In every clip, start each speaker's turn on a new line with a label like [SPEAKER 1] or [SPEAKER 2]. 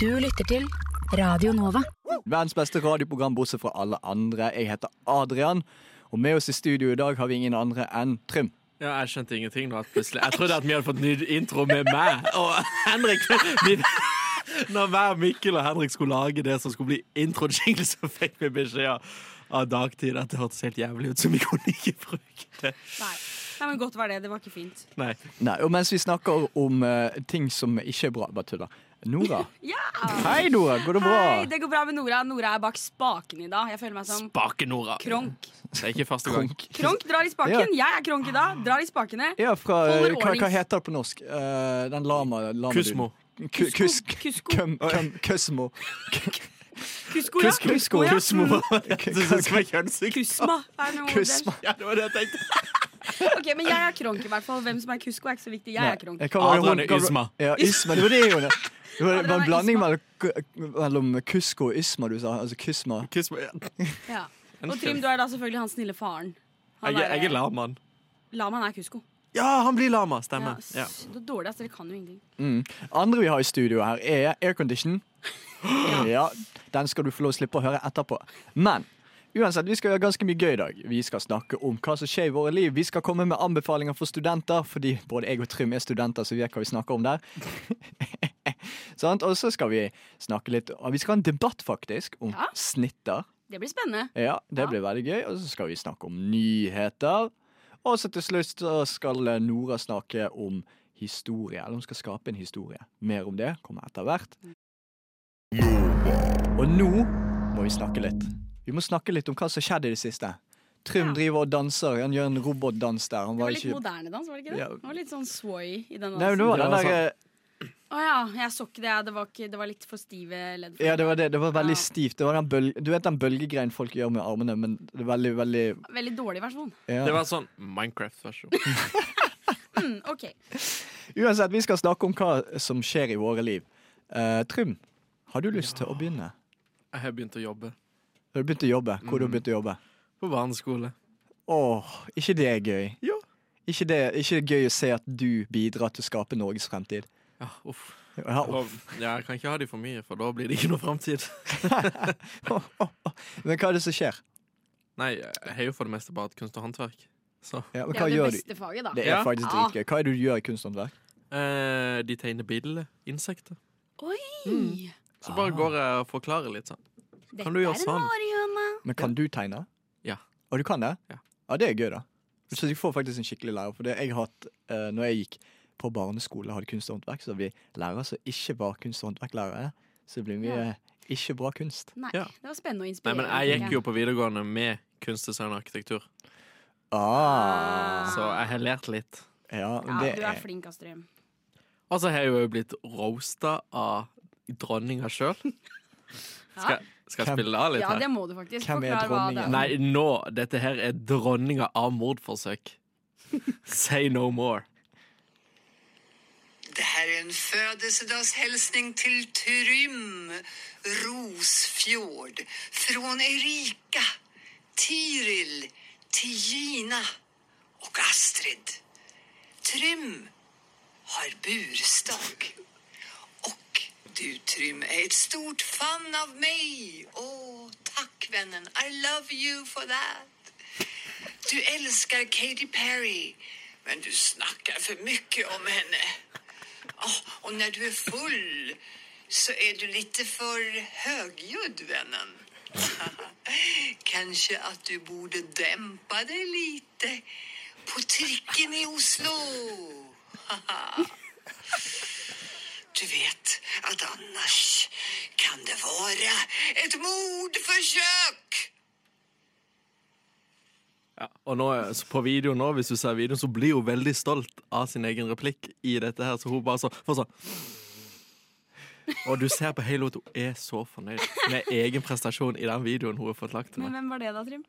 [SPEAKER 1] Du lytter til Radio Nova.
[SPEAKER 2] Verdens beste radioprogram, bortsett fra alle andre. Jeg heter Adrian, og med oss i studio i dag har vi ingen andre enn Trym.
[SPEAKER 3] Ja, jeg skjønte ingenting nå. at plutselig Jeg trodde at vi hadde fått ny intro med meg og Henrik. Vi, når hver Mikkel og Henrik skulle lage det som skulle bli intro-jingle, så fikk vi beskjed av- av dagtid at det hørtes helt jævlig ut, så vi kunne ikke bruke det.
[SPEAKER 4] Nei. Nei, men godt var det. Det var ikke fint.
[SPEAKER 3] Nei.
[SPEAKER 2] Nei, og mens vi snakker om eh, ting som ikke er bra Bare tuller. Nora.
[SPEAKER 4] Ja!
[SPEAKER 2] Hei, Nora. Går det bra?
[SPEAKER 4] Hei, det går bra med Nora. Nora er bak spaken i dag. Jeg føler meg som
[SPEAKER 3] Bake-Nora.
[SPEAKER 4] Sånn kronk.
[SPEAKER 3] Det er ikke første gang.
[SPEAKER 4] Kronk drar i spaken. Jeg er kronk i dag. Drar i spakene.
[SPEAKER 2] Ja, fra eh,
[SPEAKER 4] Holder
[SPEAKER 2] hva, hva
[SPEAKER 4] ordnings-
[SPEAKER 2] heter det på norsk? Eh, den lama... lama
[SPEAKER 3] Kusmo.
[SPEAKER 2] Ku, kus,
[SPEAKER 4] Kusko.
[SPEAKER 2] køm, køm, kusmo.
[SPEAKER 4] Kusko, ja.
[SPEAKER 2] Kusko.
[SPEAKER 4] ja.
[SPEAKER 3] Kusmo.
[SPEAKER 4] Mm.
[SPEAKER 3] Du syns jeg var kjønnssykdom?
[SPEAKER 4] Kusma. Er noe
[SPEAKER 2] Kusma.
[SPEAKER 3] Ja, det var det jeg tenkte.
[SPEAKER 4] Der. Ok, Men jeg er kronk i hvert fall. Hvem som er kusko, er ikke så viktig. Jeg er kronk.
[SPEAKER 2] Nei, hva var det hun-
[SPEAKER 3] Adrian er
[SPEAKER 2] hva var-
[SPEAKER 3] Ysma.
[SPEAKER 2] Ja, Ysma. Det var det hun het. Det var- det var
[SPEAKER 4] Adrian
[SPEAKER 2] en
[SPEAKER 4] er
[SPEAKER 2] blanding
[SPEAKER 4] Ysma.
[SPEAKER 2] mellom, mellom Kusko og Ysma du sa. Altså Kusma.
[SPEAKER 3] Kusmo. Jeg,
[SPEAKER 4] Ja. Og Trym, du er da selvfølgelig han snille faren. Han
[SPEAKER 3] er- jeg er lamaen.
[SPEAKER 4] Lamaen er kusko.
[SPEAKER 3] Ja, han blir lama.
[SPEAKER 4] Ja,
[SPEAKER 3] Stemmer.
[SPEAKER 4] s-
[SPEAKER 3] Ja.
[SPEAKER 4] Det er dårlig, altså. Dere kan jo ingenting.
[SPEAKER 2] Andre vi har i studio her, er aircondition. Ja, den skal du få lov å slippe å høre etterpå. Men uansett, vi skal gjøre ganske mye gøy i dag. Vi skal snakke om hva som skjer i våre liv. Vi skal komme med anbefalinger for studenter, fordi både jeg og Trym er studenter, så vi vet hva vi snakker om der. Sant? Og så skal vi snakke litt Vi skal ha en debatt, faktisk, om
[SPEAKER 4] Ja.
[SPEAKER 2] snitter.
[SPEAKER 4] Det blir spennende.
[SPEAKER 2] Ja, det
[SPEAKER 4] Ja.
[SPEAKER 2] blir veldig gøy. Og så skal vi snakke om nyheter. Og så til slutt så skal Nora snakke om historie. Eller hun skal skape en historie. Mer om det kommer etter hvert. Og nå må vi snakke litt. Vi må snakke litt om hva som skjedde i det siste. Trym
[SPEAKER 4] Ja.
[SPEAKER 2] driver og danser. Han gjør en robotdans der. Han
[SPEAKER 4] Det var
[SPEAKER 2] var
[SPEAKER 4] litt
[SPEAKER 2] ikke
[SPEAKER 4] moderne altså. dans, var det ikke det?
[SPEAKER 2] Ja.
[SPEAKER 4] Det var Litt sånn sway i den
[SPEAKER 2] Nei, men det var
[SPEAKER 3] Det
[SPEAKER 2] den
[SPEAKER 3] var sånn.
[SPEAKER 2] der eh,
[SPEAKER 4] Å ja, jeg så ikke det. Det var, ikke, det var litt for stive ledd.
[SPEAKER 2] Ja, det var det. Det var veldig
[SPEAKER 4] Ja.
[SPEAKER 2] stivt. Det var den bøl du vet den bølgegreien folk gjør med armene, men det er veldig, veldig
[SPEAKER 4] Veldig dårlig versjon.
[SPEAKER 2] ja.
[SPEAKER 3] Det var sånn Minecraft-versjon.
[SPEAKER 4] Mm, ok.
[SPEAKER 2] Uansett, vi skal snakke om hva som skjer i våre liv. Eh, Trym, har du lyst til å begynne?
[SPEAKER 3] Jeg har begynt å jobbe
[SPEAKER 2] Har du begynt å jobbe? Hvor har du begynt å jobbe?
[SPEAKER 3] på barneskole.
[SPEAKER 2] Åh, ikke det er gøy.
[SPEAKER 3] Jo.
[SPEAKER 2] Ikke det, ikke det er gøy å se at du bidrar til å skape Norges fremtid.
[SPEAKER 3] Ja, uff.
[SPEAKER 2] Ja,
[SPEAKER 3] Og- Ja, jeg kan ikke ha de for mye, for da blir det ikke noe framtid.
[SPEAKER 2] åh, åh, åh. Men hva er det som skjer?
[SPEAKER 3] Nei, jeg har jo for det meste bare et kunst og håndverk. Så
[SPEAKER 2] Ja, men
[SPEAKER 4] Det
[SPEAKER 2] hva
[SPEAKER 4] er jo
[SPEAKER 2] gjør
[SPEAKER 4] det
[SPEAKER 2] du?
[SPEAKER 4] beste faget, da.
[SPEAKER 2] Det er
[SPEAKER 3] Ja.
[SPEAKER 2] faktisk
[SPEAKER 4] Ah.
[SPEAKER 2] dritgøy. Hva er det du gjør i kunsthåndverk?
[SPEAKER 3] eh, de tegner bilder. Insekter.
[SPEAKER 4] Oi!
[SPEAKER 3] Så
[SPEAKER 4] Ah.
[SPEAKER 3] bare går jeg og forklarer litt sånn.
[SPEAKER 4] Hm, Dette
[SPEAKER 3] Mm. Kan du gjøre
[SPEAKER 4] er en
[SPEAKER 3] sånn?
[SPEAKER 4] marihøne.
[SPEAKER 2] Men kan du tegne?
[SPEAKER 3] Ja.
[SPEAKER 2] Og du kan det?
[SPEAKER 3] Ja.
[SPEAKER 2] det er gøy, da. Så du får faktisk en skikkelig lærer. For det jeg hatt eh, når jeg gikk på barneskole og hadde kunst og håndverk, så hadde vi lærere som ikke var kunst- og håndverklærere. Så det blir mye
[SPEAKER 4] Ja.
[SPEAKER 2] eh, ikke bra kunst.
[SPEAKER 4] Nei,
[SPEAKER 3] Ja.
[SPEAKER 4] det var spennende og
[SPEAKER 3] Nei,
[SPEAKER 4] inspirerende.
[SPEAKER 3] men jeg
[SPEAKER 4] tenker
[SPEAKER 3] gikk jo på videregående med kunstdesign og arkitektur,
[SPEAKER 2] Ah.
[SPEAKER 3] så jeg har lært litt.
[SPEAKER 2] Ja, men
[SPEAKER 4] Ja,
[SPEAKER 2] det
[SPEAKER 4] du er
[SPEAKER 2] er
[SPEAKER 4] flink, Astrid.
[SPEAKER 3] Og så har jeg jo blitt roasta av dronninga sjøl. Skal, skal jeg
[SPEAKER 2] Hvem-
[SPEAKER 3] spille det av litt
[SPEAKER 4] Ja,
[SPEAKER 3] her?
[SPEAKER 4] det må du faktisk.
[SPEAKER 2] Hvem er
[SPEAKER 4] Forklar hva det
[SPEAKER 2] dronningen?
[SPEAKER 4] er.
[SPEAKER 3] Nei, nå! Dette her er dronninga av mordforsøk. Say no more.
[SPEAKER 5] Det her er en fødselsdagshälsning til Trym Rosfjord från Erika, Tiril, till Gina och Astrid. Trym har bursdag. Och du Trym är ett stort fan av mig. Åh, tack vännen. I love you for that. Du älskar Katy Perry, men du snackar för mycket om henne. Åh, och när du är full så är du lite för högljudd, vännen. Kanske att du borde dämpa dig lite på tricken i Oslo. Du vet att annars kan det vara ett mordförsök.
[SPEAKER 3] Ja, og nå, så på videoen nå, hvis du ser videoen, så blir hun veldig stolt av sin egen replikk i dette her, så hun bare så, får sånn Og du ser på Halo at hun er så fornøyd med egen prestasjon i den videoen hun har fått lagt til
[SPEAKER 4] Men
[SPEAKER 3] meg.
[SPEAKER 4] hvem var det, da, Trym?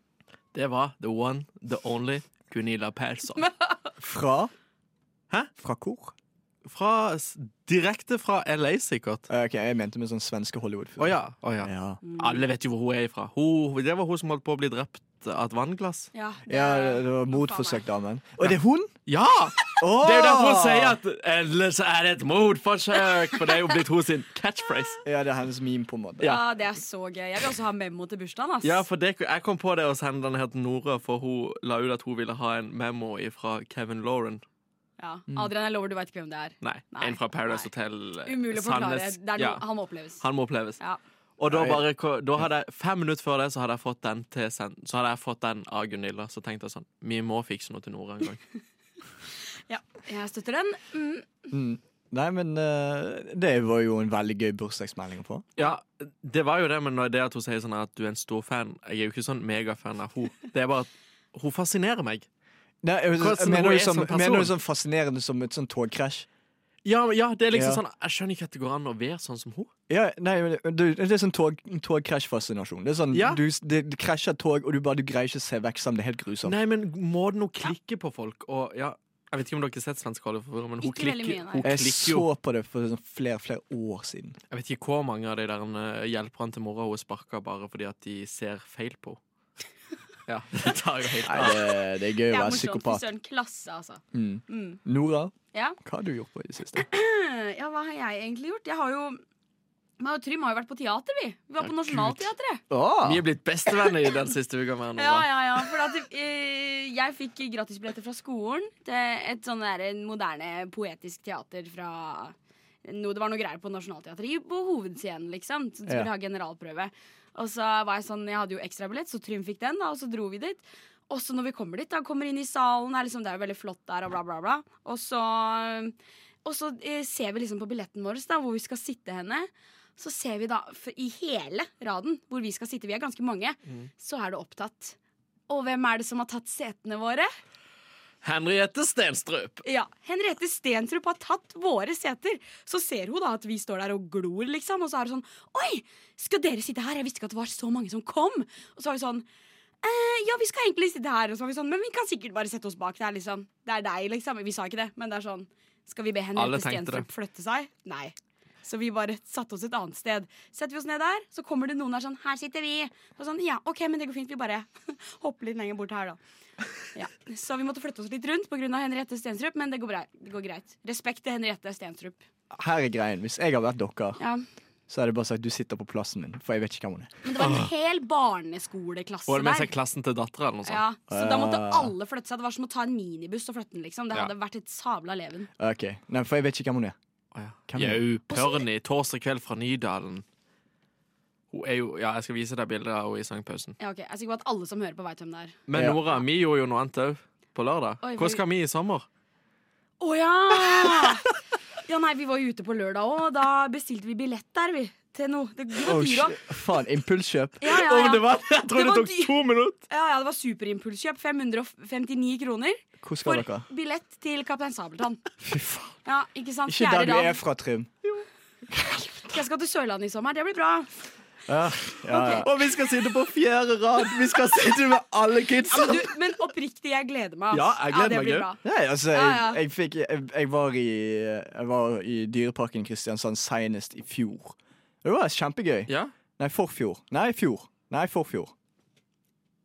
[SPEAKER 3] Det var the one, the only Gunilla Persson.
[SPEAKER 2] fra
[SPEAKER 3] Hæ?
[SPEAKER 2] Fra hvor?
[SPEAKER 3] Fra, s- direkte fra LA, sikkert.
[SPEAKER 2] Eh, Ok, Jeg mente med sånn svenske Hollywood.
[SPEAKER 3] Å ja. Å ja.
[SPEAKER 2] Ja.
[SPEAKER 3] Alle vet jo hvor hun er ifra. Hun, det var hun som holdt på å bli drept av et vannglass.
[SPEAKER 4] Ja, det
[SPEAKER 2] Ja,
[SPEAKER 4] er-
[SPEAKER 2] det var
[SPEAKER 4] Faen meg.
[SPEAKER 2] motforsøkdamen. Og det er hun?
[SPEAKER 3] Ja!
[SPEAKER 2] Åh!
[SPEAKER 3] Det er jo derfor hun sier at ellers er det et mordforsøk, for det er jo blitt hun sin catchphrase.
[SPEAKER 2] Ja, det er hennes meme, på en måte.
[SPEAKER 3] Ja.
[SPEAKER 4] Ja. det er så gøy. Jeg vil også ha memo til bursdagen. ass
[SPEAKER 3] Ja, for det, Jeg kom på det hos hendene her til Nora, for hun la ut at hun ville ha en memo fra Kevin Lauren.
[SPEAKER 4] Ja.
[SPEAKER 3] Mm.
[SPEAKER 4] Adrian, jeg lover du veit ikke hvem det er.
[SPEAKER 3] Nei,
[SPEAKER 4] Nei,
[SPEAKER 3] en fra Paradise
[SPEAKER 4] nei.
[SPEAKER 3] Hotel. eh,
[SPEAKER 4] Umulig å forklare.
[SPEAKER 3] Sandnes.
[SPEAKER 4] Det er noe,
[SPEAKER 3] ja,
[SPEAKER 4] Han må oppleves.
[SPEAKER 3] han må oppleves.
[SPEAKER 4] Ja.
[SPEAKER 3] Og da
[SPEAKER 2] Nei.
[SPEAKER 3] bare, ko- da hadde jeg, Fem minutter før det så hadde jeg fått den, til, sen- så hadde jeg fått den av Gunilla. Så tenkte jeg sånn Vi må fikse noe til Nora en gang.
[SPEAKER 4] ja, jeg støtter den. Mm.
[SPEAKER 2] Nei, men eh, det var jo en veldig gøy bursdagsmelding å få.
[SPEAKER 3] Ja, det var jo det, men når det at hun sier sånn at du er en stor fan Jeg er jo ikke sånn megafan av henne. Det er bare at hun fascinerer meg.
[SPEAKER 2] Nei, jeg,
[SPEAKER 3] Hvordan
[SPEAKER 2] mener,
[SPEAKER 3] hun
[SPEAKER 2] du
[SPEAKER 3] er
[SPEAKER 2] som,
[SPEAKER 3] som person?
[SPEAKER 2] mener du sånn fascinerende som et sånn togkrasj?
[SPEAKER 3] Ja, men ja, det er liksom
[SPEAKER 2] Ja.
[SPEAKER 3] sånn Jeg skjønner ikke at det går an å være sånn som hun.
[SPEAKER 2] Ja, nei, men det- det, det er sånn tog, togkrasjfascinasjon. Det er sånn,
[SPEAKER 3] Ja.
[SPEAKER 2] du, det, det krasjer et tog, og du bare du greier ikke å se vekk sammen. Det er helt grusomt.
[SPEAKER 3] Nei, men måten hun klikker på folk og ja, Jeg vet ikke om dere har sett Svensk Kale for men hun
[SPEAKER 4] Ikke veldig
[SPEAKER 3] klikker,
[SPEAKER 4] mye, nei.
[SPEAKER 3] hun
[SPEAKER 2] Jeg
[SPEAKER 3] klikker jo
[SPEAKER 2] så på det for sånn flere, flere år siden.
[SPEAKER 3] Jeg vet ikke hvor mange av de der eh, hjelperne til mora hun sparka bare fordi at de ser feil på henne. Ja, det tar jo helt
[SPEAKER 2] Nei,
[SPEAKER 3] av.
[SPEAKER 2] det, det er gøy å
[SPEAKER 4] Det er
[SPEAKER 2] være
[SPEAKER 4] morsomt for
[SPEAKER 2] psykopat.
[SPEAKER 4] søren klasse, altså.
[SPEAKER 2] Mm.
[SPEAKER 4] Mm.
[SPEAKER 2] Nora,
[SPEAKER 4] Ja.
[SPEAKER 2] hva har du gjort på i det siste?
[SPEAKER 4] ja, hva har jeg egentlig gjort? Jeg har jo meg og Trym har jo vært på teater, vi. Vi var på Nationaltheatret.
[SPEAKER 2] Ah,
[SPEAKER 3] Vi er blitt bestevenner i den siste uka med
[SPEAKER 4] Ja,
[SPEAKER 3] Nora.
[SPEAKER 4] ja, ja. For at, eh, jeg fikk gratisbilletter fra skolen til et sånn der moderne poetisk teater fra noe, Det var noe greier på Nationaltheatret i- på hovedscenen, liksom. Så de skulle
[SPEAKER 2] Ja.
[SPEAKER 4] ha generalprøve. Og så var jeg sånn, jeg hadde jo ekstrabillett, så Trym fikk den, da, og så dro vi dit. Og så når vi kommer dit, da kommer inn i salen, er liksom, det er jo veldig flott der, og bla, bla, bla. Og så, og så eh, ser vi liksom på billetten vår, da, hvor vi skal sitte henne. Så ser vi da, for i hele raden hvor vi skal sitte, vi er ganske mange, så er det opptatt. Og hvem er det som har tatt setene våre?
[SPEAKER 3] Henriette Stenstrup.
[SPEAKER 4] Ja, Henriette Stensrup har tatt våre seter. Så ser hun da at vi står der og glor, liksom. Og så er det sånn Oi, skal dere sitte her? Jeg visste ikke at det var så mange som kom. Og så er vi sånn eh, Ja, vi skal egentlig sitte her. Og så er vi sånn Men vi kan sikkert bare sette oss bak der, liksom. Det er deg, liksom. Vi sa ikke det, men det er sånn Skal vi be
[SPEAKER 3] Alle
[SPEAKER 4] Henriette
[SPEAKER 3] tenkte det.
[SPEAKER 4] Stenstrup flytte seg? Nei. Så vi bare satte oss et annet sted. Setter vi oss ned der, så kommer det noen der sånn Her sitter vi. Og sånn Ja, OK, men det går fint. Vi bare hopper litt lenger bort her, da. Ja. Så vi måtte flytte oss litt rundt pga. Henriette Stenstrup, men det går, bra. det går greit. Respekt til Henriette Stenstrup.
[SPEAKER 2] her er greien. Hvis jeg har vært dere,
[SPEAKER 4] Ja.
[SPEAKER 2] så er det bare sånn at du sitter på plassen min, for jeg vet ikke hvem hun er.
[SPEAKER 4] Men det var en hel barneskoleklasse
[SPEAKER 3] Hun hadde med
[SPEAKER 4] der.
[SPEAKER 3] seg klassen til dattera eller noe sånt.
[SPEAKER 4] Ja, så da måtte alle flytte seg. Det var som å ta en minibuss og flytte den. liksom Det
[SPEAKER 3] Ja.
[SPEAKER 4] hadde vært et sabla leven.
[SPEAKER 2] Ok, Nei, for jeg vet ikke hvem hun er.
[SPEAKER 3] Å, ja.
[SPEAKER 2] Hvem er
[SPEAKER 3] Jau, Pørni, torsdag kveld fra Nydalen. Hun er jo, ja, Jeg skal vise deg bilder av henne i sangpausen.
[SPEAKER 4] Ja, ok, Jeg er sikker på at alle som hører på, veit hvem det er.
[SPEAKER 3] Men
[SPEAKER 2] Ja.
[SPEAKER 3] Nora, vi gjorde jo noe annet òg på lørdag.
[SPEAKER 4] Oi,
[SPEAKER 3] Hvor
[SPEAKER 4] vi-
[SPEAKER 3] skal vi i sommer?
[SPEAKER 4] Å ja! Ja, nei, vi var jo ute på lørdag òg. Da bestilte vi billett der, vi. Til noe. Det, det var
[SPEAKER 2] Oh,
[SPEAKER 4] dyr
[SPEAKER 2] shit. faen, impulskjøp.
[SPEAKER 4] Ja, ja,
[SPEAKER 3] Om
[SPEAKER 4] ja.
[SPEAKER 3] det var, jeg tror
[SPEAKER 4] Det
[SPEAKER 3] det,
[SPEAKER 4] var
[SPEAKER 3] tok
[SPEAKER 4] dy-
[SPEAKER 3] to minutter!
[SPEAKER 4] ja, ja, det var superimpulskjøp. 559 kroner
[SPEAKER 2] Hvor skal
[SPEAKER 4] for
[SPEAKER 2] dere?
[SPEAKER 4] billett til Kaptein Sabeltann. Ja, ikke sant?
[SPEAKER 2] Ikke der
[SPEAKER 4] Fjerde
[SPEAKER 2] du er
[SPEAKER 4] rad.
[SPEAKER 2] fra, Trym.
[SPEAKER 4] Jeg skal til Sørlandet i sommer. Det blir bra.
[SPEAKER 2] Ja, ja, ja.
[SPEAKER 3] Og vi skal sitte på fjerde rad! Vi skal sitte med alle
[SPEAKER 4] Men,
[SPEAKER 3] kidsa!
[SPEAKER 4] du, men oppriktig, jeg gleder meg. ass.
[SPEAKER 3] Ja, jeg gleder
[SPEAKER 4] det
[SPEAKER 3] meg
[SPEAKER 4] blir
[SPEAKER 3] jo.
[SPEAKER 4] bra.
[SPEAKER 2] Nei, altså, jeg,
[SPEAKER 4] Ja, ja.
[SPEAKER 2] jeg, fikk, jeg, jeg, var i, jeg var i Dyreparken i Kristiansand senest i fjor. Det var kjempegøy.
[SPEAKER 3] Ja.
[SPEAKER 2] Nei, forfjor. Nei, fjor. Nei, forfjor.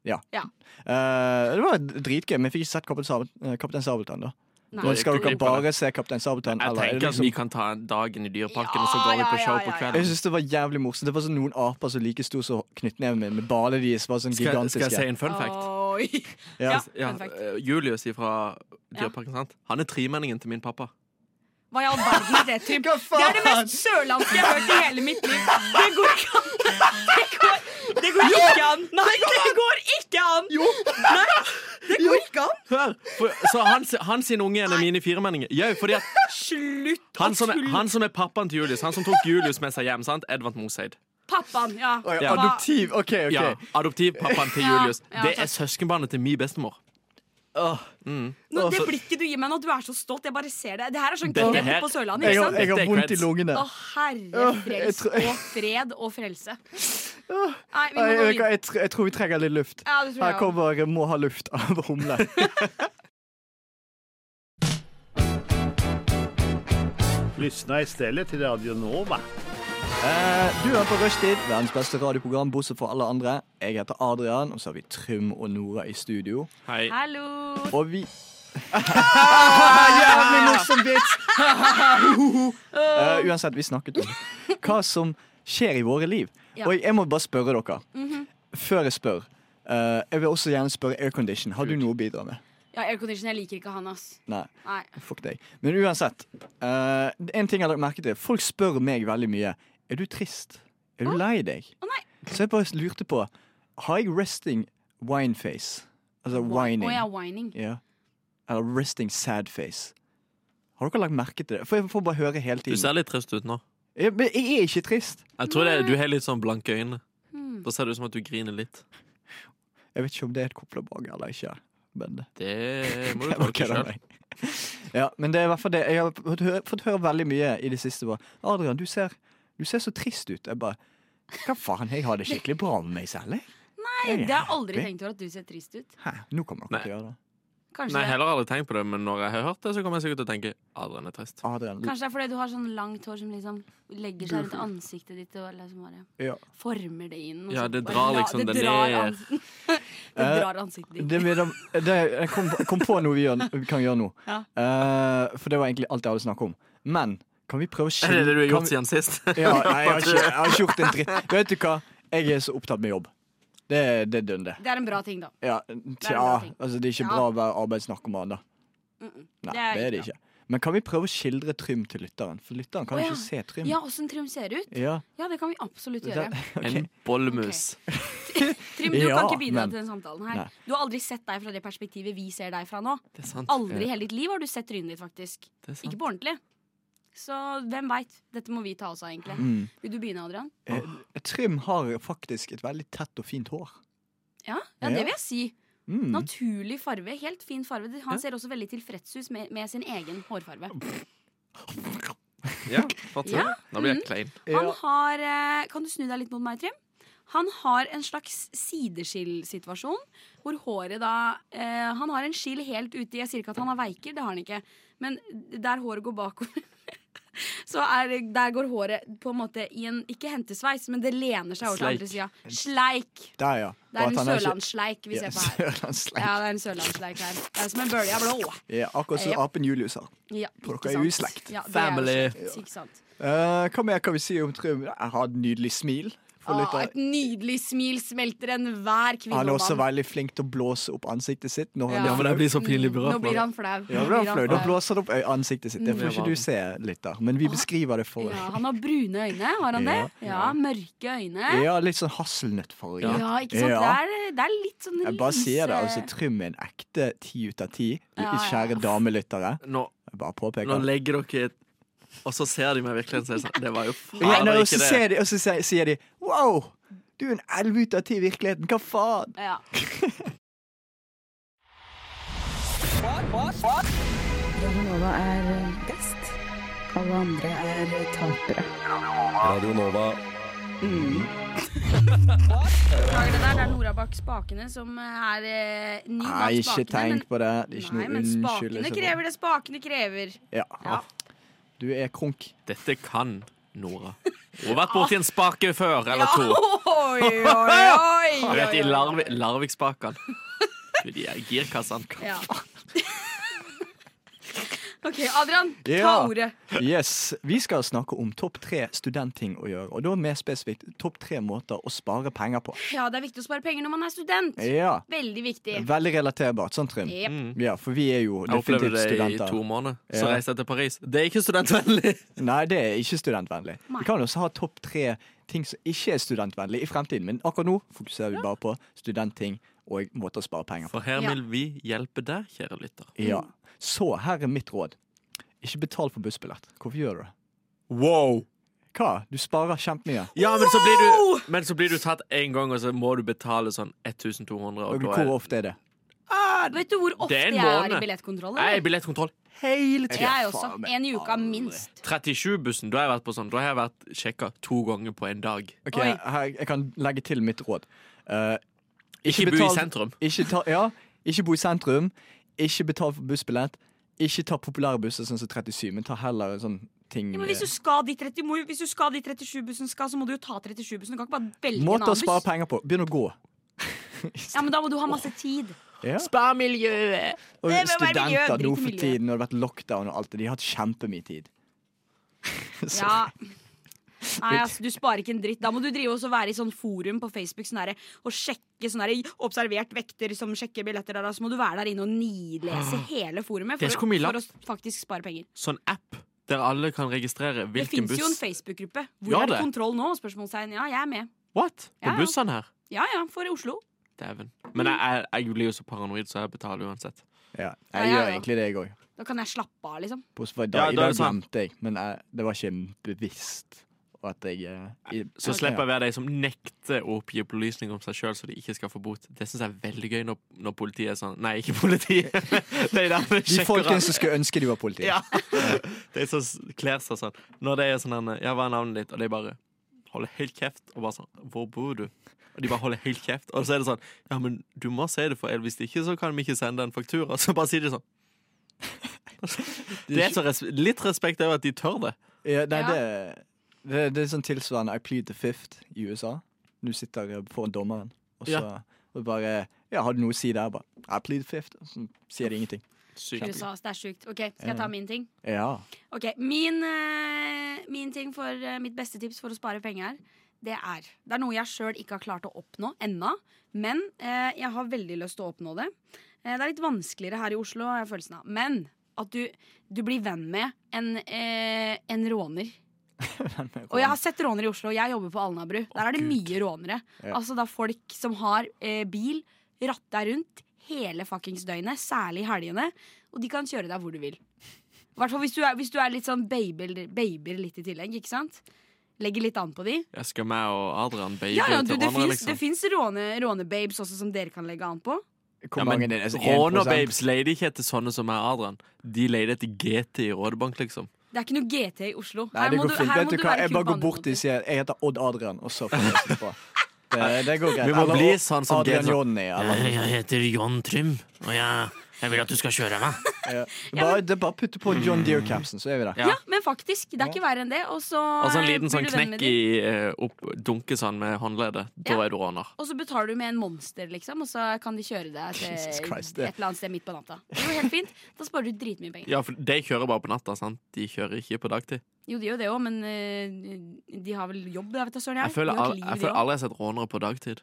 [SPEAKER 2] Ja.
[SPEAKER 4] Ja.
[SPEAKER 2] Eh, det var dritgøy, men jeg fikk ikke sett Kaptein, Sabelt, eh, Kaptein Sabeltann. da
[SPEAKER 4] Nei.
[SPEAKER 2] Nå Skal dere
[SPEAKER 3] Jeg
[SPEAKER 2] bare se Kaptein Sabeltann?
[SPEAKER 3] Jeg
[SPEAKER 2] eller er det
[SPEAKER 3] tenker altså
[SPEAKER 2] liksom-
[SPEAKER 3] at vi kan ta dagen i Dyreparken, og så går
[SPEAKER 4] Ja,
[SPEAKER 3] vi på
[SPEAKER 4] ja,
[SPEAKER 3] show
[SPEAKER 4] ja,
[SPEAKER 3] på
[SPEAKER 4] ja, ja.
[SPEAKER 2] Jeg
[SPEAKER 3] kvelden.
[SPEAKER 2] synes det var jævlig morsomt. Det var sånn noen aper som like stor som knyttneven min, med balene deres var sånn
[SPEAKER 3] Skal, skal
[SPEAKER 2] gigantiske.
[SPEAKER 3] jeg si en fun fact?
[SPEAKER 4] Oi.
[SPEAKER 2] Ja.
[SPEAKER 4] Ja,
[SPEAKER 3] Ja,
[SPEAKER 4] fun fact.
[SPEAKER 3] eh, Julius fra Dyreparken, sant? Han er tremenningen til min pappa.
[SPEAKER 4] Hva i all verden er det, Trym?
[SPEAKER 2] Hva
[SPEAKER 4] Det er det mest sørlandske jeg har hørt i hele mitt liv. Det går ikke an. Det går, det går ikke an. Nei, det går ikke an. Jo. Nei, det går ikke an.
[SPEAKER 3] Hør! For, så hans, hans sine unge er mine firemenninger. Jau, fordi at
[SPEAKER 4] Slutt å
[SPEAKER 3] han som, er,
[SPEAKER 4] tulle.
[SPEAKER 3] han som er pappaen til Julius, han som tok Julius med seg hjem, sant? Edvard Moseid.
[SPEAKER 4] Pappaen, ja.
[SPEAKER 2] Oi,
[SPEAKER 3] Ja.
[SPEAKER 4] Hva-
[SPEAKER 2] Adoptiv. OK, OK.
[SPEAKER 3] Ja, Adoptivpappaen til
[SPEAKER 4] Ja,
[SPEAKER 3] Julius.
[SPEAKER 4] ja,
[SPEAKER 3] Det
[SPEAKER 4] takk.
[SPEAKER 3] er søskenbarnet til min bestemor.
[SPEAKER 2] Åh,
[SPEAKER 4] Nå, det blikket du gir meg nå, du er så stolt. Jeg bare ser det. Det her er sånn
[SPEAKER 3] Dette
[SPEAKER 4] knep
[SPEAKER 3] her-
[SPEAKER 4] på Sørlandet.
[SPEAKER 2] jeg,
[SPEAKER 4] ikke
[SPEAKER 2] har,
[SPEAKER 4] sant?
[SPEAKER 2] jeg
[SPEAKER 3] Dette
[SPEAKER 2] har
[SPEAKER 3] er
[SPEAKER 2] vondt i
[SPEAKER 3] creds.
[SPEAKER 2] lungene.
[SPEAKER 4] Å, herre
[SPEAKER 2] Åh, jeg
[SPEAKER 4] frels
[SPEAKER 2] tror-
[SPEAKER 4] og fred og frelse. Nei,
[SPEAKER 2] Jeg,
[SPEAKER 4] vi må gå
[SPEAKER 2] jeg,
[SPEAKER 4] videre.
[SPEAKER 2] jeg, tr- jeg tror vi trenger litt luft.
[SPEAKER 4] Ja, det tror
[SPEAKER 2] Her
[SPEAKER 4] jeg også.
[SPEAKER 2] kommer 'Må ha luft' av Humle.
[SPEAKER 6] Lyssna istället till Radio Nova.
[SPEAKER 2] Eh, Du er på Rushtid, verdens beste radioprogram bortsett fra alle andre. Jeg heter Adrian, og så har vi Trym og Nora i studio.
[SPEAKER 3] Hei.
[SPEAKER 4] Hallo!
[SPEAKER 2] Og vi Jævlig morsom vits! Eh, uansett, vi snakket om hva som skjer i våre liv.
[SPEAKER 4] Ja. Mhm.
[SPEAKER 2] Og jeg må bare spørre dere. Før jeg spør, eh, jeg vil også gjerne spørre aircondition. Har du noe å bidra med?
[SPEAKER 4] Ja, aircondition, jeg liker ikke han, ass.
[SPEAKER 2] Nei.
[SPEAKER 4] Nei.
[SPEAKER 2] Fuck deg. Men uansett. eh, en ting jeg har lagt merke til. Folk spør meg veldig mye. Er du trist? Er du lei deg?
[SPEAKER 4] nei.
[SPEAKER 2] Så jeg bare lurte på. Har jeg resting wine face? Altså
[SPEAKER 4] Wi-
[SPEAKER 2] whining.
[SPEAKER 4] Å ja, whining.
[SPEAKER 2] Ja. Eller resting sad face. Har dere lagt merke til det? For jeg får bare høre hele
[SPEAKER 3] Du
[SPEAKER 2] tiden.
[SPEAKER 3] ser litt trist ut nå.
[SPEAKER 2] Jeg, men jeg er ikke trist.
[SPEAKER 3] Jeg tror det, Du har litt sånn blanke øyne.
[SPEAKER 4] Hmm.
[SPEAKER 3] Da ser det ut som at du griner litt.
[SPEAKER 2] Jeg vet ikke om det er et kompliment eller ikke. Men
[SPEAKER 3] Det
[SPEAKER 2] Jeg
[SPEAKER 3] må du
[SPEAKER 2] bare
[SPEAKER 3] tolke
[SPEAKER 2] kødder
[SPEAKER 3] sjøl.
[SPEAKER 2] meg. Ja, men det er i hvert fall det. Jeg har fått høre, fått høre veldig mye i det siste. Bare, Adrian, du ser, du ser så trist ut. Jeg bare Hva faen, jeg har det skikkelig bra med meg selv, jeg.
[SPEAKER 4] Nei, det har jeg aldri
[SPEAKER 2] happy.
[SPEAKER 4] tenkt over at du ser trist ut.
[SPEAKER 2] Hæ, nå kommer dere til å gjøre det.
[SPEAKER 4] Kanskje,
[SPEAKER 3] Nei, heller aldri tenkt på det, men når jeg har hørt det, så kommer jeg sikkert til å tenke Adrian er trist.
[SPEAKER 2] Adrian,
[SPEAKER 4] kanskje det er fordi du har sånn langt hår som liksom legger seg rundt ansiktet ditt og liksom bare
[SPEAKER 2] ja.
[SPEAKER 4] former det inn. og
[SPEAKER 3] Ja,
[SPEAKER 4] så
[SPEAKER 3] det
[SPEAKER 4] bare
[SPEAKER 3] drar
[SPEAKER 4] la-
[SPEAKER 3] liksom
[SPEAKER 4] det
[SPEAKER 3] det
[SPEAKER 4] drar
[SPEAKER 3] ned.
[SPEAKER 4] ans- det
[SPEAKER 2] Eh,
[SPEAKER 4] drar ansiktet ditt.
[SPEAKER 2] Det vil da- det, jeg kom, kom på noe vi, gjør, vi kan gjøre nå.
[SPEAKER 4] Ja.
[SPEAKER 2] Eh, for det var egentlig alt jeg hadde snakket om. Men kan vi prøve å
[SPEAKER 3] Er det det du har
[SPEAKER 2] kan
[SPEAKER 3] gjort
[SPEAKER 2] vi-
[SPEAKER 3] siden sist?
[SPEAKER 2] Ja, nei, jeg, har ikke, jeg har ikke gjort en dritt. Vet du hva? Jeg er så opptatt med jobb. Det, det er dønn, det.
[SPEAKER 4] Det er en bra ting, da.
[SPEAKER 2] Ja, tja,
[SPEAKER 4] ting.
[SPEAKER 2] altså, det er ikke
[SPEAKER 4] Ja.
[SPEAKER 2] bra å være arbeidsnarkoman, da. Nei,
[SPEAKER 4] Det er
[SPEAKER 2] det er det
[SPEAKER 4] ikke
[SPEAKER 2] ikke. Men kan vi prøve å skildre Trym til lytteren? For lytteren kan
[SPEAKER 4] Å,
[SPEAKER 2] jo
[SPEAKER 4] ja.
[SPEAKER 2] ikke se Trym.
[SPEAKER 4] Ja, åssen Trym ser ut?
[SPEAKER 2] Ja,
[SPEAKER 4] Ja, det kan vi absolutt gjøre.
[SPEAKER 2] det-
[SPEAKER 3] En bollemus.
[SPEAKER 4] Trym, du
[SPEAKER 2] Ja,
[SPEAKER 4] kan ikke bidra
[SPEAKER 2] men-
[SPEAKER 4] til den samtalen
[SPEAKER 2] Nei.
[SPEAKER 4] her. Du har aldri sett deg fra det perspektivet vi ser deg fra nå.
[SPEAKER 3] Det er sant.
[SPEAKER 4] Aldri i hele ditt liv har du sett trynet ditt, faktisk.
[SPEAKER 3] Det er sant.
[SPEAKER 4] Ikke på ordentlig. Så hvem veit? Dette må vi ta oss av, egentlig.
[SPEAKER 2] Mm.
[SPEAKER 4] Vil du begynne, Adrian?
[SPEAKER 2] Eh, Trym har faktisk et veldig tett og fint hår.
[SPEAKER 4] Ja, ja
[SPEAKER 2] Ja.
[SPEAKER 4] det vil jeg si.
[SPEAKER 2] Mm.
[SPEAKER 4] Naturlig farve. Helt fin farve. Han ser også veldig tilfreds ut med, med sin egen hårfarve.
[SPEAKER 3] Ja, fortsett.
[SPEAKER 4] Ja. Mm.
[SPEAKER 3] Nå blir jeg klein.
[SPEAKER 4] Han
[SPEAKER 2] Ja.
[SPEAKER 4] har eh, Kan du snu deg litt mot meg, Trym? Han har en slags sideskillsituasjon, hvor håret da eh, Han har en skill helt ute i Jeg sier ikke at han har veiker, det har han ikke. Men der håret går bakover, så er, der går håret på en måte i en Ikke hentesveis, men det lener seg over til
[SPEAKER 3] Sleik.
[SPEAKER 4] andre sida. Sleik.
[SPEAKER 2] Der, ja.
[SPEAKER 4] Det er en
[SPEAKER 2] sørlandsleik.
[SPEAKER 4] sørlandssleik vi
[SPEAKER 2] Ja,
[SPEAKER 4] ser på her.
[SPEAKER 2] Sørlandssleik.
[SPEAKER 4] Ja, det er en sørlandssleik her. Det er som en bølge av blå.
[SPEAKER 2] ja, akkurat som
[SPEAKER 4] Ja.
[SPEAKER 2] apen Julius har.
[SPEAKER 4] Ja,
[SPEAKER 2] For
[SPEAKER 4] ikke
[SPEAKER 2] dere er jo i
[SPEAKER 4] sant.
[SPEAKER 2] slekt.
[SPEAKER 4] Ja, det er jo
[SPEAKER 3] Family.
[SPEAKER 4] slekt, Ikke sant.
[SPEAKER 2] Eh, hva mer kan vi si om Trym? Jeg har et nydelig smil. For litt
[SPEAKER 4] Å,
[SPEAKER 2] av-
[SPEAKER 4] et nydelig smil smelter enhver kvinne
[SPEAKER 2] Han er
[SPEAKER 4] og
[SPEAKER 2] også
[SPEAKER 4] mann.
[SPEAKER 2] veldig flink til å blåse opp ansiktet sitt. Når
[SPEAKER 4] Ja.
[SPEAKER 2] han
[SPEAKER 4] Ja,
[SPEAKER 2] er
[SPEAKER 4] men
[SPEAKER 2] flau.
[SPEAKER 3] blir så
[SPEAKER 4] Nå blir han flau.
[SPEAKER 2] Ja, da,
[SPEAKER 4] Nå blir han
[SPEAKER 2] fløy. da
[SPEAKER 4] flau.
[SPEAKER 2] blåser det opp øy- ansiktet sitt. Det
[SPEAKER 3] Mm.
[SPEAKER 2] får ikke du se, lytter. Men vi beskriver det for
[SPEAKER 4] Ja,
[SPEAKER 2] deg.
[SPEAKER 4] han har brune øyne, har han det?
[SPEAKER 2] Ja.
[SPEAKER 4] Ja, mørke øyne.
[SPEAKER 2] Ja, litt sånn hasselnøttfarge.
[SPEAKER 4] Ja, ikke sant?
[SPEAKER 2] Ja.
[SPEAKER 4] Det, er, det er litt sånn
[SPEAKER 2] Jeg bare sier det. altså
[SPEAKER 4] lyse-
[SPEAKER 2] Trym er en ekte ti ut av ti.
[SPEAKER 4] Ja, ja.
[SPEAKER 2] Kjære damelyttere.
[SPEAKER 3] Nå,
[SPEAKER 2] Jeg bare
[SPEAKER 3] nå
[SPEAKER 2] påpeker det.
[SPEAKER 3] legger dere et Og så ser de meg i virkeligheten, så er jeg sånn Det var jo
[SPEAKER 2] Ja,
[SPEAKER 3] faen
[SPEAKER 2] nei, og så
[SPEAKER 3] ikke det.
[SPEAKER 2] ser de- og så sier- sier de Wow! Du er en elleve ut av ti i virkeligheten. Hva faen?
[SPEAKER 4] Ja.
[SPEAKER 6] Radionova er eh, best. Alle andre er eh, tapere.
[SPEAKER 7] Radio Nova.
[SPEAKER 4] Mm. Beklager det der, det er Nora bak spakene som er eh, ny bak
[SPEAKER 2] Nei, ikke
[SPEAKER 4] spakene.
[SPEAKER 2] tenk på det. Det er ikke
[SPEAKER 4] Nei,
[SPEAKER 2] noe liksom.
[SPEAKER 4] men spakene
[SPEAKER 2] unnskyldelse.
[SPEAKER 4] krever det spakene krever.
[SPEAKER 2] Ja.
[SPEAKER 4] Ja.
[SPEAKER 2] Du er krunk.
[SPEAKER 3] Dette kan Nora. Hun har vært borti en spake før eller
[SPEAKER 4] Ja,
[SPEAKER 3] to.
[SPEAKER 4] Oi, oi, oi!
[SPEAKER 3] Du vet,
[SPEAKER 4] oi,
[SPEAKER 3] i
[SPEAKER 4] oi.
[SPEAKER 3] Larvi, Larvik-spakene. Gud, De er girkassene.
[SPEAKER 4] Ja. OK, Adrian, ta
[SPEAKER 2] Ja.
[SPEAKER 4] ordet.
[SPEAKER 2] Yes, Vi skal snakke om topp tre studentting å gjøre, og da mer spesifikt topp tre måter å spare penger på.
[SPEAKER 4] Ja, det er viktig å spare penger når man er student.
[SPEAKER 2] Ja,
[SPEAKER 4] Veldig viktig.
[SPEAKER 2] Veldig relaterbart, sant, Trym?
[SPEAKER 4] Jep.
[SPEAKER 2] Ja, for vi er jo
[SPEAKER 3] Mm. Jeg opplevde
[SPEAKER 2] definitivt
[SPEAKER 3] det i
[SPEAKER 2] studenter.
[SPEAKER 3] to måneder. Så
[SPEAKER 2] Ja.
[SPEAKER 3] reiste jeg til Paris. Det er ikke studentvennlig!
[SPEAKER 2] Nei, det er ikke studentvennlig.
[SPEAKER 4] Nei.
[SPEAKER 2] Vi kan også ha topp tre ting som ikke er studentvennlig i fremtiden, men akkurat nå fokuserer vi bare på studentting og måter å spare penger på.
[SPEAKER 3] For her
[SPEAKER 4] Ja.
[SPEAKER 3] vil vi hjelpe deg, kjære lytter.
[SPEAKER 2] Ja. Så her er mitt råd. Ikke betal for bussbillett. Hvorfor gjør du det?
[SPEAKER 3] Wow!
[SPEAKER 2] Hva? Du sparer kjempemye.
[SPEAKER 3] Ja, men så blir du, men så blir du tatt én gang, og så må du betale sånn 1200. Og
[SPEAKER 2] Og
[SPEAKER 3] da
[SPEAKER 2] hvor
[SPEAKER 3] er,
[SPEAKER 2] ofte er det?
[SPEAKER 4] Vet du hvor ofte
[SPEAKER 3] Det er en
[SPEAKER 4] jeg er i
[SPEAKER 3] måned.
[SPEAKER 4] billettkontroll? eller?
[SPEAKER 3] jeg er i billettkontroll hele tida.
[SPEAKER 4] Jeg er også.
[SPEAKER 2] faen meg
[SPEAKER 4] En i uka, minst.
[SPEAKER 3] 37-bussen, da har jeg vært på sånn Da har jeg vært sjekka to ganger på en dag.
[SPEAKER 2] Ok,
[SPEAKER 4] Oi.
[SPEAKER 2] her, Jeg kan legge til mitt råd. Eh,
[SPEAKER 3] Ikke, bo i
[SPEAKER 2] betal-
[SPEAKER 3] sentrum.
[SPEAKER 2] Ikke, ta, ja, ikke bo i sentrum. Ikke betal for bussbillett. Ikke ta populære busser sånn som 37, men ta heller en sånn ting
[SPEAKER 4] Ja, men hvis du skal dit 30, må, jo- hvis du skal dit 37-bussen skal, så må du jo ta 37-bussen. Du kan ikke bare velge en
[SPEAKER 2] Måte å
[SPEAKER 4] annen
[SPEAKER 2] spare
[SPEAKER 4] buss.
[SPEAKER 2] penger på. Begynn å gå.
[SPEAKER 4] Ja, men da må du ha masse tid.
[SPEAKER 2] Ja.
[SPEAKER 3] Spar miljøet!
[SPEAKER 2] Og
[SPEAKER 4] Det må være miljø,
[SPEAKER 2] studenter
[SPEAKER 4] drit i
[SPEAKER 2] nå for
[SPEAKER 4] miljø.
[SPEAKER 2] tiden, når det har vært lockdown og alt det, de har hatt kjempemye tid. Så-
[SPEAKER 4] Ja. Nei, altså, du sparer ikke en dritt. Da må du drive og så være i sånn forum på Facebook sånn derre, og sjekke sånn derre, observert vekter som sjekker billetter. Der, og så må du være der inne og nidlese hele forumet
[SPEAKER 3] Det er
[SPEAKER 4] for,
[SPEAKER 3] så mye
[SPEAKER 4] å,
[SPEAKER 3] lagt.
[SPEAKER 4] for å faktisk spare penger.
[SPEAKER 3] Sånn app der alle kan registrere
[SPEAKER 4] Det
[SPEAKER 3] hvilken
[SPEAKER 4] fins
[SPEAKER 3] buss
[SPEAKER 4] jo en Facebook-gruppe. Hvor
[SPEAKER 3] Ja,
[SPEAKER 4] er det
[SPEAKER 3] det.
[SPEAKER 4] kontroll nå? Spørsmålstegn. Ja, jeg er med.
[SPEAKER 3] What? På
[SPEAKER 4] Ja, ja.
[SPEAKER 3] bussene her?
[SPEAKER 4] Ja ja, for Oslo.
[SPEAKER 3] Dæven. Men jeg, jeg, jeg blir jo så paranoid, så jeg betaler uansett.
[SPEAKER 2] Ja.
[SPEAKER 4] Ja,
[SPEAKER 2] Jeg
[SPEAKER 4] ja,
[SPEAKER 2] gjør
[SPEAKER 4] ja.
[SPEAKER 2] egentlig det, jeg òg.
[SPEAKER 4] Da kan jeg slappe av, liksom.
[SPEAKER 2] Bortsett fra i
[SPEAKER 3] Ja,
[SPEAKER 2] dag. I
[SPEAKER 3] da er
[SPEAKER 2] dag
[SPEAKER 3] det sant.
[SPEAKER 2] glemte jeg, men jeg, det var ikke bevisst. Og at jeg eh, i,
[SPEAKER 3] Så slipper jeg å være de som nekter å oppgi opplysninger om seg sjøl, så de ikke skal få bot. Det syns jeg er veldig gøy når, når politiet er sånn Nei, ikke politiet. de der med
[SPEAKER 2] De folkene som
[SPEAKER 3] sjekkerne.
[SPEAKER 2] skulle ønske de var politi.
[SPEAKER 3] Ja. De som s- kler seg sånn. Når det er sånn her, Ja, hva er navnet ditt? Og de bare holder helt kjeft. Og bare sånn Hvor bor du? Og de bare holder helt kjeft. Og så er det sånn Ja, men du må si det, for hvis ikke så kan vi ikke sende en faktura. Så bare sier de sånn. Det er så res litt respekt over at de tør det.
[SPEAKER 2] Ja, nei,
[SPEAKER 4] Ja.
[SPEAKER 2] Det, det, det er sånn tilsvarende I plead the fifth i USA. Du sitter eh, foran dommeren, og så
[SPEAKER 3] Ja.
[SPEAKER 2] og bare ja, 'Har du noe å si der?' Bare, I plead the fifth. Så sier de ingenting.
[SPEAKER 3] Sykt.
[SPEAKER 4] USA, det er sjukt. OK, skal jeg ta min ting?
[SPEAKER 2] Ja.
[SPEAKER 4] Ok, min, eh, min ting for eh, mitt beste tips for å spare penger Det er Det er noe jeg sjøl ikke har klart å oppnå ennå Men eh, jeg har veldig lyst til å oppnå det Eh, Det er litt vanskeligere her i Oslo har jeg følelsen av Men at du, du blir venn med en, eh, en råner og jeg har sett rånere i Oslo. Jeg jobber på Alnabru. Der er det mye rånere.
[SPEAKER 2] Ja.
[SPEAKER 4] Altså da folk som har eh, bil, ratta rundt hele fuckings døgnet, særlig i helgene, og de kan kjøre deg hvor du vil. I hvert fall hvis du er, hvis du er litt sånn babyer, babyer litt i tillegg, ikke sant? Legger litt an på de.
[SPEAKER 3] Jeg skal meg og Adrian baby
[SPEAKER 4] Ja, ja, du,
[SPEAKER 3] til
[SPEAKER 4] det
[SPEAKER 3] hverandre,
[SPEAKER 4] fins
[SPEAKER 3] liksom.
[SPEAKER 4] råne- rånebabes også som dere kan legge an på.
[SPEAKER 2] Hvor
[SPEAKER 3] Ja,
[SPEAKER 2] mange
[SPEAKER 3] men
[SPEAKER 2] er det? Altså, 1%?
[SPEAKER 3] Rånerbabes leide ikke etter sånne som meg og Adrian. De leide etter GT i Rådebank, liksom.
[SPEAKER 4] Det er ikke noe GT i Oslo.
[SPEAKER 2] Nei,
[SPEAKER 4] Her
[SPEAKER 2] det
[SPEAKER 4] må
[SPEAKER 2] går
[SPEAKER 4] du-
[SPEAKER 2] fint.
[SPEAKER 4] her må
[SPEAKER 2] Vet du
[SPEAKER 4] du
[SPEAKER 2] hva,
[SPEAKER 4] være
[SPEAKER 2] jeg bare går
[SPEAKER 4] kumpanen,
[SPEAKER 2] bort
[SPEAKER 4] på en
[SPEAKER 2] og
[SPEAKER 4] måte.
[SPEAKER 2] sier 'jeg heter Odd Adrian', og så får jeg slippe på. Det, det går greit.
[SPEAKER 3] Vi må
[SPEAKER 2] Eller
[SPEAKER 3] bli sånn som
[SPEAKER 2] Adrian
[SPEAKER 3] Geir-
[SPEAKER 2] Johnny. Eller.
[SPEAKER 8] Jeg heter John Trym, og jeg, jeg vil at du skal kjøre meg.
[SPEAKER 2] Ja. Bare, det er bare å putte på John Deere-capsen, så er vi der.
[SPEAKER 3] Ja.
[SPEAKER 4] Ja, men faktisk. Det er ikke verre enn det. Og så
[SPEAKER 3] Og så en
[SPEAKER 4] eh,
[SPEAKER 3] liten sånn
[SPEAKER 4] blir du venn
[SPEAKER 3] knekk
[SPEAKER 4] med de.
[SPEAKER 3] i eh, opp, Dunke sånn med håndleddet. Da
[SPEAKER 4] Ja.
[SPEAKER 3] er du råner.
[SPEAKER 4] Og så betaler du med en monster, liksom, og så kan de kjøre deg til
[SPEAKER 2] Jesus Christ,
[SPEAKER 4] et
[SPEAKER 2] det-
[SPEAKER 4] eller annet sted midt på natta. Det er jo helt fint. Da sparer du dritmye penger.
[SPEAKER 3] Ja, for de kjører bare på natta, sant? De kjører ikke på dagtid.
[SPEAKER 4] Jo, de gjør det òg, men eh, de har vel jobb, jeg vet da søren.
[SPEAKER 3] Jeg føler,
[SPEAKER 4] De har
[SPEAKER 3] al
[SPEAKER 4] et liv,
[SPEAKER 3] jeg
[SPEAKER 4] de
[SPEAKER 3] føler
[SPEAKER 4] også.
[SPEAKER 3] aldri jeg har sett rånere på dagtid.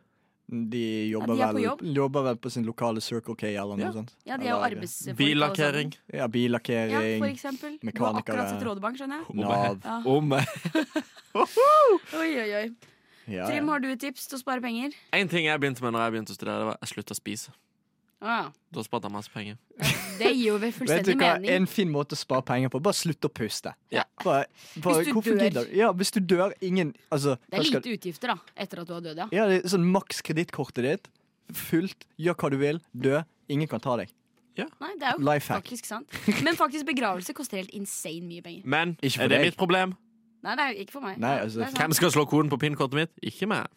[SPEAKER 2] De jobber,
[SPEAKER 4] Ja, de er på
[SPEAKER 2] vel,
[SPEAKER 4] jobb.
[SPEAKER 2] jobber vel på sin lokale Circle K eller noe
[SPEAKER 3] Ja.
[SPEAKER 2] sånt.
[SPEAKER 4] Ja, de er jo
[SPEAKER 2] Eller-
[SPEAKER 4] arbeidsfolk.
[SPEAKER 3] Billakkering.
[SPEAKER 4] alle sammen.
[SPEAKER 2] Ja,
[SPEAKER 4] sånn. Ja, for
[SPEAKER 2] billakkering,
[SPEAKER 4] eksempel. Du har
[SPEAKER 2] mekanikere.
[SPEAKER 4] akkurat sett Rådebank, skjønner jeg.
[SPEAKER 2] Nav.
[SPEAKER 4] Ja.
[SPEAKER 3] Om
[SPEAKER 4] Oi, oi, oi.
[SPEAKER 2] Ja, ja.
[SPEAKER 4] Trym, har du et tips til å spare penger?
[SPEAKER 3] En ting jeg begynte med når jeg begynte å studere, det var jeg slutta å spise.
[SPEAKER 4] Ah,
[SPEAKER 3] Da sparte jeg masse penger.
[SPEAKER 4] det gir jo vel
[SPEAKER 2] Vet du
[SPEAKER 4] fullstendig
[SPEAKER 2] hva,
[SPEAKER 4] mening.
[SPEAKER 2] en fin måte å spare penger på. Bare slutt å puste.
[SPEAKER 3] Ja.
[SPEAKER 2] Bare, bare,
[SPEAKER 4] Hvis du
[SPEAKER 2] hvorfor
[SPEAKER 4] dør.
[SPEAKER 2] gidder du? Ja, hvis du dør, ingen altså, hva
[SPEAKER 4] Det er
[SPEAKER 2] skal-
[SPEAKER 4] lite utgifter da, etter at du har dødd, ja.
[SPEAKER 2] Ja, det er sånn maks kredittkortet ditt. Fullt. Gjør hva du vil. Dø. Ingen kan ta deg.
[SPEAKER 4] Nei, det er jo
[SPEAKER 2] Lifehack.
[SPEAKER 4] faktisk sant. Men faktisk begravelse koster helt insane mye penger.
[SPEAKER 3] Men
[SPEAKER 2] Ikke for
[SPEAKER 3] er det
[SPEAKER 2] deg.
[SPEAKER 3] mitt problem?
[SPEAKER 4] Nei, det er jo ikke for meg.
[SPEAKER 2] Nei,
[SPEAKER 4] Ja,
[SPEAKER 2] altså,
[SPEAKER 4] det er sant.
[SPEAKER 3] Hvem skal slå koden på pinnkortet mitt? Ikke meg.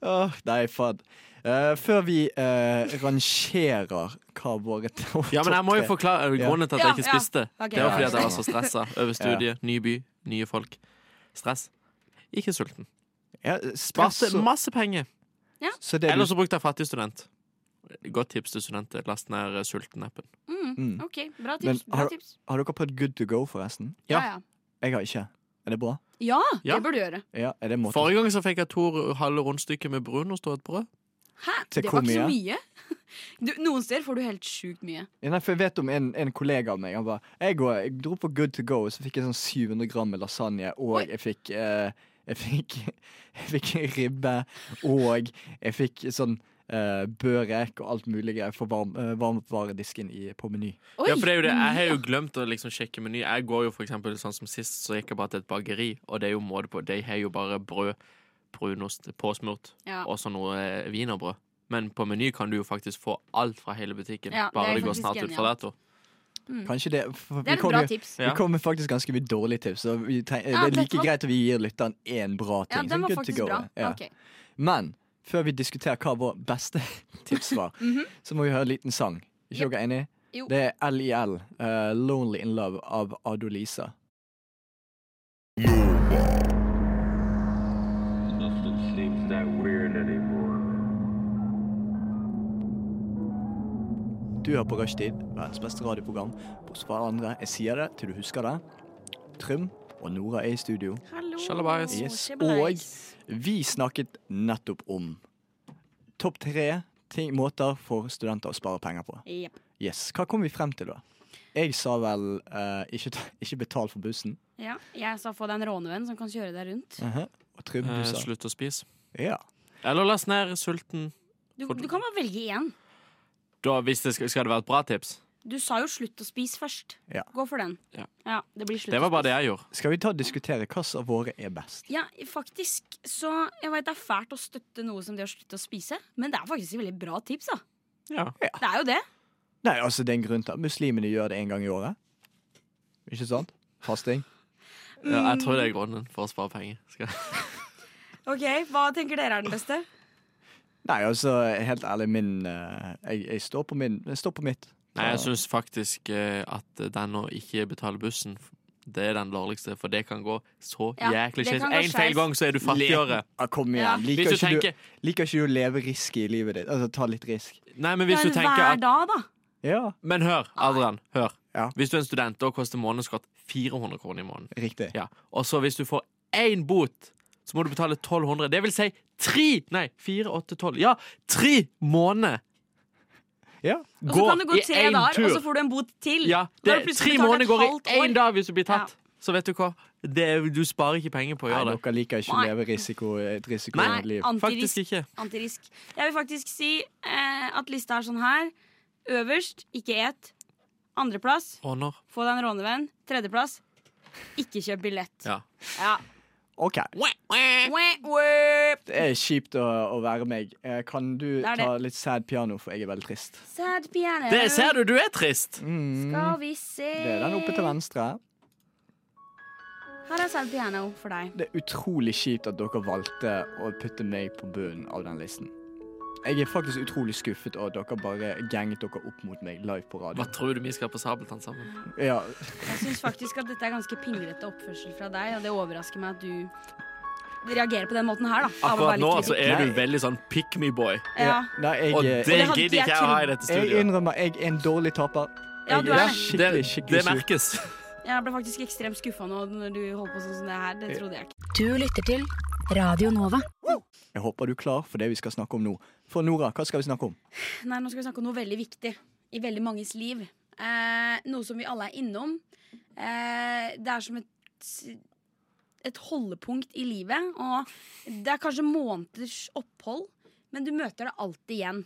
[SPEAKER 2] Åh, nei, faen. Eh, før vi eh, rangerer hva våre to
[SPEAKER 3] Ja, men jeg må jo
[SPEAKER 2] topp
[SPEAKER 3] forklare
[SPEAKER 2] Ja.
[SPEAKER 3] grunnen til at jeg
[SPEAKER 4] Ja,
[SPEAKER 3] ikke
[SPEAKER 4] ja.
[SPEAKER 3] spiste.
[SPEAKER 4] Ok,
[SPEAKER 3] det var
[SPEAKER 4] ja,
[SPEAKER 3] fordi at jeg
[SPEAKER 4] ja.
[SPEAKER 3] var så stressa over studiet, ny by, nye folk. Stress. Ikke
[SPEAKER 2] tre.
[SPEAKER 3] sulten.
[SPEAKER 2] ja, stress,
[SPEAKER 3] Masse,
[SPEAKER 2] og-
[SPEAKER 3] masse penger.
[SPEAKER 2] så det
[SPEAKER 3] Eller
[SPEAKER 2] du,
[SPEAKER 3] så brukte jeg fattig student. Godt tips til studenter. Last ned eh, Sulten-appen.
[SPEAKER 4] Mm.
[SPEAKER 2] Mm.
[SPEAKER 4] Ok, bra
[SPEAKER 2] Men
[SPEAKER 4] tips. Bra
[SPEAKER 2] har-
[SPEAKER 4] tips.
[SPEAKER 2] Har dere prøvd Good to go, forresten?
[SPEAKER 3] Ja.
[SPEAKER 4] Ja, ja.
[SPEAKER 2] Jeg har ikke. Er det bra?
[SPEAKER 4] ja,
[SPEAKER 3] Ja.
[SPEAKER 4] det bør du gjøre.
[SPEAKER 2] Ja, er det måten?
[SPEAKER 3] Forrige gang så fikk jeg to r- halve rundstykker med brunost og et brød.
[SPEAKER 4] Hæ?
[SPEAKER 2] Til
[SPEAKER 4] det var ikke så
[SPEAKER 2] hvor
[SPEAKER 4] mye. Du, noen steder får du helt sjukt mye.
[SPEAKER 2] Ja, Nei, for jeg vet om en, en kollega av meg. Han bare jeg, går, jeg dro på Good to go, og så fikk jeg sånn 700 gram med lasagne, og jeg fikk eh, jeg fikk, jeg fikk ribbe, og jeg fikk sånn eh, børek og alt mulig greier for varm, eh, varmvaredisken i, på Meny.
[SPEAKER 4] Oi,
[SPEAKER 3] ja, for det er jo det. Jeg har jo
[SPEAKER 4] mye.
[SPEAKER 3] glemt å liksom sjekke meny. Jeg går jo for eksempel sånn som sist, så gikk jeg bare til et bakeri, og det er jo måte på. De har jo bare brød, brunost, påsmurt,
[SPEAKER 4] Ja.
[SPEAKER 3] og så noe eh, wienerbrød. Men på meny kan du jo faktisk få alt fra hele butikken,
[SPEAKER 4] Ja, det er
[SPEAKER 3] bare det går
[SPEAKER 4] faktisk
[SPEAKER 3] snart ut fra
[SPEAKER 4] genialt.
[SPEAKER 3] dato.
[SPEAKER 2] Kanskje det for
[SPEAKER 4] Mm. Det
[SPEAKER 2] vi
[SPEAKER 4] er et
[SPEAKER 2] kom
[SPEAKER 4] bra
[SPEAKER 2] jo-
[SPEAKER 4] tips.
[SPEAKER 3] Ja.
[SPEAKER 2] Vi kom med faktisk ganske mye dårlige tips, så vi treng,
[SPEAKER 4] Ja,
[SPEAKER 2] det er
[SPEAKER 4] vet du
[SPEAKER 2] like
[SPEAKER 4] hva?
[SPEAKER 2] greit at vi gir lytteren én bra ting.
[SPEAKER 4] Ja, den
[SPEAKER 2] sånn
[SPEAKER 4] var
[SPEAKER 2] good to
[SPEAKER 4] faktisk
[SPEAKER 2] go,
[SPEAKER 4] bra.
[SPEAKER 2] ja.
[SPEAKER 4] Ok.
[SPEAKER 2] Men
[SPEAKER 4] Mhm.
[SPEAKER 2] før vi diskuterer hva vår beste tips var, så må vi høre en liten sang. Ikke dere enig?
[SPEAKER 4] Jo.
[SPEAKER 2] Det er LIL, eh, Lonely in Love, av Adolisa.
[SPEAKER 9] Nothing seems that weird anymore.
[SPEAKER 2] Du hører på Rushtid, verdens beste radioprogram. Bortsett fra andre, jeg sier det til du husker det. Trym og Nora er i studio.
[SPEAKER 4] Hallo.
[SPEAKER 3] Shalabais.
[SPEAKER 2] Yes.
[SPEAKER 4] Shalabais.
[SPEAKER 2] Vi snakket nettopp om topp tre ting, måter for studenter å spare penger på.
[SPEAKER 4] Jep.
[SPEAKER 2] Yes, Hva kom vi frem til, da? Jeg sa vel eh, ikke, ta- ikke betal for bussen.
[SPEAKER 4] Ja. Jeg sa få deg en rånevenn som kan kjøre deg rundt.
[SPEAKER 2] Mhm. Og Trym, du sa
[SPEAKER 3] Eh, Slutt å spise.
[SPEAKER 2] Ja.
[SPEAKER 3] Eller last ned Sulten.
[SPEAKER 4] Du, du kan bare velge én.
[SPEAKER 3] Da, hvis det skal, skal det være et bra tips?
[SPEAKER 4] Du sa jo slutt å spise først.
[SPEAKER 2] Ja.
[SPEAKER 4] Gå for den.
[SPEAKER 3] Ja.
[SPEAKER 4] det blir slutt
[SPEAKER 3] Det var
[SPEAKER 4] å
[SPEAKER 3] bare det jeg gjorde.
[SPEAKER 2] Skal vi ta og diskutere hva som av våre er best?
[SPEAKER 4] Ja, faktisk. Så jeg vet det er fælt å støtte noe som det å slutte å spise, men det er faktisk et veldig bra tips, da.
[SPEAKER 3] Ja.
[SPEAKER 4] Det er jo det.
[SPEAKER 2] Nei, altså Det er en grunn til at muslimene gjør det en gang i året. Ikke sant? Fasting.
[SPEAKER 3] Ja, jeg tror det er grunnen for å spare penger. Skal.
[SPEAKER 4] Ok, Hva tenker dere er den beste?
[SPEAKER 2] Nei, altså, helt ærlig, min eh, jeg, jeg, står på min, jeg står på mitt.
[SPEAKER 3] Nei, altså, jeg syns faktisk eh, at den å ikke betale bussen, det er den dårligste, for det kan gå så
[SPEAKER 4] Ja,
[SPEAKER 3] jæklig
[SPEAKER 4] det
[SPEAKER 3] skjevt.
[SPEAKER 4] kan gå
[SPEAKER 3] En feil
[SPEAKER 4] skeis.
[SPEAKER 3] gang, så er du fattigere.
[SPEAKER 2] Ja, kom
[SPEAKER 4] Ja.
[SPEAKER 2] igjen.
[SPEAKER 3] Hvis
[SPEAKER 2] Liker
[SPEAKER 3] du
[SPEAKER 2] ikke,
[SPEAKER 3] tenker-
[SPEAKER 2] du, liker ikke du å leve risky i livet ditt? Altså, ta litt risk.
[SPEAKER 3] Nei, men hvis
[SPEAKER 4] Men
[SPEAKER 3] du tenker
[SPEAKER 4] hver
[SPEAKER 3] at
[SPEAKER 4] dag, da.
[SPEAKER 2] Ja,
[SPEAKER 3] Men hør, Adrian. Hør.
[SPEAKER 2] Ja.
[SPEAKER 3] Hvis du er en student, da koster månedskort 400 kroner i måneden.
[SPEAKER 2] riktig.
[SPEAKER 3] Ja. Og så hvis du får én bot, så må du betale 1200. Det vil si tre Nei, fire, åtte, tolv. Ja, tre måneder!
[SPEAKER 2] Ja.
[SPEAKER 4] Og så
[SPEAKER 3] Gå
[SPEAKER 4] kan det gå
[SPEAKER 3] i
[SPEAKER 4] tre
[SPEAKER 3] en
[SPEAKER 4] dager,
[SPEAKER 3] tur.
[SPEAKER 4] og så får du en bot til.
[SPEAKER 3] Ja,
[SPEAKER 4] Da har
[SPEAKER 3] det,
[SPEAKER 4] du
[SPEAKER 3] tre
[SPEAKER 4] plutselig betalt
[SPEAKER 3] måneder
[SPEAKER 4] et
[SPEAKER 3] går
[SPEAKER 4] halvt
[SPEAKER 3] i
[SPEAKER 4] år.
[SPEAKER 3] én dag hvis du blir tatt. Så vet du hva? Det, er- du sparer ikke penger på å
[SPEAKER 2] Nei,
[SPEAKER 3] gjøre det.
[SPEAKER 2] dere liker ikke å
[SPEAKER 4] Nei.
[SPEAKER 2] leve risiko, et
[SPEAKER 4] Nei,
[SPEAKER 2] risikoliv.
[SPEAKER 4] antirisk.
[SPEAKER 3] Faktisk ikke.
[SPEAKER 4] antirisk. Jeg vil faktisk si eh, at lista er sånn her. Øverst, ikke et. Andreplass,
[SPEAKER 3] Ånder.
[SPEAKER 4] få deg en rånevenn. Tredjeplass, ikke kjøp billett.
[SPEAKER 3] Ja.
[SPEAKER 4] Ja.
[SPEAKER 2] OK.
[SPEAKER 4] Wah, wah.
[SPEAKER 2] Det er kjipt å, å være meg. Eh, Kan du
[SPEAKER 4] er det.
[SPEAKER 2] ta litt sad piano, for jeg er veldig trist.
[SPEAKER 4] Sad piano.
[SPEAKER 3] Det ser du, du er trist!
[SPEAKER 4] Skal vi se
[SPEAKER 2] Mm. Det er den oppe til venstre.
[SPEAKER 4] Her er sad piano for deg.
[SPEAKER 2] Det er utrolig kjipt at dere valgte å putte meg på bunnen av den listen. Jeg er faktisk utrolig skuffet over at dere bare ganget dere opp mot meg live på radio.
[SPEAKER 3] Hva tror du vi skal på Sabeltann sammen?
[SPEAKER 2] Ja,
[SPEAKER 4] Jeg syns faktisk at dette er ganske pinglete oppførsel fra deg, og det overrasker meg at du reagerer på den måten her, da. av
[SPEAKER 3] Akkurat
[SPEAKER 4] å være
[SPEAKER 3] nå
[SPEAKER 4] litt
[SPEAKER 3] så
[SPEAKER 4] kritisk.
[SPEAKER 3] er du veldig sånn pick me boy.
[SPEAKER 4] ja.
[SPEAKER 2] Nei,
[SPEAKER 3] Og
[SPEAKER 2] jeg, eh,
[SPEAKER 3] det
[SPEAKER 4] det hadde
[SPEAKER 3] gidder
[SPEAKER 4] jeg
[SPEAKER 3] ikke jeg å ha i dette
[SPEAKER 2] jeg
[SPEAKER 3] studioet.
[SPEAKER 2] innrømmer jeg er en dårlig taper.
[SPEAKER 4] Ja,
[SPEAKER 2] Jeg
[SPEAKER 4] du er det.
[SPEAKER 3] det,
[SPEAKER 2] skikkelig,
[SPEAKER 3] det
[SPEAKER 2] skikkelig sur.
[SPEAKER 3] merkes.
[SPEAKER 4] Jeg ble faktisk ekstremt skuffa nå når du holdt på sånn som det her. Det trodde jeg ikke.
[SPEAKER 1] Du lytter til Radio Nova.
[SPEAKER 2] Jeg håper du er klar for det vi skal snakke om nå. For Nora, hva skal vi snakke om?
[SPEAKER 4] Nei, nå skal vi snakke om noe veldig viktig i veldig manges liv. Eh, noe som vi alle er innom. Eh, det er som et, et holdepunkt i livet. Og det er kanskje måneders opphold, men du møter det alltid igjen.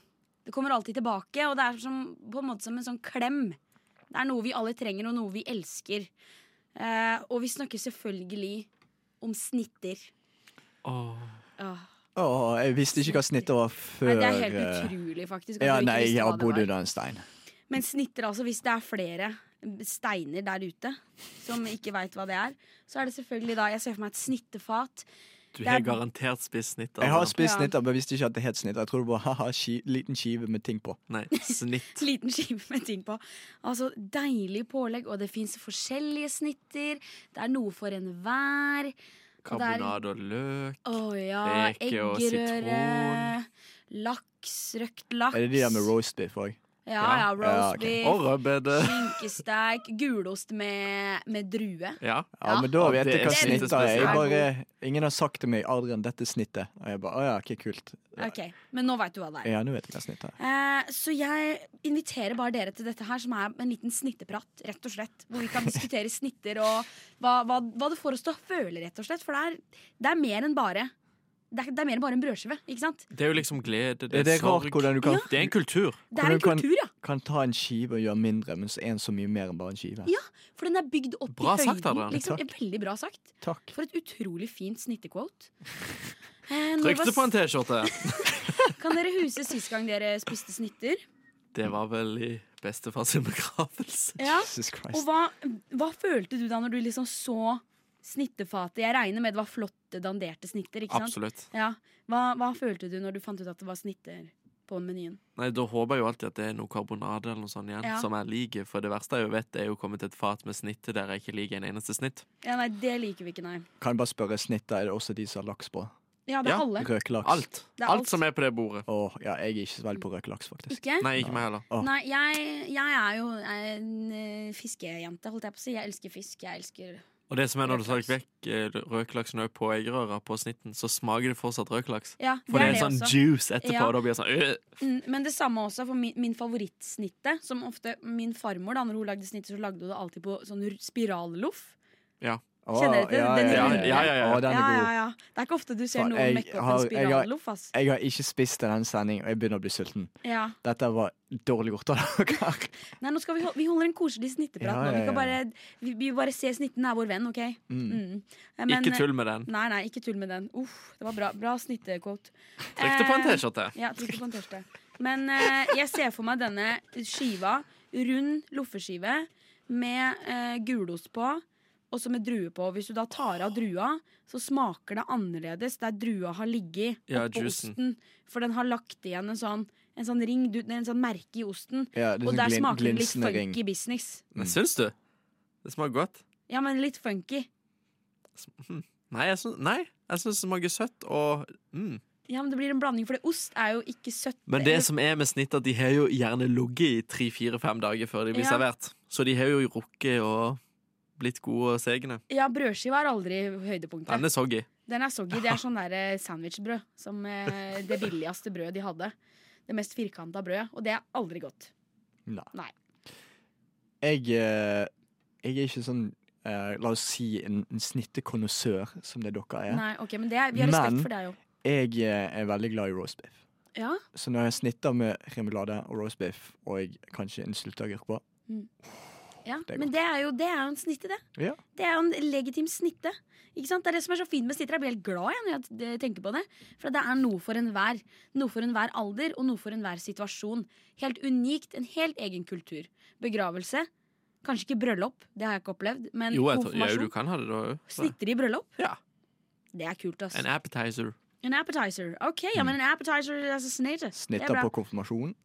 [SPEAKER 4] Det kommer alltid tilbake, og det er som, på en måte som en sånn klem. Det er noe vi alle trenger, og noe vi elsker. Eh, og vi snakker selvfølgelig om snitter.
[SPEAKER 3] Åh.
[SPEAKER 4] Åh.
[SPEAKER 2] Åh, jeg visste ikke hva snittet var før
[SPEAKER 4] Nei, det er helt
[SPEAKER 2] eh,
[SPEAKER 4] utrolig, faktisk. at
[SPEAKER 2] Ja,
[SPEAKER 4] du ikke
[SPEAKER 2] nei,
[SPEAKER 4] visste
[SPEAKER 2] jeg
[SPEAKER 4] hva
[SPEAKER 2] har
[SPEAKER 4] det
[SPEAKER 2] bodd
[SPEAKER 4] var.
[SPEAKER 2] under en stein.
[SPEAKER 4] Men snitter, altså, hvis det er flere steiner der ute som ikke veit hva det er, så er det selvfølgelig da Jeg ser for meg et snittefat.
[SPEAKER 3] Du
[SPEAKER 4] Det er-
[SPEAKER 3] har garantert spist snitt.
[SPEAKER 2] Jeg har
[SPEAKER 3] Adrian.
[SPEAKER 2] spist
[SPEAKER 4] Ja.
[SPEAKER 2] snitter, men visste ikke at det het snitter. Jeg trodde bare haha, ski, liten skive med ting på.
[SPEAKER 3] Nei, snitt.
[SPEAKER 4] Liten skive med ting på. Altså, Deilig pålegg, og det fins forskjellige snitter. Det er noe for enhver. Og det er-
[SPEAKER 3] Karbonade og løk.
[SPEAKER 4] Å ja,
[SPEAKER 3] Reke og
[SPEAKER 4] eggerøre. Laks, røkt laks.
[SPEAKER 2] Er det de der med roast beef òg?
[SPEAKER 4] Ja,
[SPEAKER 3] Ja.
[SPEAKER 4] ja,
[SPEAKER 2] Ja, ok.
[SPEAKER 4] roast beef.
[SPEAKER 3] Og rødbete.
[SPEAKER 4] Skinkesteik. Gulost med, med drue.
[SPEAKER 3] Ja.
[SPEAKER 2] Ja,
[SPEAKER 4] Ja.
[SPEAKER 2] men da
[SPEAKER 3] Ja,
[SPEAKER 2] vet
[SPEAKER 3] det
[SPEAKER 2] jeg hva
[SPEAKER 4] er
[SPEAKER 2] snittet er.
[SPEAKER 3] snittespesielt.
[SPEAKER 2] Jeg bare, ingen har sagt til meg 'Adrian, dette er snittet'. Og jeg bare 'Å ja, ikke kult'.
[SPEAKER 4] Ok, Men nå veit du hva det er.
[SPEAKER 2] Ja, nå vet jeg hva snittet er.
[SPEAKER 4] Eh, så jeg inviterer bare dere til dette her, som er en liten snitteprat, rett og slett. Hvor vi kan diskutere snitter og hva, hva, hva det får oss til å føle, rett og slett. For det er, det er mer enn bare det er, det er mer enn bare en brødskive, ikke sant?
[SPEAKER 3] Det er jo liksom glede, det
[SPEAKER 2] Er
[SPEAKER 3] er,
[SPEAKER 2] det
[SPEAKER 3] sorg.
[SPEAKER 2] rart hvordan du kan,
[SPEAKER 3] Det er en kultur.
[SPEAKER 4] Det er en
[SPEAKER 2] Hvordan
[SPEAKER 4] kultur, ja.
[SPEAKER 2] kan ta en skive og gjøre mindre, men så er den så mye mer enn bare en skive?
[SPEAKER 4] Ja, For den er bygd opp
[SPEAKER 3] Bra
[SPEAKER 4] i høyden.
[SPEAKER 3] sagt, Adrian.
[SPEAKER 4] liksom.
[SPEAKER 2] Takk.
[SPEAKER 4] Veldig bra sagt.
[SPEAKER 2] Takk.
[SPEAKER 4] For et utrolig fint snittequote. Eh, når
[SPEAKER 3] Trykte
[SPEAKER 4] var-
[SPEAKER 3] på en T-skjorte.
[SPEAKER 4] Kan dere huske sist gang dere spiste snitter?
[SPEAKER 3] Det var vel i bestefars begravelse.
[SPEAKER 4] Ja.
[SPEAKER 2] Jesus
[SPEAKER 4] Og
[SPEAKER 2] Christ.
[SPEAKER 4] hva, hva følte du da når du liksom så snittefatet? Jeg regner med det var flotte danderte snitter, ikke sant?
[SPEAKER 3] Absolutt.
[SPEAKER 4] Ja. Hva, hva følte du når du fant ut at det var snitter? på menyen.
[SPEAKER 3] Nei, Da håper jeg jo alltid at det er noe karbonade eller noe sånt igjen
[SPEAKER 4] Ja.
[SPEAKER 3] som jeg liker. For det verste jeg jo vet, er jo å komme til et fat med snitte der jeg ikke liker en eneste snitt.
[SPEAKER 4] Ja, nei, det liker vi ikke, nei.
[SPEAKER 2] Kan jeg bare spørre snittet, er det også de som har laks på?
[SPEAKER 4] Ja, det er
[SPEAKER 3] Ja.
[SPEAKER 4] alle.
[SPEAKER 2] Røkelaks?
[SPEAKER 3] Alt.
[SPEAKER 4] Det er
[SPEAKER 3] alt.
[SPEAKER 4] alt.
[SPEAKER 3] som er på det bordet.
[SPEAKER 2] Å, ja, jeg er ikke så veldig på røkelaks, faktisk.
[SPEAKER 4] Ikke?
[SPEAKER 3] Nei, ikke meg heller.
[SPEAKER 2] Å.
[SPEAKER 4] Nei, jeg, jeg er jo en eh, fiskejente, holdt jeg på å si. Jeg elsker fisk. Jeg elsker
[SPEAKER 3] Og det som er når du tar
[SPEAKER 4] Røkelaks.
[SPEAKER 3] vekk eh, røkelaksen også på eggerøra på snitten, så smaker det fortsatt røkelaks.
[SPEAKER 4] Ja,
[SPEAKER 3] For det er, sånn
[SPEAKER 4] også.
[SPEAKER 3] juice etterpå,
[SPEAKER 4] Ja.
[SPEAKER 3] og da blir det sånn øh.
[SPEAKER 4] Mm, Men det samme også for min, min favorittsnitte. Som ofte min farmor, da når hun lagde snittet, så lagde hun det alltid på sånn r- spiralloff.
[SPEAKER 2] Å,
[SPEAKER 4] Kjenner du til den
[SPEAKER 3] lille? Ja, ja, ja, ja.
[SPEAKER 2] Å, den
[SPEAKER 4] Ja,
[SPEAKER 2] er
[SPEAKER 4] ja,
[SPEAKER 2] god.
[SPEAKER 4] ja. Det er ikke ofte du ser
[SPEAKER 2] Faen,
[SPEAKER 4] noen
[SPEAKER 2] jeg
[SPEAKER 4] mekke opp
[SPEAKER 2] har- jeg
[SPEAKER 4] en
[SPEAKER 2] har-
[SPEAKER 4] spiralloff, ass.
[SPEAKER 2] Jeg har ikke spist i den sendingen, og jeg begynner å bli sulten.
[SPEAKER 4] Ja.
[SPEAKER 2] Dette var dårlig gjort av dere.
[SPEAKER 4] Nei, nå skal vi, hol- vi holder en koselig snitteprat
[SPEAKER 2] Ja,
[SPEAKER 4] nå. Vi,
[SPEAKER 2] ja,
[SPEAKER 4] kan
[SPEAKER 2] ja.
[SPEAKER 4] bare, vi, vi bare ser snitten er vår venn, OK?
[SPEAKER 2] Mm.
[SPEAKER 4] Mm. Eh, men-
[SPEAKER 3] Ikke tull med den.
[SPEAKER 4] Nei, nei, ikke tull med den. Uff, det var bra, bra snittequote.
[SPEAKER 3] Trykk det på en
[SPEAKER 4] Eh,
[SPEAKER 3] T-skjorte.
[SPEAKER 4] Ja, trykk på en T-skjorte. Men eh, jeg ser for meg denne skiva, rund loffeskive med eh, gulost på. Og så med drue på. Hvis du da tar av drua, så smaker det annerledes der drua har ligget
[SPEAKER 3] Ja,
[SPEAKER 4] oppå
[SPEAKER 3] juicen.
[SPEAKER 4] osten. For den har lagt igjen en sånn, en sånn ring, du- en sånn merke i osten.
[SPEAKER 2] Ja, det er
[SPEAKER 4] Og
[SPEAKER 2] sånn
[SPEAKER 4] der
[SPEAKER 2] glin-
[SPEAKER 4] smaker det litt
[SPEAKER 2] glinsende ring.
[SPEAKER 4] funky business.
[SPEAKER 3] Men syns du? Det smaker godt. hm.
[SPEAKER 4] Ja, men litt funky.
[SPEAKER 3] Nei, jeg syns, nei, jeg syns det smaker søtt og mm.
[SPEAKER 4] Ja, men det blir en blanding, for det ost er jo ikke søtt.
[SPEAKER 3] Men det som er med snitt, at de har jo gjerne ligget i tre-fire-fem dager før de blir
[SPEAKER 4] Ja.
[SPEAKER 3] servert. Så de har jo rukket og blitt gode og segne.
[SPEAKER 4] Ja, brødskiva er aldri høydepunktet.
[SPEAKER 3] Den er soggy.
[SPEAKER 4] Den er soggy. Det er sånn der eh, sandwichbrød. Som eh, det billigste brødet de hadde. Det mest firkanta brødet. Og det er aldri godt.
[SPEAKER 2] Jeg, eh, jeg er ikke sånn eh, La oss si en, en snittekonnissør, som det dere er.
[SPEAKER 4] Nei, ok, Men det er, vi har respekt
[SPEAKER 2] Men-
[SPEAKER 4] for deg jo.
[SPEAKER 2] Jeg eh, er veldig glad i roast beef.
[SPEAKER 4] Ja,
[SPEAKER 2] Så når jeg snitter med remulade og roast beef og kanskje en sylteagurk på
[SPEAKER 4] ja.
[SPEAKER 2] Det er
[SPEAKER 4] Men
[SPEAKER 2] godt.
[SPEAKER 4] det er, jo, det er jo en snitte, det.
[SPEAKER 2] Ja.
[SPEAKER 4] Det er jo en legitim snitte. Ikke sant? Det er det som er så fint med snitter. Jeg blir helt glad jeg, når jeg eh, tenker på det. For det er noe for enhver. Noe for enhver alder og noe for enhver situasjon. Helt unikt. En helt egen kultur. Begravelse. Kanskje ikke bryllup, det har jeg ikke opplevd. Men
[SPEAKER 3] Jo, jeg tror, ja,
[SPEAKER 4] konfirmasjon.
[SPEAKER 3] du kan ha det da òg.
[SPEAKER 4] Snitter i bryllup.
[SPEAKER 3] Ja.
[SPEAKER 4] Det er kult, ass.
[SPEAKER 3] En appetizer.
[SPEAKER 4] En appetizer. Ok, ja, men en appetizer er altså snete. Det er
[SPEAKER 2] Snitter
[SPEAKER 4] bra.
[SPEAKER 2] på konfirmasjon.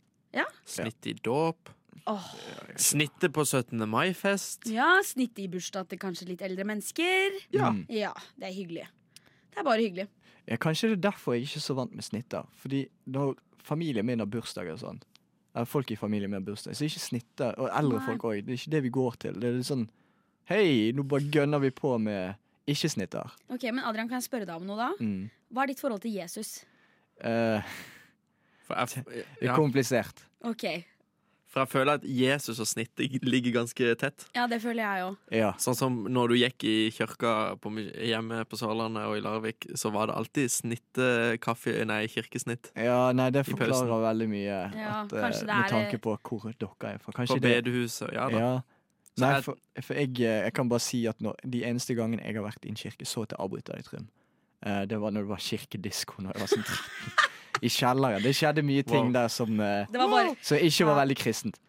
[SPEAKER 3] Snitt i dåp.
[SPEAKER 4] Åh,
[SPEAKER 3] Snitte på 17. mai-fest.
[SPEAKER 4] ja, snitt i bursdag til kanskje litt eldre mennesker.
[SPEAKER 3] Ja.
[SPEAKER 2] Mm.
[SPEAKER 4] Ja, det er hyggelig. Det er bare hyggelig.
[SPEAKER 2] Ja, kanskje det er derfor jeg ikke er så vant med snitter. Fordi når familien min har bursdag og sånn eller Folk i familien min har bursdag, så er ikke snitter Og eldre
[SPEAKER 4] Nei.
[SPEAKER 2] folk òg. Det er ikke det vi går til. Det er litt sånn Hei, nå bare gønner vi på med ikke-snitter.
[SPEAKER 4] Ok, men Adrian, kan jeg spørre deg om noe da?
[SPEAKER 2] Mm.
[SPEAKER 4] Hva er ditt forhold til Jesus?
[SPEAKER 2] Eh,
[SPEAKER 3] For jeg,
[SPEAKER 2] det er
[SPEAKER 3] ja,
[SPEAKER 2] komplisert.
[SPEAKER 4] Ok,
[SPEAKER 3] for jeg føler at Jesus og snitte ligger ganske tett.
[SPEAKER 4] ja, det føler jeg jo.
[SPEAKER 2] Ja.
[SPEAKER 3] Sånn som når du gikk i kirka på, my- hjemme på Sørlandet og i Larvik, så var det alltid snitte kaffe Nei, kirkesnitt.
[SPEAKER 2] ja, nei, det
[SPEAKER 3] I pausen.
[SPEAKER 2] forklarer veldig mye.
[SPEAKER 4] Ja,
[SPEAKER 2] at, eh,
[SPEAKER 4] kanskje det
[SPEAKER 2] med
[SPEAKER 4] er-
[SPEAKER 2] tanke på hvor dere er fra. Kanskje
[SPEAKER 3] På
[SPEAKER 2] det
[SPEAKER 3] bedehuset. Ja da.
[SPEAKER 2] Ja.
[SPEAKER 3] Så
[SPEAKER 2] Nei,
[SPEAKER 3] jeg-
[SPEAKER 2] for, for jeg, eh, jeg kan bare si at når, de eneste gangene jeg har vært i en kirke, så at jeg avbryter deg, Trym. Eh, det var når det var kirkedisko når jeg var sånn 13. I kjelleren. Det skjedde mye ting
[SPEAKER 3] Wow.
[SPEAKER 2] der som eh,
[SPEAKER 4] Det var bare
[SPEAKER 2] Som ikke var
[SPEAKER 4] Ja.
[SPEAKER 2] veldig kristent.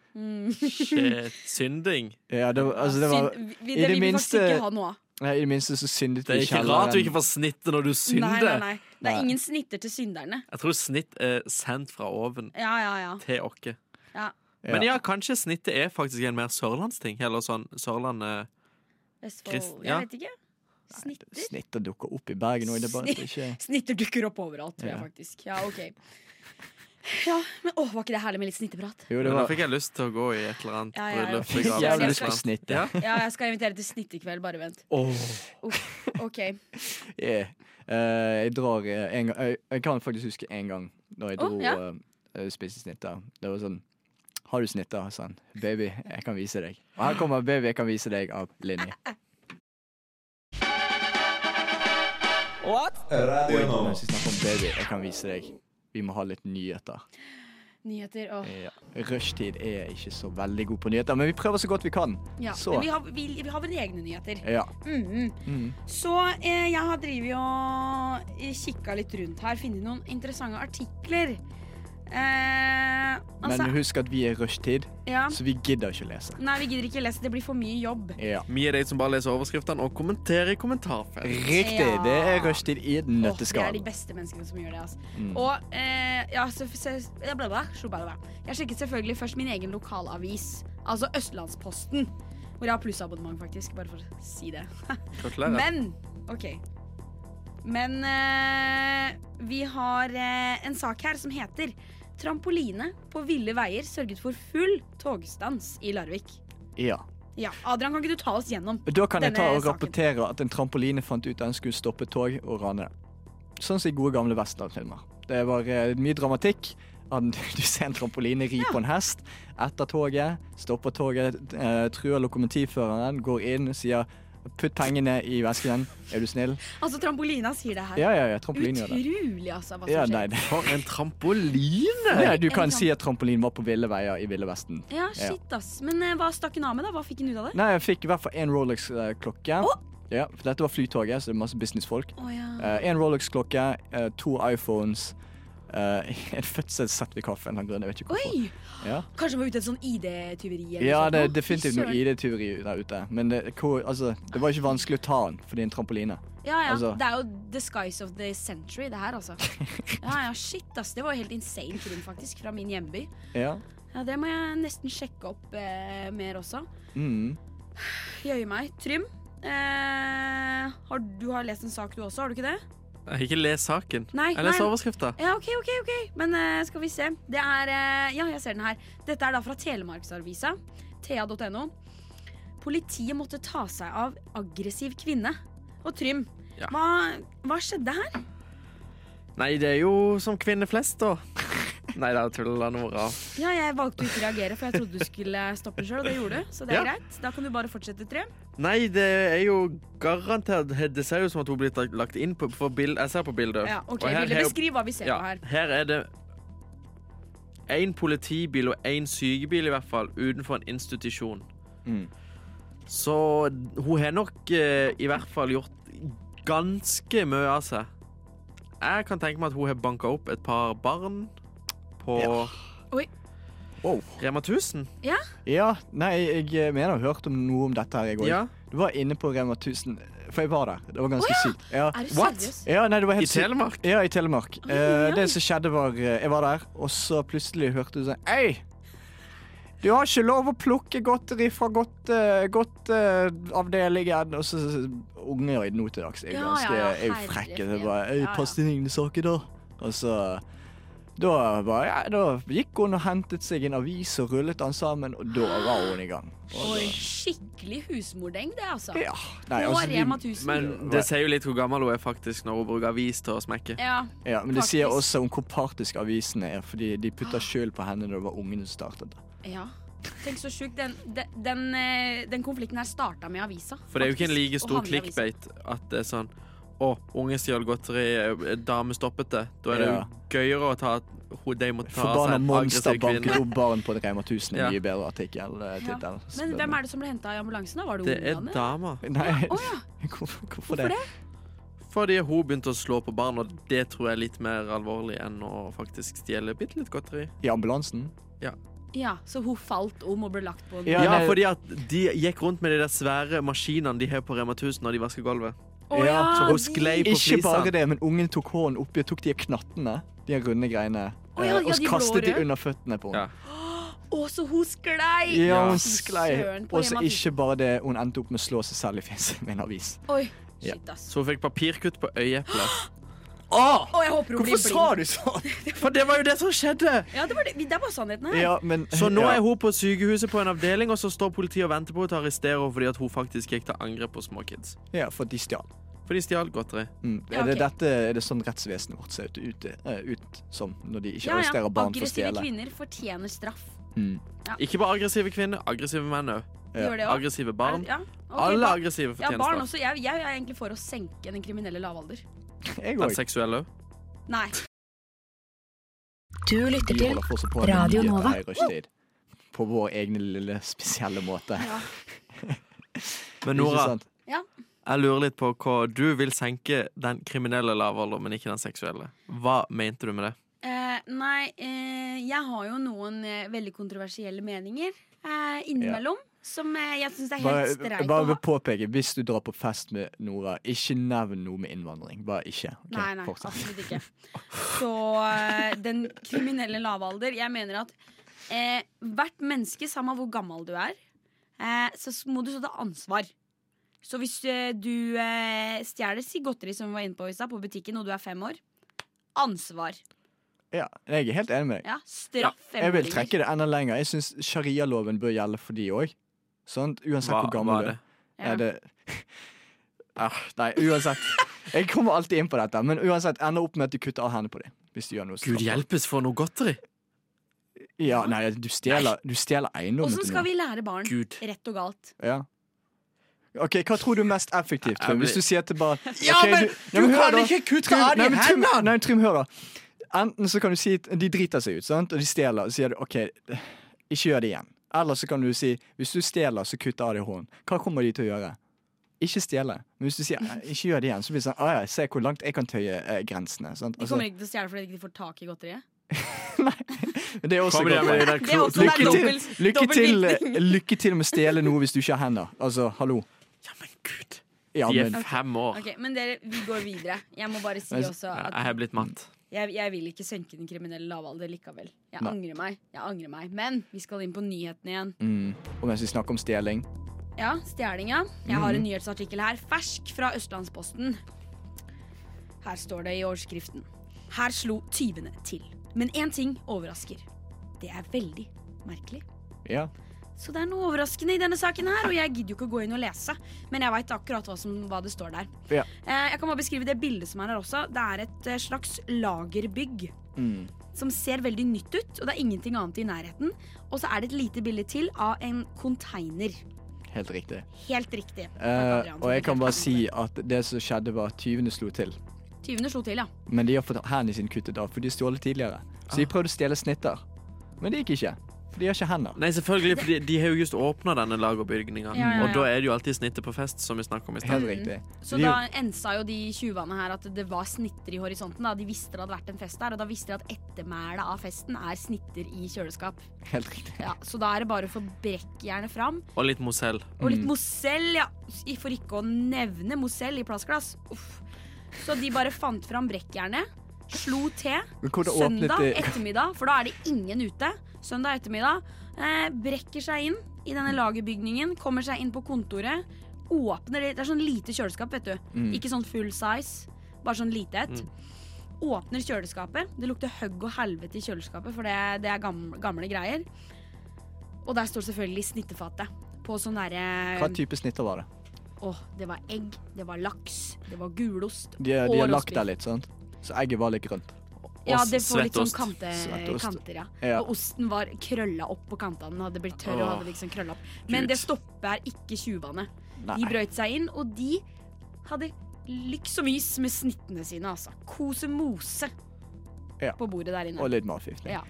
[SPEAKER 3] Shit, synding.
[SPEAKER 2] Ja, det, var- altså, det var,
[SPEAKER 4] synd. Vi- vi,
[SPEAKER 2] i
[SPEAKER 4] det,
[SPEAKER 2] det
[SPEAKER 4] vil vi faktisk
[SPEAKER 2] minste-
[SPEAKER 4] ikke ha noe av.
[SPEAKER 2] nei, I det minste så syndet
[SPEAKER 3] Det
[SPEAKER 2] vi
[SPEAKER 3] er
[SPEAKER 2] i
[SPEAKER 3] ikke rart du ikke
[SPEAKER 2] kjelleren.
[SPEAKER 3] får snitte når du
[SPEAKER 4] Nei, nei,
[SPEAKER 3] synder.
[SPEAKER 4] nei. Det
[SPEAKER 2] eh. Nei.
[SPEAKER 4] er ingen snitter til synderne.
[SPEAKER 3] Jeg tror snitt er sendt fra oven
[SPEAKER 4] Ja, ja, ja.
[SPEAKER 3] til oss.
[SPEAKER 4] ja.
[SPEAKER 3] Men ja, kanskje snittet er faktisk en mer sørlandsting. Eller sånn Sørlandet
[SPEAKER 4] Vestfold,
[SPEAKER 3] Krist-
[SPEAKER 4] jeg
[SPEAKER 3] ja.
[SPEAKER 4] vet ikke. Snitter?
[SPEAKER 2] Snitter dukker opp i Bergen òg. Det er bare at det ikke
[SPEAKER 4] Snitter dukker opp overalt, tror jeg
[SPEAKER 2] Ja.
[SPEAKER 4] faktisk. Ja, ok. Ja, men åh, var ikke det herlig med litt snitteprat?
[SPEAKER 2] Jo,
[SPEAKER 3] Men
[SPEAKER 2] det
[SPEAKER 3] Da
[SPEAKER 2] var
[SPEAKER 3] fikk jeg lyst til å gå i et eller annet
[SPEAKER 4] Ja, ja, ja.
[SPEAKER 3] bryllup.
[SPEAKER 4] Fikk
[SPEAKER 3] begravelse,
[SPEAKER 4] jævlig
[SPEAKER 2] lyst til å
[SPEAKER 3] et
[SPEAKER 2] snitte.
[SPEAKER 3] eller annet. Ja.
[SPEAKER 4] Ja, jeg skal invitere til snittekveld, bare vent. Uff, ok.
[SPEAKER 2] yeah. Eh, Jeg drar eh, en gang jeg, jeg kan faktisk huske en gang da jeg
[SPEAKER 4] Å,
[SPEAKER 2] dro
[SPEAKER 4] ja.
[SPEAKER 2] oh, spisesnitter. Det var sånn Har du snitter? sa han. Baby, jeg kan vise deg. Og her kommer Baby, jeg kan vise deg av Linni. Wait, mens vi snakker om baby, jeg kan vise deg. Vi må ha litt nyheter.
[SPEAKER 4] Nyheter og
[SPEAKER 2] Ja. Rushtid er ikke så veldig god på nyheter, men vi prøver så godt vi kan.
[SPEAKER 4] ja.
[SPEAKER 2] Så.
[SPEAKER 4] Men vi har, vi, vi har våre egne nyheter.
[SPEAKER 2] Ja.
[SPEAKER 4] Mhm.
[SPEAKER 2] Mm.
[SPEAKER 4] Så eh, jeg eh, har drevet og kikka litt rundt her, funnet noen interessante artikler. Eh, altså,
[SPEAKER 2] Men husk at vi er i rushtid,
[SPEAKER 4] ja.
[SPEAKER 2] så vi gidder ikke å lese.
[SPEAKER 4] Nei, vi gidder ikke lese. Det blir for mye jobb.
[SPEAKER 2] Ja.
[SPEAKER 3] Vi er de som bare leser overskriftene og kommenterer i kommentarfelt.
[SPEAKER 2] Riktig.
[SPEAKER 4] Ja.
[SPEAKER 2] Det er rushtid i et
[SPEAKER 4] Åh, det er
[SPEAKER 2] nøtteskall. Mm.
[SPEAKER 4] de beste menneskene som gjør det. Altså. Og eh, ja, så, så, ja, bla, bla, sjo, bla, bla. Jeg sjekket selvfølgelig først min egen lokalavis, altså Østlandsposten. Hvor jeg har plussabonnement, faktisk. Bare for å si det.
[SPEAKER 3] Gratulerer.
[SPEAKER 4] Men OK. Men eh, vi har eh, en sak her som heter 'Trampoline på ville veier sørget for full togstans i Larvik'.
[SPEAKER 2] Ja.
[SPEAKER 4] Ja, Adrian, kan ikke du ta oss gjennom?
[SPEAKER 2] Da kan jeg
[SPEAKER 4] Denne
[SPEAKER 2] ta og
[SPEAKER 4] saken.
[SPEAKER 2] rapportere at en trampoline fant ut at den skulle stoppe tog og rane det. Sånn som i gode gamle westernfilmer. Det var eh, mye dramatikk. Han- Du ser en trampoline ri på en hest etter toget, stopper toget, eh, truer lokomotivføreren, går inn og sier 'putt pengene i vesken', er du snill?
[SPEAKER 4] Altså, Trampolina sier det her.
[SPEAKER 2] Ja, ja, ja, trampoline gjør det.
[SPEAKER 4] Utrolig, altså, hva som
[SPEAKER 2] Ja,
[SPEAKER 4] skjer.
[SPEAKER 2] nei, det.
[SPEAKER 3] For en trampoline!
[SPEAKER 2] Ja, du
[SPEAKER 4] En sånn.
[SPEAKER 2] kan
[SPEAKER 4] tramp-
[SPEAKER 2] si at trampolin var på ville veier i Ville Vesten.
[SPEAKER 4] Ja, shit, ass. Men eh, hva stakk hun av med, da? Hva fikk hun ut av det?
[SPEAKER 2] Nei, jeg fikk i hvert fall én Rolex-klokke. Ja, for dette var Flytoget, så det er masse businessfolk.
[SPEAKER 4] Å ja.
[SPEAKER 2] Én Rolex-klokke, eh, to iPhones, uh, en fødselssertifikat for en eller annen grunn. Jeg vet ikke hvorfor.
[SPEAKER 4] Oi!
[SPEAKER 2] Ja.
[SPEAKER 4] Kanskje hun var ute etter sånn ID-tyveri? eller
[SPEAKER 2] Ja,
[SPEAKER 4] sånt
[SPEAKER 2] det er
[SPEAKER 4] nå?
[SPEAKER 2] definitivt noe
[SPEAKER 4] Søren.
[SPEAKER 2] ID-tyveri der ute, men det, hvor, altså, det var ikke vanskelig å ta den fordi det er en trampoline.
[SPEAKER 4] Ja, ja.
[SPEAKER 2] altså-
[SPEAKER 4] Det er jo the skies of the century, det her, altså. Ja, ja, shit, ass. Det var jo helt insane krim, faktisk, fra min hjemby.
[SPEAKER 2] Ja.
[SPEAKER 4] Ja, Det må jeg nesten sjekke opp eh, mer også.
[SPEAKER 2] Mm.
[SPEAKER 4] Jøye meg. Trym, eh, har, du har lest en sak du også, har du ikke det?
[SPEAKER 3] Jeg har ikke lest saken.
[SPEAKER 4] Nei,
[SPEAKER 3] Jeg leser
[SPEAKER 4] nei.
[SPEAKER 3] overskrifta.
[SPEAKER 4] Ja, ok, ok, ok. Men eh, skal vi se. Det er eh, Ja, jeg ser den her. Dette er da fra Telemarksavisa. Thea.no. Politiet måtte ta seg av aggressiv kvinne. Og Trym,
[SPEAKER 3] Ja.
[SPEAKER 4] hva, hva skjedde her?
[SPEAKER 3] Nei, det er jo som kvinner flest, da. Nei, da tuller jeg Nora.
[SPEAKER 4] Ja, jeg valgte å ikke reagere, for jeg trodde du skulle stoppe sjøl, og det gjorde du. Så det er
[SPEAKER 3] Ja.
[SPEAKER 4] greit. Da kan du bare fortsette, Trym.
[SPEAKER 3] Nei, det er jo garantert Det ser jo ut som at hun blir lagt inn på, på bild, Jeg ser på bildet.
[SPEAKER 4] Ja, ok,
[SPEAKER 3] Og her
[SPEAKER 4] Ville
[SPEAKER 3] har-
[SPEAKER 4] beskriv hva vi ser
[SPEAKER 3] ja,
[SPEAKER 4] på her.
[SPEAKER 3] her er det én politibil og én sykebil, i hvert fall, utenfor en institusjon.
[SPEAKER 2] Mm.
[SPEAKER 3] Så hun har nok eh, i hvert fall gjort ganske mye av seg. Jeg kan tenke meg at hun har banka opp et par barn på
[SPEAKER 2] Ja.
[SPEAKER 4] Oi.
[SPEAKER 2] Wow.
[SPEAKER 3] Rema 1000.
[SPEAKER 2] Ja, nei, jeg mener jeg har hørt om noe om dette her i går.
[SPEAKER 3] Ja.
[SPEAKER 2] Du var inne på Rema 1000, for jeg var der. Det var ganske sykt. Ja.
[SPEAKER 4] Er du
[SPEAKER 3] What?
[SPEAKER 4] seriøs?
[SPEAKER 2] Ja, nei, det var
[SPEAKER 3] I
[SPEAKER 2] helt sykt.
[SPEAKER 3] Telemark.
[SPEAKER 2] Ja, i Telemark.
[SPEAKER 4] Oi, oi, oi.
[SPEAKER 2] Eh, det som skjedde var eh, Jeg var der, og så plutselig hørte du sånn Hei! Du har ikke lov å plukke godteri fra godteavdelingen. Godt, eh, avdelingen.» og så så- unger i nå til dags er jo
[SPEAKER 4] Ja, ja,
[SPEAKER 2] ganske
[SPEAKER 4] ja,
[SPEAKER 2] er jo
[SPEAKER 4] herre
[SPEAKER 2] frekke.
[SPEAKER 4] fred.
[SPEAKER 2] Det bare «Ei,
[SPEAKER 4] Ja, ja.
[SPEAKER 2] Pass dine egne saker, da. Og så da, bare, ja, da gikk hun og hentet seg en avis og rullet den sammen, og da var hun i gang. Og,
[SPEAKER 4] Oi, skikkelig husmordeng, det, altså.
[SPEAKER 2] ja.
[SPEAKER 4] På
[SPEAKER 2] Nei, altså,
[SPEAKER 4] Rema
[SPEAKER 2] vi,
[SPEAKER 4] 1000.
[SPEAKER 3] Men det sier jo litt hvor gammel hun er faktisk når hun bruker avis til å smekke.
[SPEAKER 4] ja.
[SPEAKER 2] ja, men det sier
[SPEAKER 4] Faktisk. Ah.
[SPEAKER 2] også om hvor partisk avisene er, fordi de putta skyld på henne da det var ungene som startet det.
[SPEAKER 4] Ja. Tenk så sjukt. Den, den, den, eh, den konflikten her starta med avisa.
[SPEAKER 3] For det er jo ikke en like
[SPEAKER 4] faktisk, og
[SPEAKER 3] stor
[SPEAKER 4] handler liksom. i avisa.
[SPEAKER 3] clickbait at det er sånn Å, unge stjal godteri, eh, dame stoppet det. Da er det jo
[SPEAKER 2] Ja.
[SPEAKER 3] gøyere å ta at hun- de må ta seg
[SPEAKER 2] Forbanna
[SPEAKER 3] en
[SPEAKER 2] monster
[SPEAKER 3] altså, aggressiv
[SPEAKER 2] banket
[SPEAKER 3] kvinne.
[SPEAKER 2] opp barn på en Rema 1000 er
[SPEAKER 3] Ja.
[SPEAKER 2] mye bedre artikkel. eh,
[SPEAKER 4] Ja.
[SPEAKER 2] tittel.
[SPEAKER 4] Men hvem er det som ble henta i ambulansen? da? Var det
[SPEAKER 3] Det er
[SPEAKER 4] ungene?
[SPEAKER 3] dama.
[SPEAKER 2] Nei,
[SPEAKER 4] Å ja.
[SPEAKER 2] hvorfor, hvorfor
[SPEAKER 4] Hvorfor
[SPEAKER 2] det?
[SPEAKER 4] det?
[SPEAKER 3] Fordi hun begynte å slå på barn, og det tror jeg er litt mer alvorlig enn å faktisk stjele bitte litt godteri.
[SPEAKER 2] I ambulansen?
[SPEAKER 4] Ja, Så hun falt om og ble lagt på en
[SPEAKER 2] Ja,
[SPEAKER 3] Ja,
[SPEAKER 2] nei-
[SPEAKER 3] fordi at de gikk rundt med de der svære maskinene de har på Rema 1000 når de vasker gulvet.
[SPEAKER 4] Å
[SPEAKER 2] ja,
[SPEAKER 3] Så hun
[SPEAKER 4] de-
[SPEAKER 3] sklei på
[SPEAKER 2] Ikke bare
[SPEAKER 3] flisene.
[SPEAKER 2] det, men ungen tok hånden oppi og tok de knattene. De runde greiene.
[SPEAKER 4] Å ja,
[SPEAKER 2] eh,
[SPEAKER 4] ja,
[SPEAKER 2] og
[SPEAKER 4] de blå
[SPEAKER 2] kastet de
[SPEAKER 4] røde.
[SPEAKER 2] under føttene på henne.
[SPEAKER 3] Ja.
[SPEAKER 4] Å, så hun sklei!
[SPEAKER 2] Ja, hun
[SPEAKER 4] Fy
[SPEAKER 2] sklei.
[SPEAKER 4] søren, på
[SPEAKER 2] Og så
[SPEAKER 4] Rema 1000.
[SPEAKER 2] ikke bare det, hun endte opp med å slå seg selv i fjeset med en avis.
[SPEAKER 4] Oi,
[SPEAKER 2] Ja.
[SPEAKER 4] shit, ass.
[SPEAKER 3] Så hun fikk papirkutt på øyeeplet.
[SPEAKER 4] Å, jeg håper hun
[SPEAKER 2] Hvorfor
[SPEAKER 4] blir
[SPEAKER 2] sa
[SPEAKER 4] blind.
[SPEAKER 2] du sånn?
[SPEAKER 3] For det var jo det som skjedde!
[SPEAKER 4] Ja, det var, det. det var sannheten her.
[SPEAKER 2] Ja, men,
[SPEAKER 3] Så nå
[SPEAKER 2] ja.
[SPEAKER 3] er hun på sykehuset på en avdeling, og så står politiet og venter på henne til å arrestere henne fordi at hun faktisk gikk til angrep på små kids.
[SPEAKER 2] Ja, for de stjal.
[SPEAKER 3] For de stjal godteri.
[SPEAKER 2] Mm.
[SPEAKER 4] Ja,
[SPEAKER 2] Er, det
[SPEAKER 4] ok.
[SPEAKER 2] dette, er det sånn rettsvesenet vårt ser ut, ut, eh, ut som når de ikke
[SPEAKER 4] Ja, ja.
[SPEAKER 2] arresterer barn for å
[SPEAKER 4] Aggressive
[SPEAKER 2] stjele?
[SPEAKER 4] kvinner fortjener straff.
[SPEAKER 2] Mm.
[SPEAKER 3] Ikke bare aggressive kvinner, aggressive menn òg.
[SPEAKER 2] Ja.
[SPEAKER 4] Gjør det også?
[SPEAKER 3] Aggressive barn.
[SPEAKER 4] Ja, ok,
[SPEAKER 3] Alle
[SPEAKER 4] ba-
[SPEAKER 3] aggressive
[SPEAKER 4] ja, barn
[SPEAKER 3] fortjenester.
[SPEAKER 4] også. Jeg, jeg er egentlig for å senke den kriminelle lavalder.
[SPEAKER 2] Jeg
[SPEAKER 3] Den
[SPEAKER 1] Altså,
[SPEAKER 2] òg.
[SPEAKER 3] seksuelle òg.
[SPEAKER 4] Nei.
[SPEAKER 1] Du lytter
[SPEAKER 2] Vi
[SPEAKER 1] til
[SPEAKER 2] holder fortsatt på med
[SPEAKER 1] Radio
[SPEAKER 2] nyheter
[SPEAKER 1] Nova.
[SPEAKER 2] her i rushtid. På vår egen lille spesielle måte.
[SPEAKER 4] Ja.
[SPEAKER 2] Ikke
[SPEAKER 3] Men Nora,
[SPEAKER 2] sant?
[SPEAKER 3] jeg lurer litt på hva du vil senke den kriminelle lavalderen, men ikke den seksuelle. Hva mente du med det?
[SPEAKER 4] Eh, nei, eh, jeg har jo noen eh, veldig kontroversielle meninger eh, innimellom. Som eh, jeg syns er helt
[SPEAKER 2] Bare,
[SPEAKER 4] streit
[SPEAKER 2] bare
[SPEAKER 4] å
[SPEAKER 2] vil
[SPEAKER 4] ha.
[SPEAKER 2] påpeke, hvis du drar på fest med Nora, ikke nevn noe med innvandring. Bare ikke. Ok,
[SPEAKER 4] nei, nei,
[SPEAKER 2] fortsett.
[SPEAKER 4] absolutt ikke. Så eh, den kriminelle lavalder Jeg mener at eh, hvert menneske, samme hvor gammel du er, eh, så s- må du så ta ansvar. Så hvis eh, du eh, stjeler si godteri som vi var inne på i stad, på butikken, og du er fem år, ansvar.
[SPEAKER 2] Ja, jeg er helt enig med deg.
[SPEAKER 4] Ja, straff
[SPEAKER 2] Jeg vil
[SPEAKER 4] femåringer.
[SPEAKER 2] trekke det enda lenger. Jeg syns sharialoven bør gjelde for de òg. Sånn, uansett hvor gammel du er.
[SPEAKER 4] Ja.
[SPEAKER 2] Er det ah, Nei, uansett. Jeg kommer alltid inn på dette, men uansett ender opp med at de kutter av hendene på dem. Hvis de gjør noe
[SPEAKER 3] Gud
[SPEAKER 2] straffbart.
[SPEAKER 3] hjelpes for noe godteri.
[SPEAKER 2] Ja, nei, du stjeler, du stjeler eiendommen
[SPEAKER 4] Åssen
[SPEAKER 2] til
[SPEAKER 4] skal
[SPEAKER 2] noen.
[SPEAKER 4] vi lære barn
[SPEAKER 3] Gud.
[SPEAKER 4] rett og galt?
[SPEAKER 2] Ja. Ok, Hva tror du er mest effektivt, Trym? Hvis du sier til bare
[SPEAKER 3] Ja,
[SPEAKER 2] ok,
[SPEAKER 3] men
[SPEAKER 2] Nei,
[SPEAKER 3] du
[SPEAKER 2] hør
[SPEAKER 3] kan
[SPEAKER 2] da.
[SPEAKER 3] ikke kutte
[SPEAKER 2] Trym,
[SPEAKER 3] av de
[SPEAKER 2] nei, men Trym-
[SPEAKER 3] hendene!
[SPEAKER 2] Nei, Trym, hør, da. Enten så kan du si at de driter seg ut, sant? og de stjeler, og så sier du OK, ikke gjør det igjen. Eller så kan du si hvis du stjeler, så kutter ADH-en. Hva kommer de til å gjøre? Ikke stjele. Men hvis du sier «Nei, ikke gjør det igjen, så blir det sånn Å ja, se hvor langt jeg kan tøye eh, grensene. Sant?
[SPEAKER 4] De
[SPEAKER 2] Altså,
[SPEAKER 4] kommer ikke til å stjele fordi de ikke får tak i godteriet.
[SPEAKER 2] det er også
[SPEAKER 3] Kommer de
[SPEAKER 2] godt
[SPEAKER 3] med de
[SPEAKER 2] poeng.
[SPEAKER 3] der
[SPEAKER 4] Det er
[SPEAKER 3] klo- klo-
[SPEAKER 4] også det Sånn er
[SPEAKER 2] Lykke til,
[SPEAKER 4] dobbelt-
[SPEAKER 2] lykke,
[SPEAKER 4] dobbelt
[SPEAKER 2] til, eh,
[SPEAKER 4] virkning.
[SPEAKER 2] lykke til med å stjele noe hvis du ikke har hender. Altså, hallo.
[SPEAKER 3] Ja, men gud.
[SPEAKER 2] Ja,
[SPEAKER 3] De er
[SPEAKER 2] men
[SPEAKER 3] fem år.
[SPEAKER 4] Ok, Men dere, vi går videre. Jeg må bare si
[SPEAKER 2] Men-
[SPEAKER 4] også at
[SPEAKER 3] Jeg er blitt matt.
[SPEAKER 4] jeg, jeg vil ikke senke den kriminelle lavalder likevel. Jeg
[SPEAKER 2] Nei.
[SPEAKER 4] angrer meg. jeg angrer meg Men vi skal inn på nyhetene igjen.
[SPEAKER 2] mm, Og mens vi snakker om stjeling
[SPEAKER 4] Ja, stjelinga. Jeg har
[SPEAKER 2] Mm.
[SPEAKER 4] en nyhetsartikkel her, fersk fra Østlandsposten. Her står det i overskriften. Her slo tyvene til. Men én ting overrasker. Det er veldig merkelig.
[SPEAKER 2] Ja.
[SPEAKER 4] Så det er noe overraskende i denne saken her, og jeg gidder jo ikke å gå inn og lese, men jeg veit akkurat hva, som, hva det står der.
[SPEAKER 2] Ja.
[SPEAKER 4] Eh, Jeg kan bare beskrive det bildet som er her også. Det er et eh, slags lagerbygg.
[SPEAKER 2] Mm.
[SPEAKER 4] Som ser veldig nytt ut, og det er ingenting annet i nærheten. Og så er det et lite bilde til av en konteiner.
[SPEAKER 2] Helt riktig.
[SPEAKER 4] Helt riktig.
[SPEAKER 2] Eh, og jeg kan bare si at det som skjedde, var at tyvene slo til.
[SPEAKER 4] Tyvene slo til, ja.
[SPEAKER 2] Men de har fått hendene sine kuttet av, for de har stjålet tidligere. Så
[SPEAKER 4] Ah.
[SPEAKER 2] de prøvde å stjele snitter. Men det gikk ikke. For de har ikke hender.
[SPEAKER 3] Nei, selvfølgelig, for de, de har jo just åpna denne lagerbygninga.
[SPEAKER 4] Ja, ja, ja.
[SPEAKER 3] Og da er det jo alltid snittet på fest, som vi snakket
[SPEAKER 4] Mm.
[SPEAKER 3] om i stad.
[SPEAKER 2] Helt riktig.
[SPEAKER 4] Så
[SPEAKER 2] de,
[SPEAKER 4] da ensa jo de tjuvene her at det var snitter i horisonten. Da. De visste det hadde vært en fest der, og da visste de at ettermælet av festen er snitter i kjøleskap.
[SPEAKER 2] Helt riktig.
[SPEAKER 4] Ja, så da er det bare å få brekkjernet fram.
[SPEAKER 3] Og litt Mozell.
[SPEAKER 4] Og litt Mozell, ja. I- For ikke å nevne Mozell i plastglass. Uff. Så de bare fant fram brekkjernet, slo til.
[SPEAKER 2] Men hvordan åpnet eh,
[SPEAKER 4] Søndag
[SPEAKER 2] de-
[SPEAKER 4] ettermiddag, for da er det ingen ute. Søndag ettermiddag. Eh, brekker seg inn i denne lagerbygningen, kommer seg inn på kontoret. Åpner det Det er sånn lite kjøleskap, vet du.
[SPEAKER 2] Mm.
[SPEAKER 4] Ikke sånn full size, bare sånn lite et. Åpner kjøleskapet. Det lukter høgg og helvete i kjøleskapet, for det, det er gamle, gamle greier. Og der står selvfølgelig snittefatet. På sånn derre
[SPEAKER 2] Hva type snitter var det?
[SPEAKER 4] Åh, det var egg, det var laks, det var gulost.
[SPEAKER 2] De, de har
[SPEAKER 4] og
[SPEAKER 2] lagt der
[SPEAKER 4] rostbiff.
[SPEAKER 2] litt, sant? Så egget var litt grønt.
[SPEAKER 4] Ja,
[SPEAKER 3] Og
[SPEAKER 4] det får litt sånn
[SPEAKER 3] svettost.
[SPEAKER 4] kante,
[SPEAKER 2] Svettost.
[SPEAKER 4] kanter, ja.
[SPEAKER 2] Ja.
[SPEAKER 4] Og osten var krølla opp på kantene. Den hadde blitt tørr og
[SPEAKER 3] Åh,
[SPEAKER 4] hadde liksom krølla opp. Men
[SPEAKER 3] Gud.
[SPEAKER 4] det stopper ikke tjuvene.
[SPEAKER 2] Nei.
[SPEAKER 4] De brøyt seg inn, og de hadde lyks og mys med snittene sine, altså. Kose mose
[SPEAKER 2] Ja.
[SPEAKER 4] på bordet
[SPEAKER 2] Og
[SPEAKER 4] der inne.
[SPEAKER 2] litt matforgiftning.
[SPEAKER 4] Ja.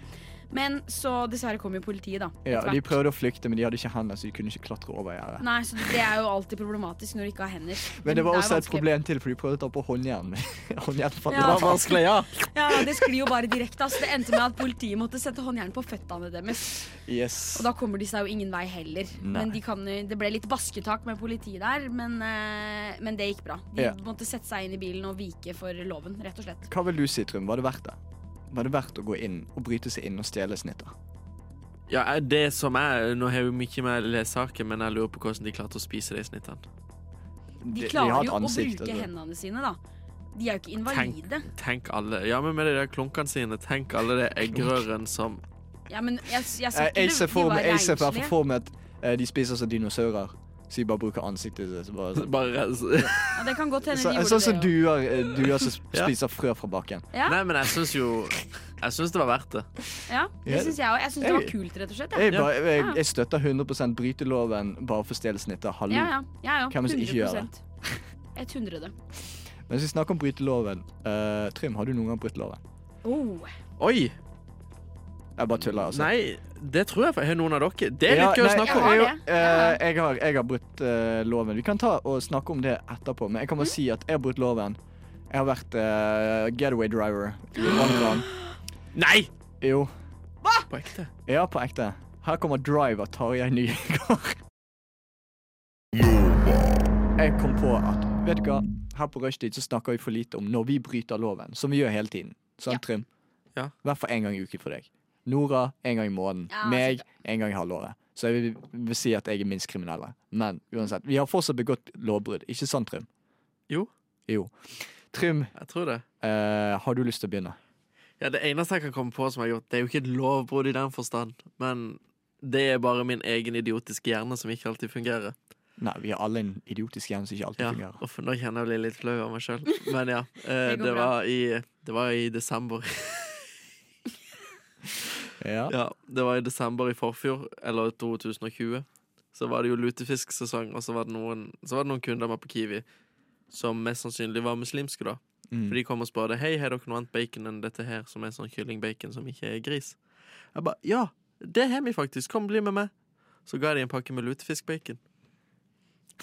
[SPEAKER 4] Men så dessverre kom jo politiet, da.
[SPEAKER 2] Ja,
[SPEAKER 4] etter
[SPEAKER 2] de
[SPEAKER 4] hvert.
[SPEAKER 2] prøvde å flykte, men de hadde ikke hender, så de kunne ikke klatre over gjerdet.
[SPEAKER 4] Nei, så det er jo alltid problematisk når du ikke har hender.
[SPEAKER 2] Men det var
[SPEAKER 4] er
[SPEAKER 2] også et
[SPEAKER 4] vanskelig.
[SPEAKER 2] problem til, for de prøvde å ta på håndjernet. mitt. håndjernet falt
[SPEAKER 4] Ja.
[SPEAKER 2] Det var vanskelig, ja.
[SPEAKER 4] Ja, Det sklir jo bare direkte. Altså. Det endte med at politiet måtte sette håndjern på føttene deres.
[SPEAKER 2] Yes.
[SPEAKER 4] Og da kommer de seg jo ingen vei heller.
[SPEAKER 2] Nei.
[SPEAKER 4] Men de kan, jo- Det ble litt basketak med politiet der, men, eh, men det gikk bra. De
[SPEAKER 2] Ja.
[SPEAKER 4] måtte sette seg inn i bilen og vike for loven, rett og slett.
[SPEAKER 2] Hva vil du si, Trym? Var det verdt det? Var det verdt å gå inn og bryte seg inn og stjele snitter?
[SPEAKER 3] Ja, det som er, Nå har jeg jo mye med å lese saken, men jeg lurer på hvordan de klarte å spise de snittene.
[SPEAKER 4] De
[SPEAKER 2] de
[SPEAKER 4] klarer
[SPEAKER 2] har et
[SPEAKER 4] jo
[SPEAKER 2] ansikt,
[SPEAKER 4] å bruke
[SPEAKER 2] altså.
[SPEAKER 4] hendene sine, da. De er jo ikke
[SPEAKER 3] Tenk,
[SPEAKER 4] invalide.
[SPEAKER 3] tenk alle Ja, men med de der klunkene sine, tenk alle de eggerørene som
[SPEAKER 4] Ja, men jeg, jeg, sa
[SPEAKER 2] Eh, Jeg
[SPEAKER 4] ikke det-
[SPEAKER 2] ser
[SPEAKER 4] de
[SPEAKER 2] for
[SPEAKER 4] var
[SPEAKER 2] meg jeg ser i hvert
[SPEAKER 4] renslige.
[SPEAKER 2] fall for meg at eh, de spiser som dinosaurer. Så de bare bruker ansiktet sitt. så bare-
[SPEAKER 3] bare
[SPEAKER 4] Ja, det kan godt hende
[SPEAKER 2] Så,
[SPEAKER 4] de gjorde
[SPEAKER 2] sånn som
[SPEAKER 4] det. jo.
[SPEAKER 2] duer, eh, duer som
[SPEAKER 3] Ja.
[SPEAKER 2] spiser frø fra bakken.
[SPEAKER 4] Ja.
[SPEAKER 3] Nei, men jeg syns jo Jeg syns det var verdt det.
[SPEAKER 4] Ja,
[SPEAKER 2] Ja.
[SPEAKER 4] det syns jeg òg. Jeg syns det var
[SPEAKER 2] Jeg-
[SPEAKER 4] kult, rett og slett.
[SPEAKER 2] Jeg,
[SPEAKER 4] Ja,
[SPEAKER 2] bare, jeg, jeg støtter 100 bryteloven bare for stjelsnitter. Hallo.
[SPEAKER 4] ja. ja, ja, ja.
[SPEAKER 2] Hvem som ikke gjør
[SPEAKER 4] 100 Et hundrede.
[SPEAKER 2] Mens vi snakker om bryteloven eh, Trym, har du noen gang brutt loven?
[SPEAKER 4] Oh.
[SPEAKER 3] Oi!
[SPEAKER 2] Jeg bare tuller, altså.
[SPEAKER 3] Nei, det tror jeg for- Har noen av dere? Det er litt gøy
[SPEAKER 2] nei,
[SPEAKER 3] å snakke om.
[SPEAKER 4] Jeg
[SPEAKER 2] jo,
[SPEAKER 4] har det.
[SPEAKER 2] eh, jeg, har, jeg har brutt eh, loven. Vi kan ta og snakke om det etterpå, men jeg kan bare
[SPEAKER 4] Mhm.
[SPEAKER 2] si at jeg har brutt loven. Jeg har vært eh, getaway driver i Ramadan.
[SPEAKER 3] Nei!
[SPEAKER 2] Jo.
[SPEAKER 3] På ekte.
[SPEAKER 2] Ja, på ekte. Her kommer Drive av Tarjei Nygaard. Jeg kom på at Vet du hva, her på rushtid så snakker vi for lite om når vi bryter loven, som vi gjør hele tiden. Sant, Trym?
[SPEAKER 3] Ja.
[SPEAKER 2] I hvert fall én gang i uken for deg. Nora en gang i måneden.
[SPEAKER 3] altså,
[SPEAKER 4] Ja,
[SPEAKER 2] Meg en gang i halvåret. Så jeg vil, vil si at jeg er minst kriminelle. Men uansett, vi har fortsatt begått lovbrudd. Ikke sant, Trym?
[SPEAKER 3] Jo.
[SPEAKER 2] Jo. Trym,
[SPEAKER 3] Jeg tror det.
[SPEAKER 2] eh, har du lyst til å begynne?
[SPEAKER 3] Ja, Det eneste jeg kan komme på som jeg har gjort, det er jo ikke et lovbrudd i den forstand, men det er bare min egen idiotiske hjerne som ikke alltid fungerer.
[SPEAKER 2] Nei, vi har alle en idiotisk hjerne som ikke alltid
[SPEAKER 3] Ja,
[SPEAKER 2] fungerer.
[SPEAKER 3] uff, Nå kjenner jeg blir litt flau av meg sjøl, men ja. Eh,
[SPEAKER 4] Det går
[SPEAKER 3] det,
[SPEAKER 4] bra.
[SPEAKER 3] var i, det var i desember.
[SPEAKER 2] Ja.
[SPEAKER 3] Ja, Det var i desember i forfjor, eller 2020. Så var det jo lutefisksesong, og så var det noen, så var det noen kunder med på Kiwi som mest sannsynlig var muslimske, da. For
[SPEAKER 2] Mm.
[SPEAKER 3] de kom og spurte Hei, har dere noe annet bacon enn dette her Som er sånn kyllingbacon som ikke er gris Jeg ba, ja, det har vi faktisk Kom, bli med meg Så ga de en pakke med lutefiskbacon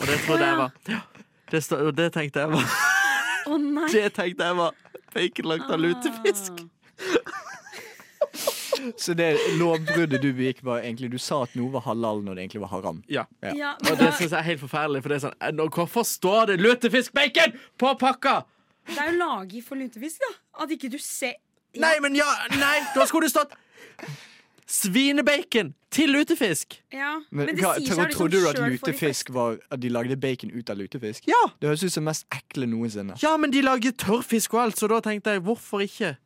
[SPEAKER 3] Og det trodde jeg var ja, det, sta- og det tenkte jeg var
[SPEAKER 4] Å nei!
[SPEAKER 3] Det tenkte jeg var bacon lagt av lutefisk
[SPEAKER 2] Så det lovbruddet du begikk, var egentlig Du sa at noe var halal når det egentlig var haram.
[SPEAKER 3] Ja
[SPEAKER 2] Ja.
[SPEAKER 4] Ja,
[SPEAKER 3] og
[SPEAKER 4] men
[SPEAKER 3] det
[SPEAKER 4] da,
[SPEAKER 3] synes jeg er helt forferdelig For det er sånn, «Eh, nå, hvorfor står det lutefiskbacon på pakka?
[SPEAKER 4] det er jo lagi for lutefisk, da. At ikke du ser
[SPEAKER 3] Nei, men ja, nei, da skulle det stått Svinebacon til lutefisk
[SPEAKER 4] Ja.
[SPEAKER 2] Men,
[SPEAKER 4] Men det
[SPEAKER 2] hva,
[SPEAKER 4] sier
[SPEAKER 2] tro-
[SPEAKER 4] seg liksom
[SPEAKER 2] trodde du at
[SPEAKER 4] selv for de
[SPEAKER 2] lutefisk var At de lagde bacon ut av lutefisk?
[SPEAKER 3] Ja,
[SPEAKER 2] Det høres ut som mest ekle noensinne.
[SPEAKER 3] Ja, men de lager tørrfisk og alt, så da tenkte jeg hvorfor ikke?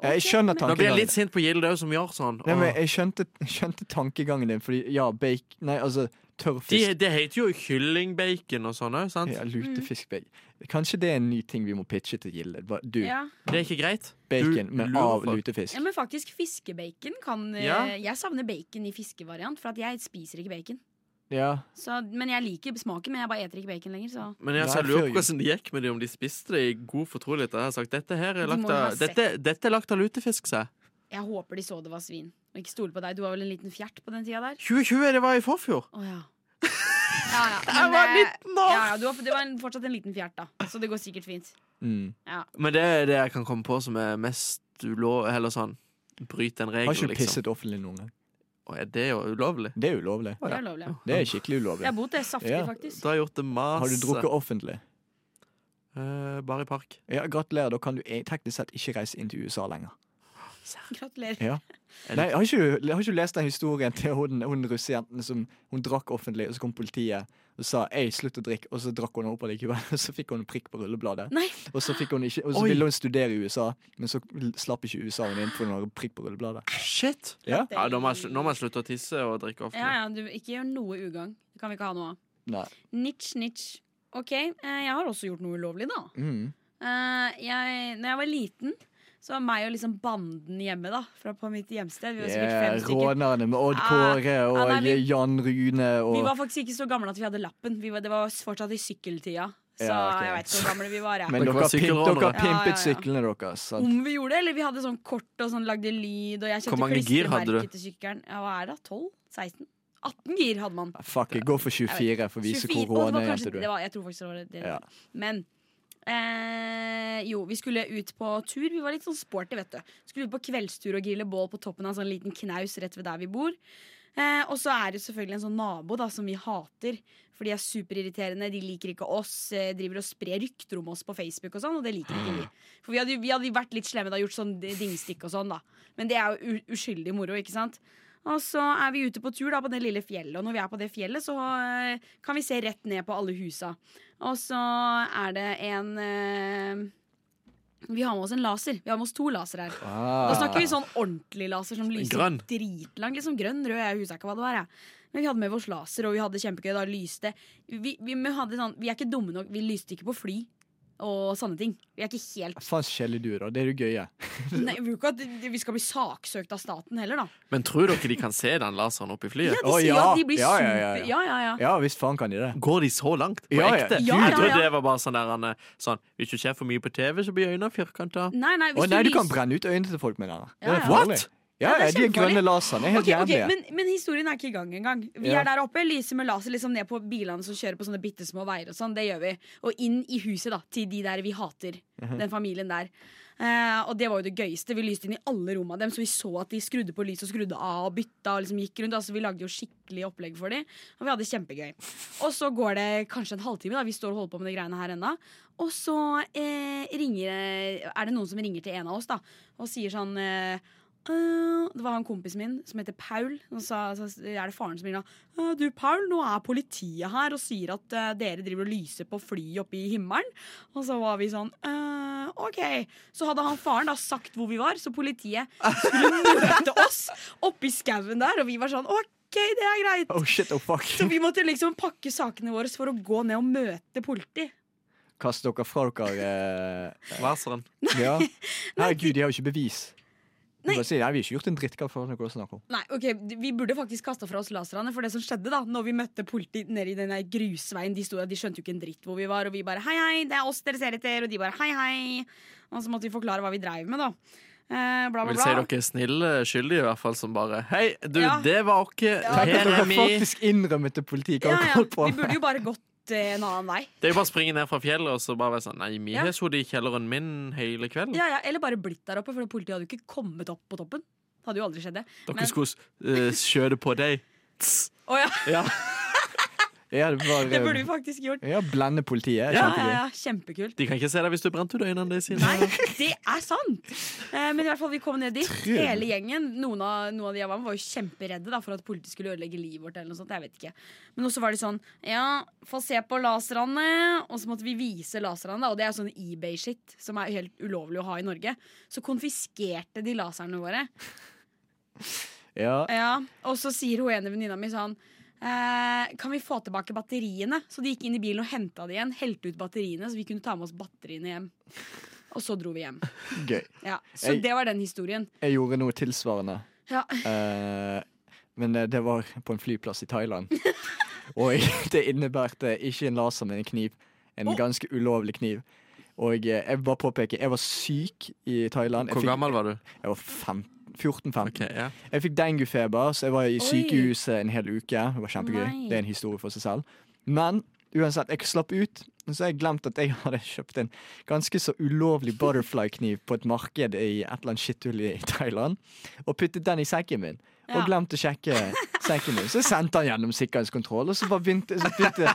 [SPEAKER 2] Jeg skjønner
[SPEAKER 3] Da blir jeg
[SPEAKER 2] tankegangen.
[SPEAKER 3] litt sint på Gilde òg, som gjør sånn.
[SPEAKER 2] Nei, men
[SPEAKER 3] Åh.
[SPEAKER 2] jeg skjønte, skjønte tankegangen din, fordi ja, bacon Nei, altså
[SPEAKER 3] De,
[SPEAKER 2] tørrfisk
[SPEAKER 3] det heter jo kyllingbacon og sånn òg, sant?
[SPEAKER 2] ja,
[SPEAKER 4] Mm.
[SPEAKER 2] Lutefiskbacon. Kanskje det er en ny ting vi må pitche til Gilde. Bare, Du,
[SPEAKER 4] Ja.
[SPEAKER 3] Det er ikke greit?
[SPEAKER 2] bacon,
[SPEAKER 3] Du
[SPEAKER 2] men
[SPEAKER 3] lurer
[SPEAKER 2] av
[SPEAKER 3] folk.
[SPEAKER 4] ja,
[SPEAKER 2] lutefisk.
[SPEAKER 4] men faktisk fiskebacon kan eh,
[SPEAKER 3] Ja.
[SPEAKER 4] Jeg savner bacon i fiskevariant, for at jeg spiser ikke bacon.
[SPEAKER 2] Ja.
[SPEAKER 4] Så, men jeg liker smaken, men jeg bare eter ikke bacon lenger. Så.
[SPEAKER 3] Men jeg,
[SPEAKER 2] Nei,
[SPEAKER 3] så jeg lurer
[SPEAKER 2] fyr.
[SPEAKER 3] på hvordan det gikk med de om de spiste det i god fortrolighet. Jeg har sagt dette her
[SPEAKER 4] De
[SPEAKER 3] er lagt
[SPEAKER 4] må jo ha
[SPEAKER 3] av,
[SPEAKER 4] sett.
[SPEAKER 3] dette, dette er lagt av lutefisk, sa jeg.
[SPEAKER 4] Jeg håper de så det var svin. Og ikke stole på deg. Du var vel en liten fjert på den tida der?
[SPEAKER 3] 2020, det var i forfjor!
[SPEAKER 4] Å ja. Ja, ja.
[SPEAKER 3] Jeg var
[SPEAKER 4] eh,
[SPEAKER 3] 19 år!
[SPEAKER 4] Ja, ja, du var, det var en, fortsatt en liten fjert, da. Så det går sikkert fint.
[SPEAKER 2] Mm.
[SPEAKER 3] Men det er det jeg kan komme på som er mest ulovlig, eller sånn Bryte en regel,
[SPEAKER 2] Har ikke du
[SPEAKER 3] liksom.
[SPEAKER 2] pisset offentlig noen gang?
[SPEAKER 3] Å, er det jo ulovlig?
[SPEAKER 2] Det er ulovlig.
[SPEAKER 4] Det er lovlig. ja.
[SPEAKER 2] Det er skikkelig ulovlig.
[SPEAKER 4] Jeg har bodd det saftig,
[SPEAKER 2] Ja.
[SPEAKER 4] faktisk.
[SPEAKER 3] Du har gjort det masse.
[SPEAKER 2] Har du drukket offentlig?
[SPEAKER 3] Eh, bare i park.
[SPEAKER 2] Ja, Gratulerer, da kan du e- teknisk sett ikke reise inn til USA lenger.
[SPEAKER 4] Gratulerer.
[SPEAKER 2] Ja. Nei, har ikke, du- har ikke du lest den historien til hun, hun russejenten som hun drakk offentlig, og så kom politiet og sa 'ei, slutt å drikke', og så drakk hun opp allikevel, og så fikk hun en prikk på rullebladet.
[SPEAKER 4] Nei.
[SPEAKER 2] Og så, fikk hun ikke, og så
[SPEAKER 3] Oi.
[SPEAKER 2] ville hun studere i USA, men så slapp ikke USA henne inn på noen prikk på rullebladet.
[SPEAKER 3] Shit!
[SPEAKER 2] Ja?
[SPEAKER 3] Ja, da må jeg slu- nå må jeg slutte å tisse og drikke offentlig.
[SPEAKER 4] Ja, ja, du, ikke gjør noe ugagn. Det kan vi ikke ha noe av.
[SPEAKER 2] Nei.
[SPEAKER 4] Nitsj, nitsj. OK, eh, jeg har også gjort noe ulovlig, da.
[SPEAKER 2] Mm.
[SPEAKER 4] Eh, jeg, når jeg var liten, så var meg og liksom banden hjemme, da. Fra på mitt hjemsted. Vi var sikkert
[SPEAKER 2] Yeah,
[SPEAKER 4] fem stykker.
[SPEAKER 2] rånerne med Odd Kåre og
[SPEAKER 4] Ah, ah, nei, vi-
[SPEAKER 2] Jan Rune
[SPEAKER 4] Vi
[SPEAKER 2] og
[SPEAKER 4] var faktisk ikke så gamle at vi hadde lappen. Vi var, det var fortsatt i sykkeltida. Så
[SPEAKER 2] Ja, ok.
[SPEAKER 4] jeg veit ikke hvor gamle vi var. jeg.
[SPEAKER 2] Men
[SPEAKER 3] Dere
[SPEAKER 2] dere
[SPEAKER 3] var
[SPEAKER 2] har pimp-
[SPEAKER 3] sykkelrånere.
[SPEAKER 2] dere har
[SPEAKER 4] Ja, ja, ja.
[SPEAKER 2] pimpet syklene deres. sant?
[SPEAKER 4] Om vi gjorde det, eller vi hadde sånn kort og sånn lagde lyd. Og jeg
[SPEAKER 3] Hvor
[SPEAKER 4] kjøpte
[SPEAKER 3] mange gir hadde
[SPEAKER 4] klistremerke til sykkelen. Ja, hva er det? 12? 16? 18 gir hadde man.
[SPEAKER 2] Fuck it, gå for 24 for å vise hvor
[SPEAKER 4] 24 og det var
[SPEAKER 2] rånejente
[SPEAKER 4] kanskje-
[SPEAKER 2] du
[SPEAKER 4] det
[SPEAKER 2] er.
[SPEAKER 4] var- Jeg tror faktisk det var det. det.
[SPEAKER 2] Ja.
[SPEAKER 4] Men eh, jo, vi skulle ut på tur. Vi var litt sånn sporty, vet du. Skulle ut på kveldstur og grille bål på toppen av en sånn liten knaus rett ved der vi bor. Eh, og så er det selvfølgelig en sånn nabo da, som vi hater. For de er superirriterende, de liker ikke oss. Eh, driver og sprer rykter om oss på Facebook og sånn, og det liker ikke vi. For vi hadde, jo- vi hadde jo vært litt slemme da, gjort sånn dingstikk og sånn, da. Men det er jo u- uskyldig moro, ikke sant? Og så er vi ute på tur da, på det lille fjellet, og når vi er på det fjellet, så eh, kan vi se rett ned på alle husa. Og så er det en eh, Vi har med oss en laser. Vi har med oss to laser her.
[SPEAKER 2] Ah.
[SPEAKER 4] Da snakker vi sånn ordentlig laser som lyser
[SPEAKER 3] Grønn.
[SPEAKER 4] dritlangt. Liksom grønn, rød, jeg husker ikke hva det var. Jeg. Men vi hadde med oss laser, og vi hadde kjempegøy. Da lyste vi, vi, vi, hadde sånn, vi er ikke dumme nok. Vi lyste ikke på fly og sånne ting. Vi er ikke helt
[SPEAKER 2] Faen så kjedelig du er, da. Det er det gøye.
[SPEAKER 4] Nei, vi, vil ikke at vi skal bli saksøkt av staten heller, da.
[SPEAKER 3] Men tror dere de kan se den laseren oppe i
[SPEAKER 4] Ja,
[SPEAKER 3] flyet?
[SPEAKER 4] de
[SPEAKER 2] Å,
[SPEAKER 4] sier jo
[SPEAKER 2] ja.
[SPEAKER 4] at de blir
[SPEAKER 2] Ja, ja, ja,
[SPEAKER 4] super...
[SPEAKER 2] ja.
[SPEAKER 4] ja, ja, ja.
[SPEAKER 2] Ja visst faen kan de det.
[SPEAKER 3] Går de så langt? På
[SPEAKER 2] Ja, ja.
[SPEAKER 3] ekte?
[SPEAKER 4] Ja,
[SPEAKER 3] Jeg
[SPEAKER 4] ja,
[SPEAKER 3] trodde
[SPEAKER 4] ja.
[SPEAKER 3] det var bare sånn der han, eh, sånn, Hvis du ser for mye på TV, så blir øynene firkanta.
[SPEAKER 4] Nei, nei,
[SPEAKER 2] Å
[SPEAKER 4] hvis
[SPEAKER 2] nei, du kan
[SPEAKER 4] lyser-
[SPEAKER 2] brenne ut øynene til folk med den.
[SPEAKER 4] Ja, ja.
[SPEAKER 2] farlig.
[SPEAKER 3] What?
[SPEAKER 2] Ja,
[SPEAKER 4] Ja,
[SPEAKER 2] ja,
[SPEAKER 4] det er
[SPEAKER 2] de grønne
[SPEAKER 4] kjempefarlig.
[SPEAKER 2] laserne er helt
[SPEAKER 4] Ok, ok,
[SPEAKER 2] jævlige.
[SPEAKER 4] men, men historien er ikke i gang engang. Vi
[SPEAKER 2] Ja.
[SPEAKER 4] er der oppe, lyser med laser liksom ned på bilene som kjører på sånne bitte små veier. Og sånn, det gjør vi Og inn i huset da til de der vi hater.
[SPEAKER 2] Mhm.
[SPEAKER 4] Den familien der. Eh, og det var jo det gøyeste. Vi lyste inn i alle rommene dem, så vi så at de skrudde på lys og skrudde av og bytta. Og liksom gikk rundt altså, Vi lagde jo skikkelig opplegg for dem, og vi hadde kjempegøy. Og så går det kanskje en halvtime, da vi står og holder på med de greiene her ennå. Og så eh, ringer, er det noen som ringer til en av oss da og sier sånn eh, «Øh, det var han kompisen min som heter Paul. Og sa, så er det faren som ringer da. «Øh, Du, Paul, nå er politiet her og sier at eh, dere driver og lyser på fly oppe i himmelen. Og så var vi sånn «Øh, OK. Så hadde han faren da sagt hvor vi var, så politiet skulle møte oss oppe i skauen der. Og vi var sånn OK, det er greit.
[SPEAKER 2] Oh shit, oh fuck.
[SPEAKER 4] Så vi måtte liksom pakke sakene våre for å gå ned og møte politi.
[SPEAKER 2] Kast dere fra dere eh,
[SPEAKER 3] Laseren.
[SPEAKER 2] Ja. Herregud, de har jo ikke bevis. Du
[SPEAKER 4] Nei.
[SPEAKER 2] bare sier, Nei, vi har ikke gjort en dritt. Hva faen er det dere snakker om?
[SPEAKER 4] Nei, ok, d- Vi burde faktisk kasta fra oss laserne, for det som skjedde da Når vi møtte politi nede i den der grusveien, de, sto, der, de skjønte jo ikke en dritt hvor vi var. Og vi bare 'hei, hei, det er oss dere ser etter', og de bare 'hei, hei'. Og så måtte vi forklare hva vi dreiv med, da. Eh, bla,
[SPEAKER 3] Jeg
[SPEAKER 4] bla,
[SPEAKER 3] vil si
[SPEAKER 4] bla.
[SPEAKER 3] dere er snille skyldige, i hvert fall, som bare Hei, du,
[SPEAKER 4] Ja.
[SPEAKER 3] det var ikke
[SPEAKER 2] Tenk at
[SPEAKER 3] Her
[SPEAKER 2] dere
[SPEAKER 3] er vi.
[SPEAKER 2] faktisk innrømmet til politiet hva
[SPEAKER 4] Ja,
[SPEAKER 2] dere
[SPEAKER 4] ja,
[SPEAKER 2] holdt på
[SPEAKER 4] vi burde
[SPEAKER 2] med.
[SPEAKER 4] jo bare gått eh, en annen vei.
[SPEAKER 3] Det er jo bare å springe ned fra fjellet og så bare være sånn Nei, vi
[SPEAKER 4] Ja.
[SPEAKER 3] har sittet i kjelleren min hele kvelden.
[SPEAKER 4] Ja, ja, Eller bare blitt der oppe, for politiet hadde jo ikke kommet opp på toppen. Det hadde jo aldri skjedd, det.
[SPEAKER 3] Dere
[SPEAKER 4] men-
[SPEAKER 3] skulle uh, skjøte på deg.
[SPEAKER 4] Å ja,
[SPEAKER 2] Ja. Ja, det var eh,
[SPEAKER 4] Det burde vi faktisk gjort.
[SPEAKER 2] Ja, blande politiet.
[SPEAKER 4] Ja, ja,
[SPEAKER 2] Kjempegøy.
[SPEAKER 4] ja, Kjempekult.
[SPEAKER 3] De kan ikke se deg hvis du brente ut øynene deres. sine.
[SPEAKER 4] Nei, det er sant! Eh, men i hvert fall, vi kom ned dit, hele gjengen. Noen av, noen av de jeg var med, var jo kjemperedde da, for at politiet skulle ødelegge livet vårt. eller noe sånt, jeg vet ikke. Men også var de sånn Ja, få se på laserne. Og så måtte vi vise laserne, da, og det er sånn eBay-shit som er helt ulovlig å ha i Norge. Så konfiskerte de laserne våre.
[SPEAKER 2] Ja.
[SPEAKER 4] Ja, Og så sier hun ene venninna mi sånn eh, Kan vi få tilbake batteriene? Så de gikk inn i bilen og henta det igjen. Helte ut batteriene, så vi kunne ta med oss batteriene hjem. Og så dro vi hjem.
[SPEAKER 2] Gøy.
[SPEAKER 4] Ja, så
[SPEAKER 2] Jeg-
[SPEAKER 4] det var den historien.
[SPEAKER 2] Jeg gjorde noe tilsvarende.
[SPEAKER 4] Ja.
[SPEAKER 2] Eh, men eh, det var på en flyplass i Thailand. Og det innebærte ikke en laser, men en kniv. En ganske ulovlig kniv. Og eh, jeg vil bare påpeke, jeg var syk i Thailand. Jeg,
[SPEAKER 3] Hvor
[SPEAKER 2] fikk,
[SPEAKER 3] gammel var du?
[SPEAKER 2] jeg var fem- 14-15.
[SPEAKER 3] Ok, ja.
[SPEAKER 2] Jeg fikk denguefeber, så jeg var i sykehuset en hel uke. Det var kjempegøy.
[SPEAKER 4] Nei.
[SPEAKER 2] Det er en historie for seg selv. Men uansett, jeg slapp ut, så har jeg glemt at jeg hadde kjøpt en ganske så ulovlig butterfly-kniv på et marked i et eller annet skitthull i Thailand, og puttet den i sekken min.
[SPEAKER 4] Ja.
[SPEAKER 2] Og glemt å sjekke sekken min. Så jeg sendte den gjennom sikkerhetskontroll, og så bare begynte, så begynte,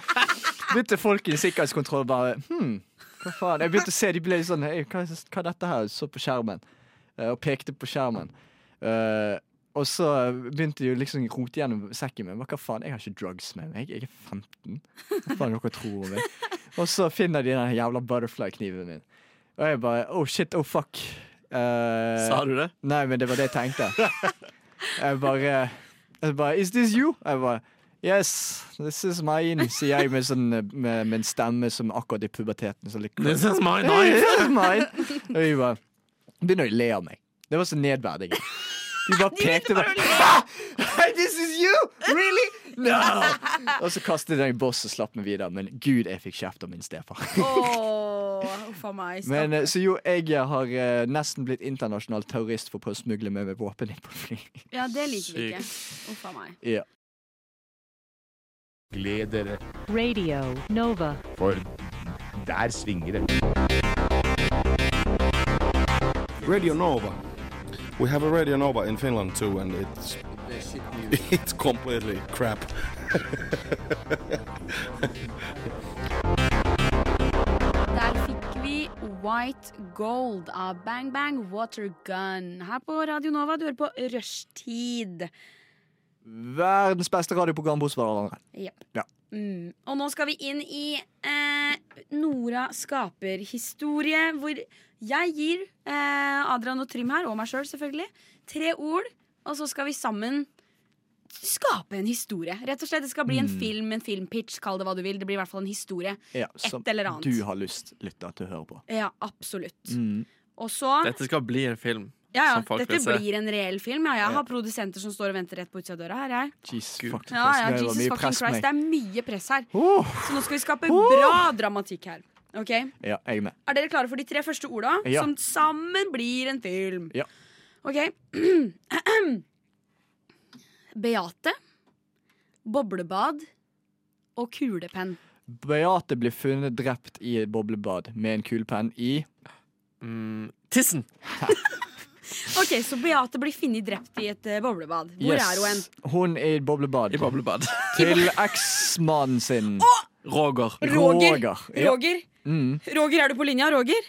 [SPEAKER 2] begynte folk i sikkerhetskontroll bare Hm, hva faen? Jeg begynte å se, de ble sånn «Hei, hva, hva er dette her? Så på skjermen. eh, Og pekte på skjermen. Eh, og så begynte de å liksom rote gjennom sekken min. Hva hva faen, jeg har ikke drugs med meg. Jeg er 15. Hva faen dere tror om meg? Og så finner de den jævla butterfly-kniven min. Og jeg bare oh shit, oh fuck. Eh,
[SPEAKER 3] Sa du det?
[SPEAKER 2] Nei, men det var det jeg tenkte. Jeg bare, jeg bare Is this you? Jeg bare Yes, this is mine, sier jeg med, sånn, eh, med, med en stemme som akkurat i puberteten. Så litt,
[SPEAKER 3] This is my
[SPEAKER 2] Nei,
[SPEAKER 3] knife!
[SPEAKER 2] det er mine. Og de bare begynner å le av meg. Det var så nedverdigende. De bare pekte bare «Ah! This is you! Really? No! Og så kastet de den i boss og slapp meg videre. Men gud, jeg fikk kjeft av min stefar.
[SPEAKER 4] Åh, uff a meg. stakkars.
[SPEAKER 2] Men, eh, så jo, jeg har eh, nesten blitt internasjonal terrorist for å prøve å smugle med meg våpen inn på fly.
[SPEAKER 4] ja, det liker vi ikke. Uff a meg.
[SPEAKER 2] Ja.
[SPEAKER 10] Gled dere,
[SPEAKER 1] Radio Nova.
[SPEAKER 10] for der svinger det. Radio Nova. We have a Radio Nova in Finland too, and it's it's completely crap.
[SPEAKER 4] Der fikk vi White Gold av Bang Bang Water Gun. Her på Radio Nova, du hører på Rushtid.
[SPEAKER 2] Verdens beste radioprogram hos hverandre.
[SPEAKER 4] Jepp.
[SPEAKER 2] Ja.
[SPEAKER 4] Mm. Og nå skal vi inn i eh, Nora skaper historie, hvor jeg gir eh, Adrian og Trym her, og meg sjøl selv, selvfølgelig, tre ord, og så skal vi sammen skape en historie. Rett og slett, Det skal bli en film, en filmpitch, kall det hva du vil. Det blir i hvert fall en historie.
[SPEAKER 2] Ja,
[SPEAKER 4] Et
[SPEAKER 2] som
[SPEAKER 4] eller annet.
[SPEAKER 2] du har lyst, lytter, til å høre på.
[SPEAKER 4] Ja, absolutt.
[SPEAKER 2] Mm.
[SPEAKER 4] Og så
[SPEAKER 3] Dette skal bli en film.
[SPEAKER 4] ja, ja,
[SPEAKER 3] som folk
[SPEAKER 4] Dette
[SPEAKER 3] vil se.
[SPEAKER 4] blir en reell film. Ja, jeg
[SPEAKER 2] Ja.
[SPEAKER 4] har produsenter som står og venter rett på utsida av døra her. Jeg.
[SPEAKER 2] Jesus
[SPEAKER 3] Gud.
[SPEAKER 2] fucking
[SPEAKER 4] Ja, ja,
[SPEAKER 2] Christ, det var
[SPEAKER 4] Jesus
[SPEAKER 2] mye
[SPEAKER 4] fucking
[SPEAKER 2] press på
[SPEAKER 4] Christ.
[SPEAKER 2] meg.
[SPEAKER 4] Det er mye press her.
[SPEAKER 2] Åh!
[SPEAKER 4] Så nå skal vi skape
[SPEAKER 2] Oh!
[SPEAKER 4] bra dramatikk her. Ok? Er
[SPEAKER 2] Ja, jeg er med.
[SPEAKER 4] dere klare for de tre første orda,
[SPEAKER 2] Ja.
[SPEAKER 4] som sammen blir en film?
[SPEAKER 2] Ja.
[SPEAKER 4] OK. Beate, boblebad og kulepenn.
[SPEAKER 2] Beate blir funnet drept i et boblebad med en kulepenn i
[SPEAKER 3] Mm, Tissen!
[SPEAKER 4] OK, så Beate blir funnet drept i et eh, boblebad. Hvor er hun hen?
[SPEAKER 2] Hun er i et boblebad.
[SPEAKER 3] I boblebad.
[SPEAKER 2] Til eksmannen sin.
[SPEAKER 3] Roger.
[SPEAKER 4] Roger.
[SPEAKER 2] Roger, ja.
[SPEAKER 4] Roger.
[SPEAKER 2] Mm.
[SPEAKER 4] Roger, er du på linja? Roger?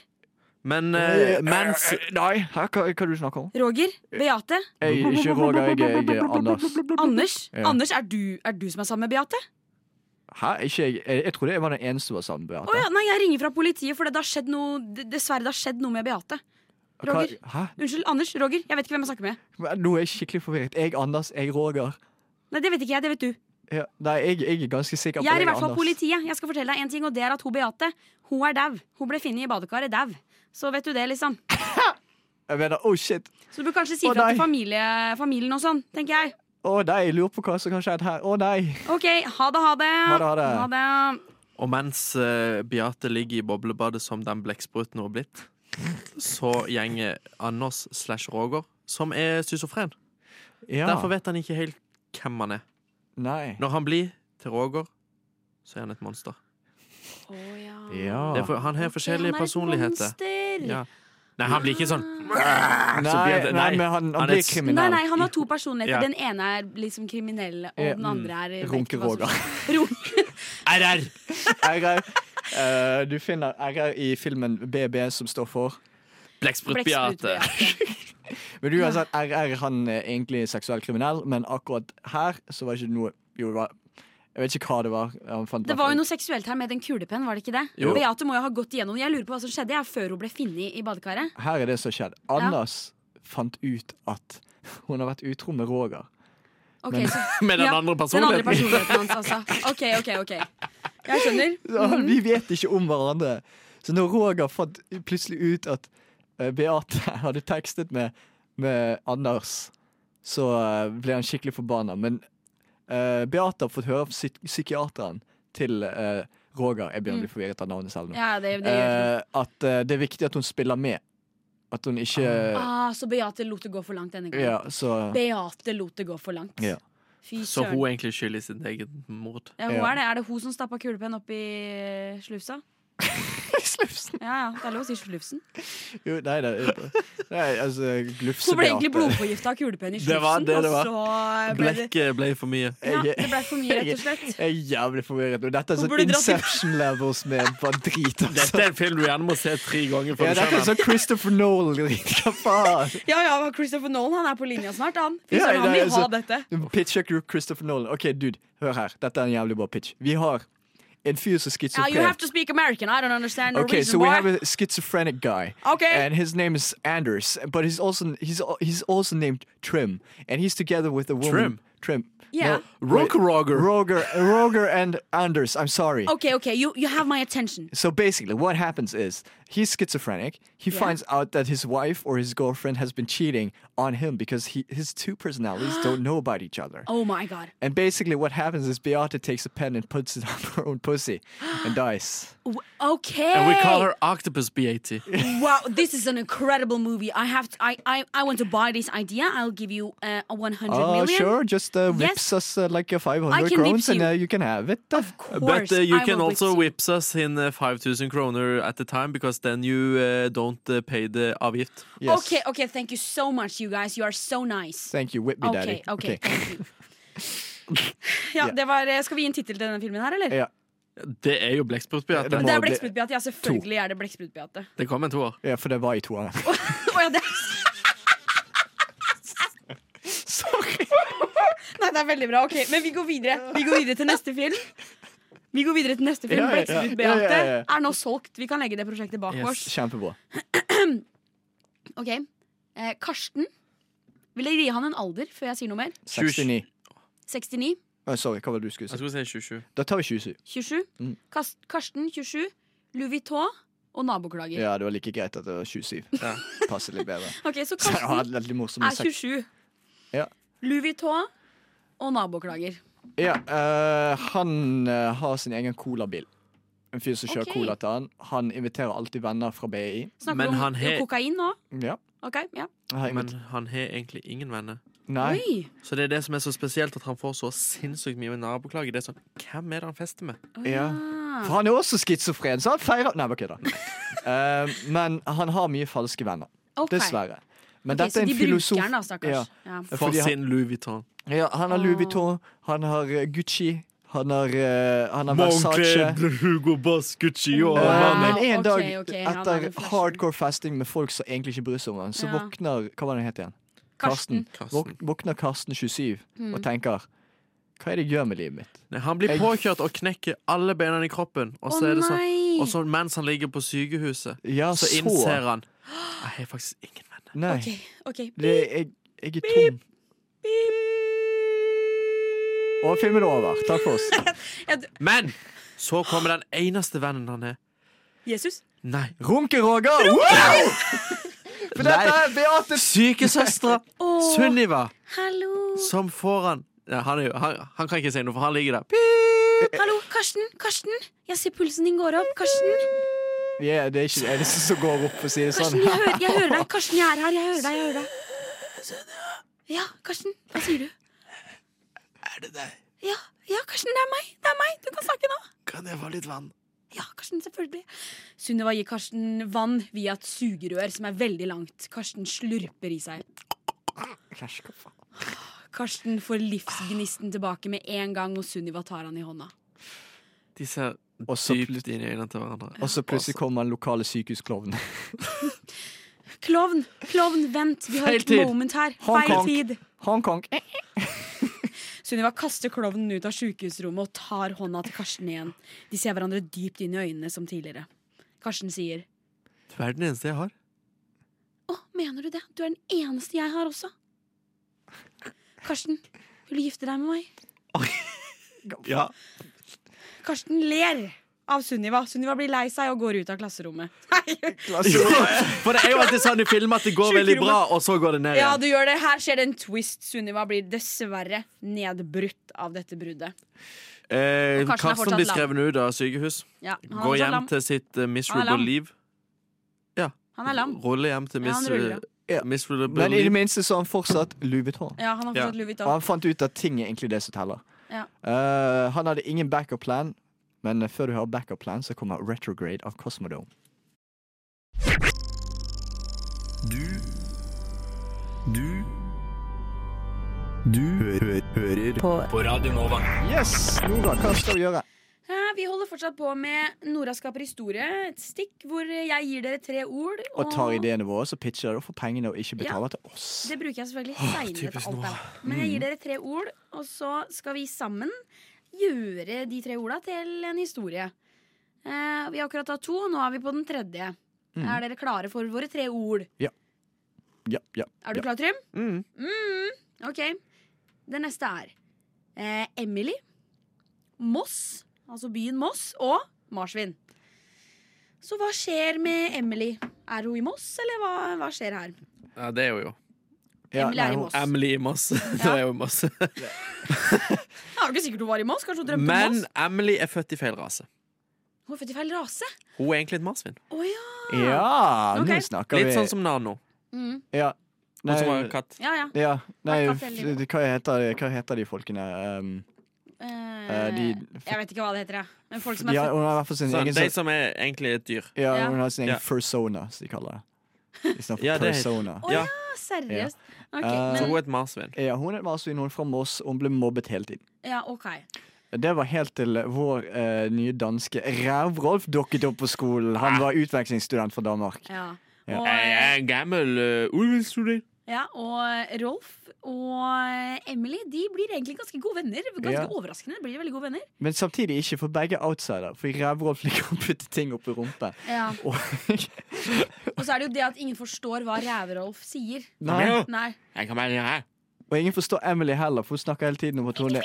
[SPEAKER 3] Men eh, mens
[SPEAKER 2] Nei, hæ, hva, hva du snakker om?
[SPEAKER 4] Roger? Beate?
[SPEAKER 2] Jeg er ikke Roger, jeg er, jeg er Anders.
[SPEAKER 4] Anders?
[SPEAKER 2] Ja.
[SPEAKER 4] Anders, er du, er du som er sammen med Beate?
[SPEAKER 2] Hæ? Ikke jeg. Jeg, jeg trodde jeg var den eneste som var sammen med
[SPEAKER 4] Å
[SPEAKER 2] Beate.
[SPEAKER 4] ja, nei, jeg ringer fra politiet, for det har skjedd noe d- Dessverre, det har skjedd noe med Beate. Roger.
[SPEAKER 2] Hva- Hæ?
[SPEAKER 4] Unnskyld, Anders. Roger. Jeg vet ikke hvem jeg snakker med.
[SPEAKER 2] Men Nå er jeg skikkelig forvirret. Jeg Anders, jeg Roger.
[SPEAKER 4] Nei, det vet ikke jeg. Det vet du.
[SPEAKER 2] Ja, nei, jeg, jeg er ganske sikker på
[SPEAKER 4] Jeg er i
[SPEAKER 2] jeg
[SPEAKER 4] hvert fall
[SPEAKER 2] Anders.
[SPEAKER 4] politiet. Jeg skal fortelle deg en ting, og det er at hun Beate, hun er dau. Hun ble funnet i badekaret dau. Så vet du det, liksom.
[SPEAKER 2] Jeg mener, oh shit.
[SPEAKER 4] Så du bør kanskje si
[SPEAKER 2] Å,
[SPEAKER 4] ifra til
[SPEAKER 2] nei.
[SPEAKER 4] familie, familien og sånn, tenker jeg.
[SPEAKER 2] Å nei, jeg lurer på hva som kan skje her. Å nei.
[SPEAKER 4] OK, ha det, ha det.
[SPEAKER 2] Ha det, ha det.
[SPEAKER 3] Og mens eh, Beate ligger i boblebadet som den blekkspruten hun har blitt, så gjenger Anders slash Roger, som er schizofren.
[SPEAKER 2] Ja.
[SPEAKER 3] Derfor vet han ikke helt hvem han er.
[SPEAKER 2] Nei.
[SPEAKER 3] Når han blir til Roger, så er han et monster.
[SPEAKER 4] Å ja.
[SPEAKER 2] Ja.
[SPEAKER 3] Det er for, han har forskjellige
[SPEAKER 4] Han er et
[SPEAKER 3] personligheter.
[SPEAKER 4] monster.
[SPEAKER 3] Ja. Nei, han blir ikke sånn
[SPEAKER 2] Nei,
[SPEAKER 3] så blir
[SPEAKER 2] nei,
[SPEAKER 3] det- nei,
[SPEAKER 2] men han,
[SPEAKER 3] han
[SPEAKER 2] han
[SPEAKER 3] er
[SPEAKER 2] blir
[SPEAKER 3] et-
[SPEAKER 2] kriminell.
[SPEAKER 4] Nei, nei, han har to personligheter.
[SPEAKER 3] Ja.
[SPEAKER 4] Den ene er liksom kriminell, og
[SPEAKER 2] Ja,
[SPEAKER 4] den andre
[SPEAKER 2] mm.
[SPEAKER 4] er jeg vet ikke hva som
[SPEAKER 2] Runke-Roger.
[SPEAKER 4] skjer. Runke.
[SPEAKER 3] RR!
[SPEAKER 2] RR. eh, du finner RR i filmen BB som står for.
[SPEAKER 3] Blekksprut-Beate.
[SPEAKER 4] Blekksprut-Beate.
[SPEAKER 2] Men du har sett RR han er egentlig seksuell kriminell, men akkurat her så var ikke det noe Jo, det var Jeg vet ikke hva det var. Han fant
[SPEAKER 4] Det var jo noe seksuelt her med den kulepenn, var det ikke det?
[SPEAKER 2] Jo.
[SPEAKER 4] Beate må jo ha gått igjennom Jeg lurer på hva som skjedde jeg, før hun ble funnet i badekaret.
[SPEAKER 2] Her er det som skjedde. Anders fant ut at hun har vært utro med Roger.
[SPEAKER 4] Ok,
[SPEAKER 2] Men-
[SPEAKER 4] så,
[SPEAKER 3] Med den
[SPEAKER 4] Ja,
[SPEAKER 3] andre
[SPEAKER 4] den
[SPEAKER 3] personligheten.
[SPEAKER 4] andre personligheten hans, altså. OK, OK, ok. Jeg skjønner. Mhm.
[SPEAKER 2] Ja, Vi vet ikke om hverandre. Så når Roger fant plutselig ut at eh, Beate hadde tekstet med, med Anders, så eh, ble han skikkelig forbanna. Men eh, Beate har fått høre fra psy- psykiateren til eh, Roger Jeg begynner å bli forvirret av navnet selv nå.
[SPEAKER 4] Mm. Ja, det, det gjør det.
[SPEAKER 2] Eh, at eh, det er viktig at hun spiller med. At hun ikke
[SPEAKER 4] Ah, så Beate lot det gå for langt denne
[SPEAKER 2] Eh, Ja,
[SPEAKER 4] gangen.
[SPEAKER 2] så
[SPEAKER 4] Beate lot det gå for langt.
[SPEAKER 2] Ja.
[SPEAKER 4] Fy
[SPEAKER 3] Så hun
[SPEAKER 4] søren.
[SPEAKER 3] er egentlig skyld i sitt eget mord.
[SPEAKER 4] Ja, hun
[SPEAKER 2] Ja.
[SPEAKER 4] er, det. er det hun som stappa kulepenn opp i slusa?
[SPEAKER 2] Slufsen.
[SPEAKER 4] Ja ja, det er lov å si slufsen.
[SPEAKER 2] Jo, nei, det Nei, altså Glufse-Beate.
[SPEAKER 4] Hun ble egentlig blodforgifta av kulepenn i
[SPEAKER 3] Det var
[SPEAKER 4] slufsen,
[SPEAKER 3] det det var.
[SPEAKER 4] og så ble det
[SPEAKER 3] Blekket ble for mye.
[SPEAKER 4] ja, Det ble for mye, rett og slett.
[SPEAKER 2] Jeg er jævlig forvirret. Og dette er
[SPEAKER 4] Hun
[SPEAKER 2] sånn
[SPEAKER 4] burde dratt til-
[SPEAKER 2] Inception levels med bare drit.
[SPEAKER 3] Dette
[SPEAKER 2] Altså.
[SPEAKER 3] er en film du gjerne må se tre ganger
[SPEAKER 2] Ja,
[SPEAKER 3] før du
[SPEAKER 2] dette er
[SPEAKER 3] skjønner.
[SPEAKER 2] sånn Christopher Nolan-drit. Hva faen?
[SPEAKER 4] Ja ja, Christopher Nolan han er på linja snart, han. Fy
[SPEAKER 2] Ja,
[SPEAKER 4] søren, han
[SPEAKER 2] det er
[SPEAKER 4] vil ha
[SPEAKER 2] så-
[SPEAKER 4] dette.
[SPEAKER 2] Pitcher du Christopher Nolan? OK, dude, hør her. Dette er en jævlig bra pitch. Vi har en fyr som er
[SPEAKER 4] Yeah, you have
[SPEAKER 2] schizofren.
[SPEAKER 4] to speak American. I don't understand
[SPEAKER 2] Okay,
[SPEAKER 4] Norwegian,
[SPEAKER 2] so we
[SPEAKER 4] boy.
[SPEAKER 2] have a schizophrenic guy,
[SPEAKER 4] Okay.
[SPEAKER 2] and his name is Anders, but he's also he's al- he's also named Trim, and he's together with a woman.
[SPEAKER 3] Trim?
[SPEAKER 2] Trim.
[SPEAKER 4] Yeah.
[SPEAKER 2] wait.
[SPEAKER 3] Roker Roger.
[SPEAKER 2] Roger, Roger, and Anders. I'm sorry.
[SPEAKER 4] Okay, okay, you, you have my attention.
[SPEAKER 2] So basically, what happens is he's schizophrenic. He
[SPEAKER 4] Yeah.
[SPEAKER 2] finds out that his wife or his girlfriend has been cheating on him because he, his two personalities don't know about each other.
[SPEAKER 4] Oh my god.
[SPEAKER 2] And basically, what happens is Beata takes a pen and puts it on her own pussy and dies.
[SPEAKER 4] W- Okay.
[SPEAKER 3] And we call her Octopus B80.
[SPEAKER 4] Wow, this is an incredible movie. I have to, I, I I want to buy this idea. I'll give you uh, a 100
[SPEAKER 2] Oh,
[SPEAKER 4] million.
[SPEAKER 2] sure. Just uh,
[SPEAKER 4] Yes.
[SPEAKER 2] whips us uh, like a
[SPEAKER 4] I
[SPEAKER 2] 500
[SPEAKER 4] can whip
[SPEAKER 2] crowns and
[SPEAKER 4] you.
[SPEAKER 2] uh, you can have it. Of
[SPEAKER 3] But
[SPEAKER 4] Of course,
[SPEAKER 3] uh, you
[SPEAKER 4] I
[SPEAKER 3] can
[SPEAKER 4] will with
[SPEAKER 3] also
[SPEAKER 4] you.
[SPEAKER 3] whips us in uh, 5000 kroner at the time, because then you uh, don't uh, pay the avgift.
[SPEAKER 2] Yes.
[SPEAKER 4] Okay, okay, thank you so much, you guys. You are so nice.
[SPEAKER 2] Thank you. Whip me,
[SPEAKER 4] okay,
[SPEAKER 2] daddy.
[SPEAKER 4] okay, thank you. Ja, det var, eh, Skal vi gi en tittel til denne filmen her, eller?
[SPEAKER 2] Ja,
[SPEAKER 3] Det er jo Blekksprut-Beate.
[SPEAKER 4] Det
[SPEAKER 2] må-
[SPEAKER 4] er Blekksprut-Beate. Ja, selvfølgelig er det Blekksprut-Beate.
[SPEAKER 3] Det kom en toer.
[SPEAKER 2] Ja, for det var i toeren.
[SPEAKER 4] Å ja, det er
[SPEAKER 2] Sorry.
[SPEAKER 4] Nei, det er veldig bra. Ok, Men vi går videre Vi går videre til neste film. Vi går videre til neste film.
[SPEAKER 2] Ja, ja, ja. Ja,
[SPEAKER 4] Blekksprut
[SPEAKER 2] ja,
[SPEAKER 4] Beate
[SPEAKER 2] ja, ja.
[SPEAKER 4] er nå solgt. Vi kan legge det prosjektet bak
[SPEAKER 3] Yes.
[SPEAKER 4] oss.
[SPEAKER 2] Kjempebra.
[SPEAKER 4] Ok, eh, Karsten. Vil dere gi han en alder før jeg sier noe mer?
[SPEAKER 2] 69.
[SPEAKER 4] 69?
[SPEAKER 2] Å, Oh, sorry, hva var det du skulle
[SPEAKER 3] Jeg
[SPEAKER 2] si?
[SPEAKER 3] skulle si 27.
[SPEAKER 2] Da tar vi 27.
[SPEAKER 4] 27?
[SPEAKER 2] Mm.
[SPEAKER 4] Kas- Karsten, 27. Louis Vuitton og naboklager.
[SPEAKER 2] Ja, det var like greit at det var 27.
[SPEAKER 3] Ja.
[SPEAKER 2] Passer litt bedre.
[SPEAKER 4] Ok, Så
[SPEAKER 2] Så det var
[SPEAKER 4] Karsten
[SPEAKER 2] veldig morsomt.
[SPEAKER 4] er
[SPEAKER 2] med seks-
[SPEAKER 4] 27.
[SPEAKER 2] Ja.
[SPEAKER 4] Louis Vuitton og naboklager.
[SPEAKER 2] Ja, eh, han eh, har sin egen colabil. En fyr som kjører
[SPEAKER 4] Ok.
[SPEAKER 2] cola til han. Han inviterer alltid venner fra BI.
[SPEAKER 4] Snakker
[SPEAKER 3] Men
[SPEAKER 4] du
[SPEAKER 3] han
[SPEAKER 4] om
[SPEAKER 3] he-
[SPEAKER 4] kokain nå?
[SPEAKER 2] Ja.
[SPEAKER 4] OK, ja.
[SPEAKER 3] Men han har egentlig ingen venner.
[SPEAKER 2] Nei.
[SPEAKER 4] Oi.
[SPEAKER 3] Så det er det som er så spesielt, at han får så sinnssykt mye med naboklager. Det er sånn, Hvem er det han fester med?
[SPEAKER 2] Ja. For han er også schizofren, så han feirer Nei, bare kødda. Eh, men han har mye falske venner.
[SPEAKER 4] Ok.
[SPEAKER 2] Dessverre. Men
[SPEAKER 4] Ok,
[SPEAKER 2] dette
[SPEAKER 4] så
[SPEAKER 2] er en
[SPEAKER 4] de bruker
[SPEAKER 2] filosof...
[SPEAKER 4] den da, stakkars. Ja.
[SPEAKER 3] For
[SPEAKER 2] Fordi han-
[SPEAKER 3] sin Louis Vuitton.
[SPEAKER 2] Ja, han har Louis Vuitton, han har eh, Gucci, han har, eh, han har Versace.
[SPEAKER 3] Hugo Boss, Gucci og
[SPEAKER 2] Eh,
[SPEAKER 3] Armani.
[SPEAKER 2] men en
[SPEAKER 4] ok,
[SPEAKER 2] dag
[SPEAKER 4] ok, han har
[SPEAKER 2] etter
[SPEAKER 4] en flashen.
[SPEAKER 2] hardcore fasting med folk som egentlig ikke bryr seg om han, så
[SPEAKER 4] Ja.
[SPEAKER 2] våkner Hva var det han het igjen?
[SPEAKER 4] Karsten. Mm.
[SPEAKER 3] Karsten.
[SPEAKER 2] Våk- Våkner Karsten 27 og tenker Hva er det jeg gjør med livet mitt?
[SPEAKER 3] Nei, Han blir
[SPEAKER 2] Jeg-
[SPEAKER 3] påkjørt og knekker alle beina i kroppen. Og så
[SPEAKER 4] Å,
[SPEAKER 3] er det sånn,
[SPEAKER 4] nei.
[SPEAKER 3] og så mens han ligger på sykehuset,
[SPEAKER 2] Ja,
[SPEAKER 3] så innser han Jeg har faktisk ingen venner.
[SPEAKER 2] Nei,
[SPEAKER 4] OK. ok
[SPEAKER 2] det, jeg, jeg er tom. Og filmen er over. Takk for oss.
[SPEAKER 3] Men så kommer den eneste vennen han har.
[SPEAKER 4] Jesus.
[SPEAKER 3] Nei.
[SPEAKER 2] Runke-Roger! Wow! For dette er Beate
[SPEAKER 3] Sykesøstera
[SPEAKER 4] Åh.
[SPEAKER 3] Sunniva
[SPEAKER 4] Hallo.
[SPEAKER 3] som får han ja, han, er jo, han, han kan ikke si noe, for han ligger der.
[SPEAKER 4] Hallo, Karsten. Karsten. Jeg ser pulsen din går opp. Karsten,
[SPEAKER 2] Ja, det er ikke det eneste som går opp, for å si det sånn.
[SPEAKER 4] Karsten jeg, hører, jeg hører deg. Karsten, jeg er her. Jeg hører deg. Jeg hører deg. Ja, Karsten. Hva sier du?
[SPEAKER 3] Er det deg?
[SPEAKER 4] Ja, ja, Karsten, det er meg. Det er meg. Du kan snakke nå.
[SPEAKER 3] Kan jeg få litt vann?
[SPEAKER 4] Ja, Karsten, selvfølgelig. Sunniva gir Karsten vann via et sugerør som er veldig langt. Karsten slurper i seg. Karsten får livsgnisten tilbake med en gang, og Sunniva tar han i hånda.
[SPEAKER 3] De ser
[SPEAKER 2] Og så
[SPEAKER 3] dypt
[SPEAKER 2] plut-
[SPEAKER 3] inn i øynene til hverandre.
[SPEAKER 2] Og så plutselig kommer den lokale sykehusklovnen.
[SPEAKER 4] Klovn! Klovn, vent! Vi har
[SPEAKER 3] Feil
[SPEAKER 4] et
[SPEAKER 3] tid.
[SPEAKER 4] moment her.
[SPEAKER 2] Hong
[SPEAKER 4] Feil
[SPEAKER 2] Kong.
[SPEAKER 4] tid.
[SPEAKER 2] Hongkong.
[SPEAKER 4] Sunniva kaster klovnen ut av sykehusrommet og tar hånda til Karsten igjen. De ser hverandre dypt inn i øynene som tidligere. Karsten sier
[SPEAKER 3] Du er den eneste jeg har.
[SPEAKER 4] Å, mener du det? Du er den eneste jeg har også. Karsten, vil du gifte deg med meg?
[SPEAKER 3] Ja.
[SPEAKER 4] Karsten ler av Sunniva. Sunniva blir lei seg og går ut av klasserommet.
[SPEAKER 3] For det er jo alltid sånn i film at det går veldig bra, og så går det ned
[SPEAKER 4] Ja,
[SPEAKER 3] igjen.
[SPEAKER 4] du gjør det. Her skjer det en twist. Sunniva blir dessverre nedbrutt av dette bruddet.
[SPEAKER 3] Eh,
[SPEAKER 4] Og Karsten er
[SPEAKER 3] Karsten
[SPEAKER 4] fortsatt
[SPEAKER 3] blir
[SPEAKER 4] lam.
[SPEAKER 3] skrevet ut av sykehus.
[SPEAKER 4] Ja, han er
[SPEAKER 3] Går
[SPEAKER 4] fortsatt
[SPEAKER 3] hjem
[SPEAKER 4] lam.
[SPEAKER 3] til sitt eh,
[SPEAKER 4] Han er
[SPEAKER 3] miserable
[SPEAKER 4] lam.
[SPEAKER 3] liv. Ja.
[SPEAKER 4] Han er lam.
[SPEAKER 3] Ruller hjem til
[SPEAKER 4] Ja, han
[SPEAKER 3] mis
[SPEAKER 4] ruller,
[SPEAKER 2] ja.
[SPEAKER 3] miserable
[SPEAKER 2] Men i det
[SPEAKER 3] liv.
[SPEAKER 2] minste så har han fortsatt Louis Vuitton.
[SPEAKER 4] Ja, han har
[SPEAKER 3] Ja.
[SPEAKER 4] fortsatt Louis
[SPEAKER 2] Og
[SPEAKER 4] Vuitton.
[SPEAKER 2] han fant ut at ting er egentlig det som teller.
[SPEAKER 4] Ja.
[SPEAKER 2] Eh, han hadde ingen backup plan, men eh, før du hører backup plan, så kommer Retrograde av Cosmodome.
[SPEAKER 7] Du Du Du hø hø hører på. Radio Nova.
[SPEAKER 2] Yes! Nora, hva skal vi gjøre?
[SPEAKER 4] Eh, Vi holder fortsatt på med Nora skaper historie, et stikk hvor jeg gir dere tre ord.
[SPEAKER 2] Og tar ideene våre, så pitcher dere og får pengene og ikke betaler til oss.
[SPEAKER 4] Det bruker jeg selvfølgelig seinere til alt. er verdt. Men jeg
[SPEAKER 3] Mm.
[SPEAKER 4] gir dere tre ord, og så skal vi sammen gjøre de tre orda til en historie. Eh, vi har akkurat hatt to, nå er vi på den tredje.
[SPEAKER 3] Mm.
[SPEAKER 4] Er dere klare for våre tre ord?
[SPEAKER 2] Ja, ja,
[SPEAKER 4] Er du
[SPEAKER 2] ja.
[SPEAKER 4] klar, Trym?
[SPEAKER 3] Mm.
[SPEAKER 4] Ok. Det neste er eh, Emily, Moss, altså byen Moss, og marsvin. Så hva skjer med Emily? Er hun i Moss, eller hva, hva skjer her?
[SPEAKER 3] Ja, det er jo jo.
[SPEAKER 2] Ja,
[SPEAKER 4] Emily er i
[SPEAKER 2] hun-
[SPEAKER 4] Moss.
[SPEAKER 3] Emily i Moss. Det er jo Moss.
[SPEAKER 4] Jeg er jo ikke sikkert hun var i Moss, kanskje hun drømte om
[SPEAKER 3] Men
[SPEAKER 4] Moss?
[SPEAKER 3] Emily er født i feil rase.
[SPEAKER 4] Hun er født i feil rase.
[SPEAKER 3] Hun er egentlig et marsvin.
[SPEAKER 4] Å ja.
[SPEAKER 2] Ja,
[SPEAKER 4] Ok.
[SPEAKER 2] nå snakker vi
[SPEAKER 3] Litt sånn som Nano.
[SPEAKER 4] Mm.
[SPEAKER 2] ja.
[SPEAKER 3] Hun som var
[SPEAKER 2] Nei,
[SPEAKER 3] en katt.
[SPEAKER 4] Ja, ja.
[SPEAKER 2] ja. Nei,
[SPEAKER 4] Hva
[SPEAKER 2] f-
[SPEAKER 4] katt er det?
[SPEAKER 2] hva heter, hva heter de folkene? Um,
[SPEAKER 4] Eh,
[SPEAKER 2] de-
[SPEAKER 4] jeg vet ikke hva det heter, jeg. Men folk som er
[SPEAKER 2] ja,
[SPEAKER 4] født
[SPEAKER 2] hun har i hvert fall sin
[SPEAKER 3] Sånn,
[SPEAKER 2] egen
[SPEAKER 3] de
[SPEAKER 2] sånn-
[SPEAKER 3] som er egentlig et dyr.
[SPEAKER 2] Ja,
[SPEAKER 4] Ja.
[SPEAKER 2] hun har sin egen
[SPEAKER 3] Ja.
[SPEAKER 2] persona, som de kaller det. Istedenfor
[SPEAKER 3] Ja, det er helt-
[SPEAKER 2] persona.
[SPEAKER 4] Å ja,
[SPEAKER 3] Ja.
[SPEAKER 4] seriøst? Ok,
[SPEAKER 2] Eh,
[SPEAKER 3] Så hun
[SPEAKER 4] men,
[SPEAKER 3] er et marsvin.
[SPEAKER 2] Ja, hun er et marsvin, hun er fra Moss, og hun ble mobbet hele tiden.
[SPEAKER 4] ja, ok.
[SPEAKER 2] Det var helt til vår eh, nye danske Rævrolf dukket opp på skolen. Han var utvekslingsstudent fra Danmark.
[SPEAKER 4] Ja.
[SPEAKER 2] Ja.
[SPEAKER 4] Og,
[SPEAKER 3] Jeg er en gammel uh, ulvestudent.
[SPEAKER 4] ja, og Rolf og Emily De blir egentlig ganske gode venner. Ganske
[SPEAKER 2] Ja.
[SPEAKER 4] overraskende. blir de veldig gode venner
[SPEAKER 2] Men samtidig ikke, for begge er outsider. For Rævrolf liker å putte ting opp i rumpen.
[SPEAKER 4] ja.
[SPEAKER 2] Og,
[SPEAKER 4] Og så er det jo det at ingen forstår hva Ræve-Rolf sier.
[SPEAKER 2] nei.
[SPEAKER 4] Nei.
[SPEAKER 3] Jeg kan være her.
[SPEAKER 2] og ingen forstår Emily heller, for hun snakker hele tiden om at hun er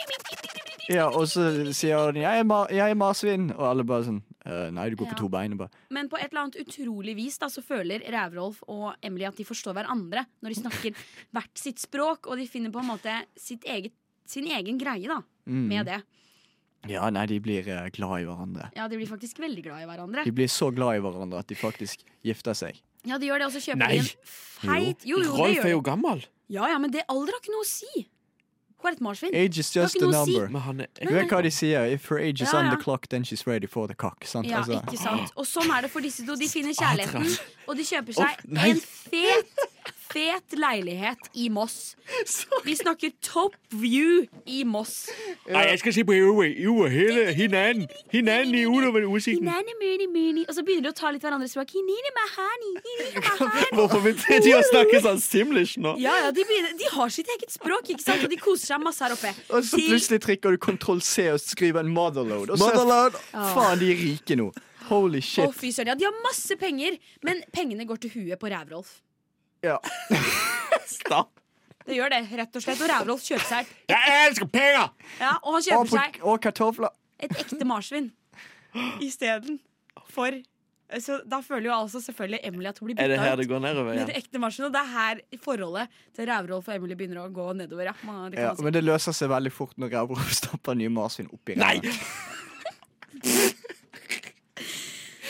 [SPEAKER 2] ja, Og så sier hun 'jeg er, ma jeg er marsvin', og alle bare sånn «Eh, 'Nei, du går på
[SPEAKER 4] Ja.
[SPEAKER 2] to bein'. Og bare
[SPEAKER 4] Men på et eller annet utrolig vis da, så føler Ræve-Rolf og Emily at de forstår hverandre når de snakker hvert sitt språk, og de finner på en måte sitt eget, sin egen greie da,
[SPEAKER 2] mm.
[SPEAKER 4] med det.
[SPEAKER 2] Ja, nei, de blir eh, glad i hverandre.
[SPEAKER 4] Ja, De blir faktisk veldig glad i hverandre.
[SPEAKER 2] De blir så glad i hverandre at de faktisk gifter seg.
[SPEAKER 4] Ja, de gjør det, og så kjøper
[SPEAKER 3] Nei.
[SPEAKER 4] de en feit Jo, jo, det
[SPEAKER 3] Rolf
[SPEAKER 4] gjør
[SPEAKER 3] er jo
[SPEAKER 4] de.
[SPEAKER 3] gammel.
[SPEAKER 4] Ja, ja, men det alder har ikke noe å si. Bare et marsvin.
[SPEAKER 2] Age is
[SPEAKER 4] Det har
[SPEAKER 2] just
[SPEAKER 4] ikke
[SPEAKER 2] a
[SPEAKER 4] noe å si.
[SPEAKER 2] number.
[SPEAKER 3] Men han er-
[SPEAKER 2] Du vet hva de sier? If her age is
[SPEAKER 4] Ja,
[SPEAKER 2] on
[SPEAKER 4] ja.
[SPEAKER 2] the clock, then she's ready for the cock. Sant?
[SPEAKER 4] Ja,
[SPEAKER 2] Altså-
[SPEAKER 4] ikke sant. Og sånn er det for disse to. De finner kjærligheten, og de kjøper seg
[SPEAKER 2] Å, nei.
[SPEAKER 4] en fet, fet leilighet i Moss. Vi snakker top view i Moss.
[SPEAKER 3] Nei, jeg skal se på Yue. Yue, hele hinanden. Hinanden i udover oversikten.
[SPEAKER 4] Hinani, muni, muni. Og så begynner de å ta litt hverandres språk. Hinini, mahani, hinini, mahani.
[SPEAKER 3] Hvorfor begynte de å snakke sånn simlish nå?
[SPEAKER 4] Ja, ja, de, begynner, de har sitt eget språk, ikke sant? og de koser seg masse her oppe.
[SPEAKER 2] Og så
[SPEAKER 4] Til-
[SPEAKER 2] plutselig trykker du kontroll C og skriver en motherload. Og så
[SPEAKER 4] Motherload.
[SPEAKER 2] Faen, de er rike nå. Holy
[SPEAKER 4] Å,
[SPEAKER 2] shit.
[SPEAKER 4] fy søren. Ja, de har masse penger, men pengene går til huet på Rævrolf.
[SPEAKER 2] Ja.
[SPEAKER 3] Stapp.
[SPEAKER 4] Det gjør det, rett og slett. Og Rævrolf kjøper seg,
[SPEAKER 3] Jeg elsker penger!
[SPEAKER 4] ja, og han
[SPEAKER 2] Og,
[SPEAKER 4] kjøper seg
[SPEAKER 2] på- og kartofler.
[SPEAKER 4] et ekte marsvin isteden. For så Da føler jo altså selvfølgelig Emily at hun blir
[SPEAKER 3] Er det
[SPEAKER 4] bytta
[SPEAKER 3] her
[SPEAKER 4] ut.
[SPEAKER 3] det går nedover
[SPEAKER 4] Med det
[SPEAKER 3] igjen?
[SPEAKER 4] ekte marsvin, og det er her forholdet til Rævrolf og Emily begynner å gå nedover. Ja. Man, det kan
[SPEAKER 2] Ja,
[SPEAKER 4] man si.
[SPEAKER 2] men det løser seg veldig fort når Rævrov stapper nye marsvin oppi ræva.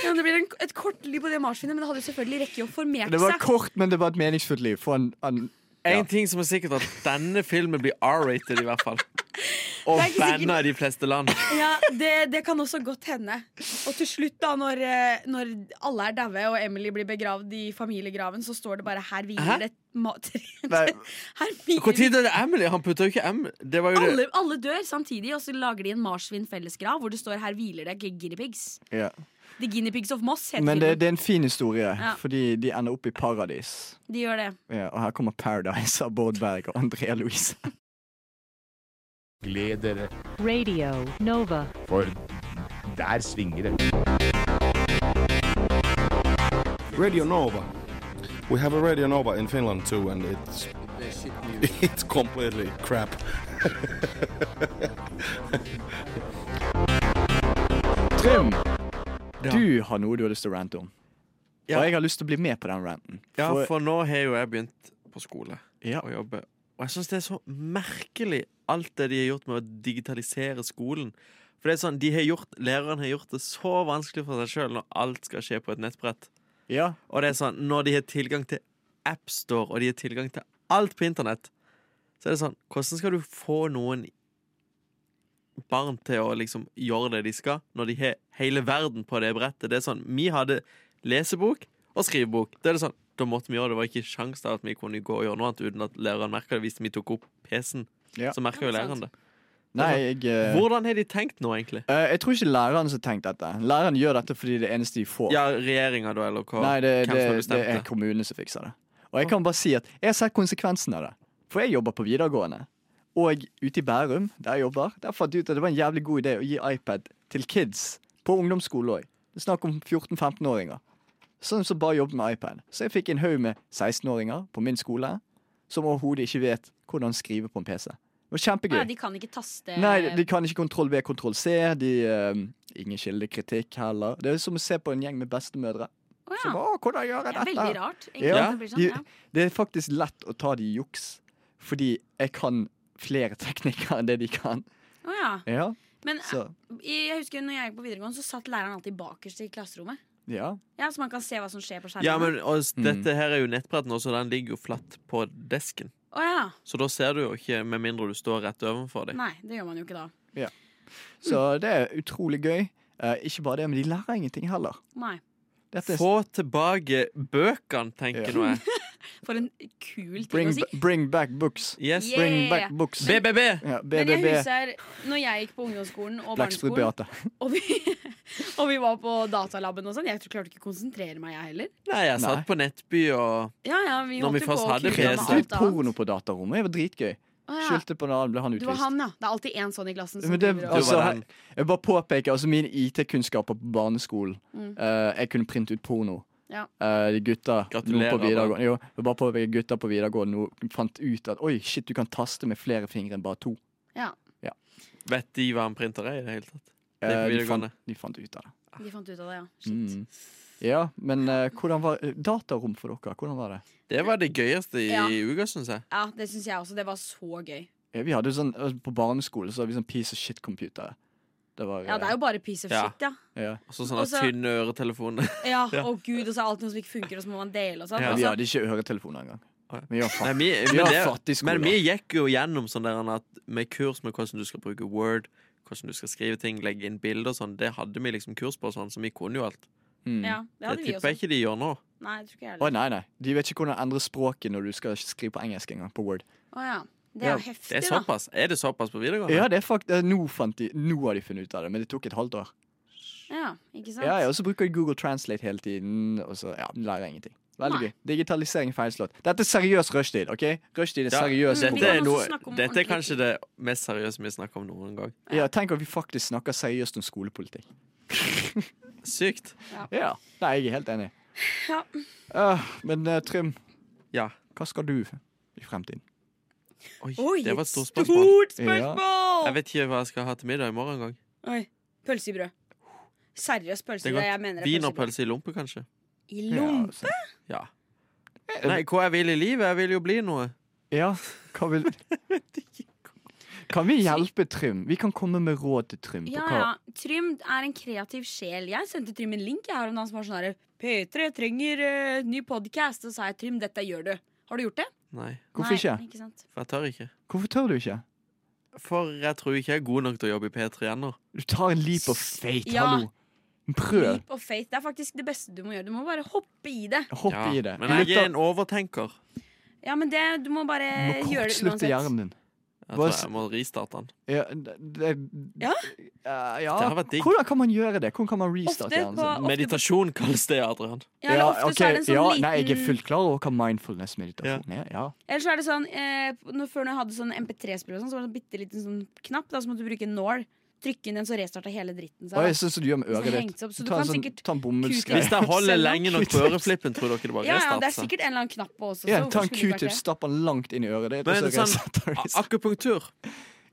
[SPEAKER 4] ja, det blir en, et kort liv på det marsvinet, men det hadde jo selvfølgelig rekke å formert
[SPEAKER 2] Det var
[SPEAKER 4] seg.
[SPEAKER 2] kort, men det var et meningsfullt liv. For en, en
[SPEAKER 3] En ting som er sikkert, at denne filmen blir R-rated, i hvert fall. Og
[SPEAKER 4] Det er ikke sikkert-
[SPEAKER 3] banna i de fleste land.
[SPEAKER 4] Ja, det, det kan også godt hende. Og til slutt, da, når, eh, når alle er daue og Emily blir begravd i familiegraven, så står det bare 'her hviler
[SPEAKER 3] Hæ?
[SPEAKER 4] det et ma tre-
[SPEAKER 2] Nei,
[SPEAKER 4] her hviler
[SPEAKER 3] Hvor tid er det Emily? Han putta jo ikke M... Det var jo det.
[SPEAKER 4] alle, alle dør samtidig, og så lager de en marsvinfellesgrav hvor det står 'her hviler det gu- guinea pigs'.
[SPEAKER 2] ja.
[SPEAKER 4] The Guinea Pigs of Moss heter
[SPEAKER 2] Men det,
[SPEAKER 4] filmen.
[SPEAKER 2] det er en fin historie,
[SPEAKER 4] Ja.
[SPEAKER 2] fordi de ender opp i paradis.
[SPEAKER 4] De gjør det.
[SPEAKER 2] Ja, og her kommer Paradise av Bård Berg og Andrea Louise.
[SPEAKER 11] Gled dere,
[SPEAKER 1] Radio Nova.
[SPEAKER 11] for der svinger det.
[SPEAKER 10] Radio Nova. We have a Radio Nova in Finland too, and it's it's completely crap.
[SPEAKER 2] Trym,
[SPEAKER 3] Ja.
[SPEAKER 2] du har noe du har lyst til å rante om. Og jeg har lyst til å bli med på den ranten.
[SPEAKER 3] Ja,
[SPEAKER 2] For-
[SPEAKER 3] for nå har jo jeg begynt på skole
[SPEAKER 2] Ja.
[SPEAKER 3] og jobbe. Og jeg syns det er så merkelig, alt det de har gjort med å digitalisere skolen. For det er sånn, de har gjort, Læreren har gjort det så vanskelig for seg sjøl når alt skal skje på et nettbrett.
[SPEAKER 2] Ja.
[SPEAKER 3] Og det er sånn, når de har tilgang til AppStore, og de har tilgang til alt på internett, så er det sånn Hvordan skal du få noen barn til å liksom gjøre det de skal, når de har hele verden på det brettet? Det er sånn, Vi hadde lesebok og skrivebok. Da er det sånn, da måtte vi gjøre det. Det var ikke sjans til at vi kunne gå og gjøre noe annet uten at læreren merka det. Hvis vi tok opp PC-en,
[SPEAKER 2] Ja.
[SPEAKER 3] så merka jo læreren det. Det
[SPEAKER 2] Nei,
[SPEAKER 3] er sånn,
[SPEAKER 2] jeg eh,
[SPEAKER 3] Hvordan har de tenkt nå, egentlig?
[SPEAKER 2] eh, Jeg tror ikke læreren som har tenkt dette. Læreren gjør dette fordi det er det eneste de får.
[SPEAKER 3] Ja, regjeringa, da, eller hva?
[SPEAKER 2] Nei, det,
[SPEAKER 3] Hvem
[SPEAKER 2] det,
[SPEAKER 3] som har
[SPEAKER 2] det
[SPEAKER 3] bestemt
[SPEAKER 2] er kommunene som fikser det. Og jeg kan bare si at jeg har sett konsekvensen av det. For jeg jobber på videregående. Og ute i Bærum, der jeg jobber, der fant jeg ut at det var en jævlig god idé å gi iPad til kids på ungdomsskole òg. Det er snakk om 14-15-åringer. Sånn som bare jobber med iPad. Så jeg fikk en haug med 16-åringer på min skole som overhodet ikke vet hvordan skrive på en PC. Det var kjempegøy.
[SPEAKER 4] Ja, de kan ikke taste
[SPEAKER 2] Nei, de kan ikke kontroll V, kontroll C. De, eh, ingen kildekritikk heller. Det er som å se på en gjeng med bestemødre.
[SPEAKER 4] Å, ja.
[SPEAKER 2] Som bare, å, hvordan gjør jeg
[SPEAKER 4] Det er
[SPEAKER 2] dette?
[SPEAKER 4] veldig rart, egentlig,
[SPEAKER 2] Ja.
[SPEAKER 4] at det blir sånn, ja.
[SPEAKER 2] de, det er faktisk lett å ta de i juks, fordi jeg kan flere teknikker enn det de kan.
[SPEAKER 4] Å ja.
[SPEAKER 2] Ja,
[SPEAKER 4] Men
[SPEAKER 2] Så.
[SPEAKER 4] eh, jeg husker når jeg gikk på videregående, så satt læreren alltid bakerst i klasserommet.
[SPEAKER 2] ja.
[SPEAKER 4] Ja, Så man kan se hva som skjer på skjermen.
[SPEAKER 3] Ja, men og,
[SPEAKER 2] Mm.
[SPEAKER 3] s- dette her er jo nettbretten også, den ligger jo flatt på desken.
[SPEAKER 4] Å ja.
[SPEAKER 3] Så da ser du jo ikke, med mindre du står rett overfor dem.
[SPEAKER 4] Nei, det gjør man jo ikke da.
[SPEAKER 2] ja. Så det er utrolig gøy. Eh, ikke bare det, men de lærer ingenting heller.
[SPEAKER 4] Nei.
[SPEAKER 2] Dette er-
[SPEAKER 3] Få tilbake bøkene, tenker
[SPEAKER 2] Ja.
[SPEAKER 3] nå jeg.
[SPEAKER 4] For en kul ting
[SPEAKER 2] Bring,
[SPEAKER 4] å si.
[SPEAKER 2] ba- bring back books.
[SPEAKER 3] Yes.
[SPEAKER 4] Yeah.
[SPEAKER 2] Bring back books.
[SPEAKER 3] BBB.
[SPEAKER 2] Ja,
[SPEAKER 4] Men jeg
[SPEAKER 2] BBB.
[SPEAKER 4] husker når jeg gikk på ungdomsskolen og
[SPEAKER 2] Blackstrud
[SPEAKER 4] barneskolen,
[SPEAKER 2] Beate.
[SPEAKER 4] og vi, og vi var på datalaben og sånn. Jeg klarte ikke å konsentrere meg, jeg heller.
[SPEAKER 3] Nei, jeg satt på Nettby og
[SPEAKER 4] Ja, ja, vi
[SPEAKER 3] Når vi
[SPEAKER 4] måtte
[SPEAKER 3] først
[SPEAKER 4] gå og
[SPEAKER 3] hadde
[SPEAKER 4] knulle med
[SPEAKER 3] PC.
[SPEAKER 2] Litt
[SPEAKER 4] alt annet.
[SPEAKER 2] porno på datarommet. Det var dritgøy.
[SPEAKER 4] Å, ja.
[SPEAKER 2] Skyldte på en annen, ble han
[SPEAKER 4] Du var
[SPEAKER 2] utvist.
[SPEAKER 4] han, ja. Det er alltid én sånn i klassen. Som
[SPEAKER 2] Men det,
[SPEAKER 4] driver og-
[SPEAKER 2] altså,
[SPEAKER 3] Du var den.
[SPEAKER 2] jeg bare påpeker altså, mine IT-kunnskaper på barneskolen.
[SPEAKER 4] Mm.
[SPEAKER 2] Eh, jeg kunne printe ut porno.
[SPEAKER 4] ja.
[SPEAKER 2] Eh, de gutta
[SPEAKER 3] Gratulerer,
[SPEAKER 2] nå på videregående jo, jeg bare påpeker gutta på videregående nå fant ut at oi, shit, du kan taste med flere fingre enn bare to.
[SPEAKER 4] ja,
[SPEAKER 3] Vet de hva en printer er i det hele tatt? Det
[SPEAKER 2] Eh, de,
[SPEAKER 3] er på
[SPEAKER 2] fant,
[SPEAKER 3] videregående.
[SPEAKER 2] de fant ut av det.
[SPEAKER 4] de fant ut av det, ja.
[SPEAKER 2] Mm. Ja, men eh, hvordan var eh, datarom for dere? Hvordan var det?
[SPEAKER 3] Det var det gøyeste i
[SPEAKER 4] Ja.
[SPEAKER 3] uka, syns jeg.
[SPEAKER 4] Ja, Det syns jeg også. Det var så gøy.
[SPEAKER 2] Eh, Vi hadde jo sånn, eh, På barneskolen så hadde vi sånn piece of shit-computer. Det var, eh,
[SPEAKER 4] Ja, det er jo bare piece of shit, ja.
[SPEAKER 3] Og så Altså, sånne
[SPEAKER 4] Og så-
[SPEAKER 3] tynne øretelefoner.
[SPEAKER 4] Ja, Å gud, og så er alt noe som ikke funker, og så må man dele og sånn.
[SPEAKER 3] Ja.
[SPEAKER 4] og
[SPEAKER 2] Vi
[SPEAKER 4] så-
[SPEAKER 2] hadde ikke høretelefoner engang. Vi var, fa
[SPEAKER 3] Nei, vi,
[SPEAKER 2] vi
[SPEAKER 3] men,
[SPEAKER 2] var
[SPEAKER 3] det,
[SPEAKER 2] fattig skole.
[SPEAKER 3] men vi gikk jo gjennom sånn der at med kurs med hvordan du skal bruke Word, hvordan du skal skrive ting, legge inn bilder og sånn. Det hadde vi liksom kurs på, og sånn, så vi kunne jo alt.
[SPEAKER 4] Ja, det hadde vi
[SPEAKER 3] tipper jeg
[SPEAKER 4] også.
[SPEAKER 3] ikke de gjør nå.
[SPEAKER 4] Nei, jeg tror ikke jeg
[SPEAKER 2] Mm. Å,
[SPEAKER 4] heller.
[SPEAKER 2] nei, nei. De vet ikke hvordan å endre språket når du skal skrive på engelsk engang, på Word.
[SPEAKER 4] Å ja. Det er jo
[SPEAKER 2] Ja,
[SPEAKER 4] heftig,
[SPEAKER 3] Det er
[SPEAKER 4] da.
[SPEAKER 3] såpass. Er det såpass på videregående?
[SPEAKER 2] Ja, det er fakt eh, nå, fant de, nå har de funnet ut av det, men det tok et halvt år.
[SPEAKER 4] Ja, ikke sant?
[SPEAKER 2] Ja, ja, og så bruker de Google Translate hele tiden, og så ja, lærer jeg ingenting. Veldig
[SPEAKER 4] Nei.
[SPEAKER 2] gøy. Digitalisering feilslått. Dette er seriøs rushtid, OK? Rushtid er
[SPEAKER 3] Ja,
[SPEAKER 4] Mm,
[SPEAKER 2] seriøs.
[SPEAKER 3] dette, er noe,
[SPEAKER 4] snakke om
[SPEAKER 3] dette er
[SPEAKER 4] ordentlig
[SPEAKER 3] kanskje det mest seriøse vi snakker om noen gang.
[SPEAKER 2] Ja, tenk at vi faktisk snakker seriøst om skolepolitikk.
[SPEAKER 3] Sykt.
[SPEAKER 4] Ja.
[SPEAKER 2] Ja. Nei, jeg er helt enig.
[SPEAKER 4] Ja.
[SPEAKER 2] Ah, men eh, Trym,
[SPEAKER 3] Ja.
[SPEAKER 2] hva skal du i fremtiden?
[SPEAKER 3] Oi,
[SPEAKER 4] Oi,
[SPEAKER 3] det var et
[SPEAKER 4] et
[SPEAKER 3] stort spørsmål.
[SPEAKER 4] stort
[SPEAKER 2] spørsmål!
[SPEAKER 3] Jeg vet ikke hva jeg skal ha til middag i morgen engang.
[SPEAKER 4] Oi. Pølse i brød. Seriøst pølse
[SPEAKER 3] Det
[SPEAKER 4] i
[SPEAKER 3] er
[SPEAKER 4] brød. Jeg mener
[SPEAKER 3] godt.
[SPEAKER 4] det er pølse
[SPEAKER 3] Wienerpølse i lompe, kanskje.
[SPEAKER 4] i brød. I
[SPEAKER 2] altså.
[SPEAKER 4] lompe?
[SPEAKER 3] Ja.
[SPEAKER 2] Eh,
[SPEAKER 3] Nei, hva jeg vil i livet? Jeg vil jo bli noe.
[SPEAKER 2] Ja, hva vil Kan vi hjelpe Trym? Vi kan komme med råd til Trym. på
[SPEAKER 4] Ja,
[SPEAKER 2] hva-
[SPEAKER 4] ja. Trym er en kreativ sjel. Jeg sendte Trym en link jeg her om dagen som var sånn her P3 trenger eh, ny podkast. Og så sa jeg Trym, dette gjør du. Har du gjort det?
[SPEAKER 3] Nei.
[SPEAKER 2] Hvorfor
[SPEAKER 4] Nei,
[SPEAKER 2] ikke?
[SPEAKER 4] ikke sant?
[SPEAKER 3] For jeg tør ikke.
[SPEAKER 2] Hvorfor tør du ikke?
[SPEAKER 3] For jeg tror ikke jeg er god nok til å jobbe i P3 ennå.
[SPEAKER 2] Du tar en leap of faith,
[SPEAKER 4] Ja.
[SPEAKER 2] hallo. Prøv.
[SPEAKER 4] Leap of faith. Det er faktisk det beste du må gjøre. Du må bare hoppe i det.
[SPEAKER 2] Hopp i det.
[SPEAKER 3] Men jeg
[SPEAKER 2] Lytter-
[SPEAKER 3] er en overtenker.
[SPEAKER 4] Ja, men det, du må bare
[SPEAKER 2] Du må
[SPEAKER 4] gjøre Eh, det
[SPEAKER 2] kortslutte hjernen din.
[SPEAKER 3] Jeg
[SPEAKER 2] Bare
[SPEAKER 3] tror
[SPEAKER 2] s-
[SPEAKER 3] jeg må restarte den.
[SPEAKER 2] Ja, det, det-
[SPEAKER 4] Ja?
[SPEAKER 2] eh, ja.
[SPEAKER 3] Det har vært digg.
[SPEAKER 2] Hvordan kan man gjøre det? Hvordan kan man restarte
[SPEAKER 4] Ofte
[SPEAKER 2] hjernen
[SPEAKER 4] på-
[SPEAKER 2] sin?
[SPEAKER 3] Meditasjon kalles det, Adrian.
[SPEAKER 4] Ja, eller ofte så er det en
[SPEAKER 2] ok,
[SPEAKER 4] sånn
[SPEAKER 2] ja,
[SPEAKER 4] liten
[SPEAKER 2] Nei, jeg er fullt klar over hva mindfulness-meditasjon er. Ja.
[SPEAKER 4] Eller så er det sånn eh, når, Før når jeg hadde sånn MP3-spiller, sånn, så var det en bitte liten sånn knapp. Da, så måtte du bruke en nål. Trykke inn den, så restarta hele dritten seg.
[SPEAKER 2] Oi, jeg synes du gjør med
[SPEAKER 4] Så
[SPEAKER 2] øret
[SPEAKER 4] hengt
[SPEAKER 2] ditt.
[SPEAKER 4] opp, så du
[SPEAKER 2] ta en
[SPEAKER 4] kan
[SPEAKER 2] sånn,
[SPEAKER 4] sikkert
[SPEAKER 2] ta en bomullsgreie.
[SPEAKER 3] Hvis jeg holder lenge nok på øreflippen, tror dere det bare
[SPEAKER 4] ja, ja, det
[SPEAKER 3] restarter
[SPEAKER 4] er sikkert en eller annen knapp på også.
[SPEAKER 2] Ja, ta
[SPEAKER 4] så
[SPEAKER 2] en
[SPEAKER 4] hvorfor skulle det
[SPEAKER 2] q-tip,
[SPEAKER 4] vært
[SPEAKER 2] stapp den langt inn i øret ditt. og
[SPEAKER 3] Men
[SPEAKER 2] så
[SPEAKER 3] sånn
[SPEAKER 2] restarter du.
[SPEAKER 3] a- akupunktur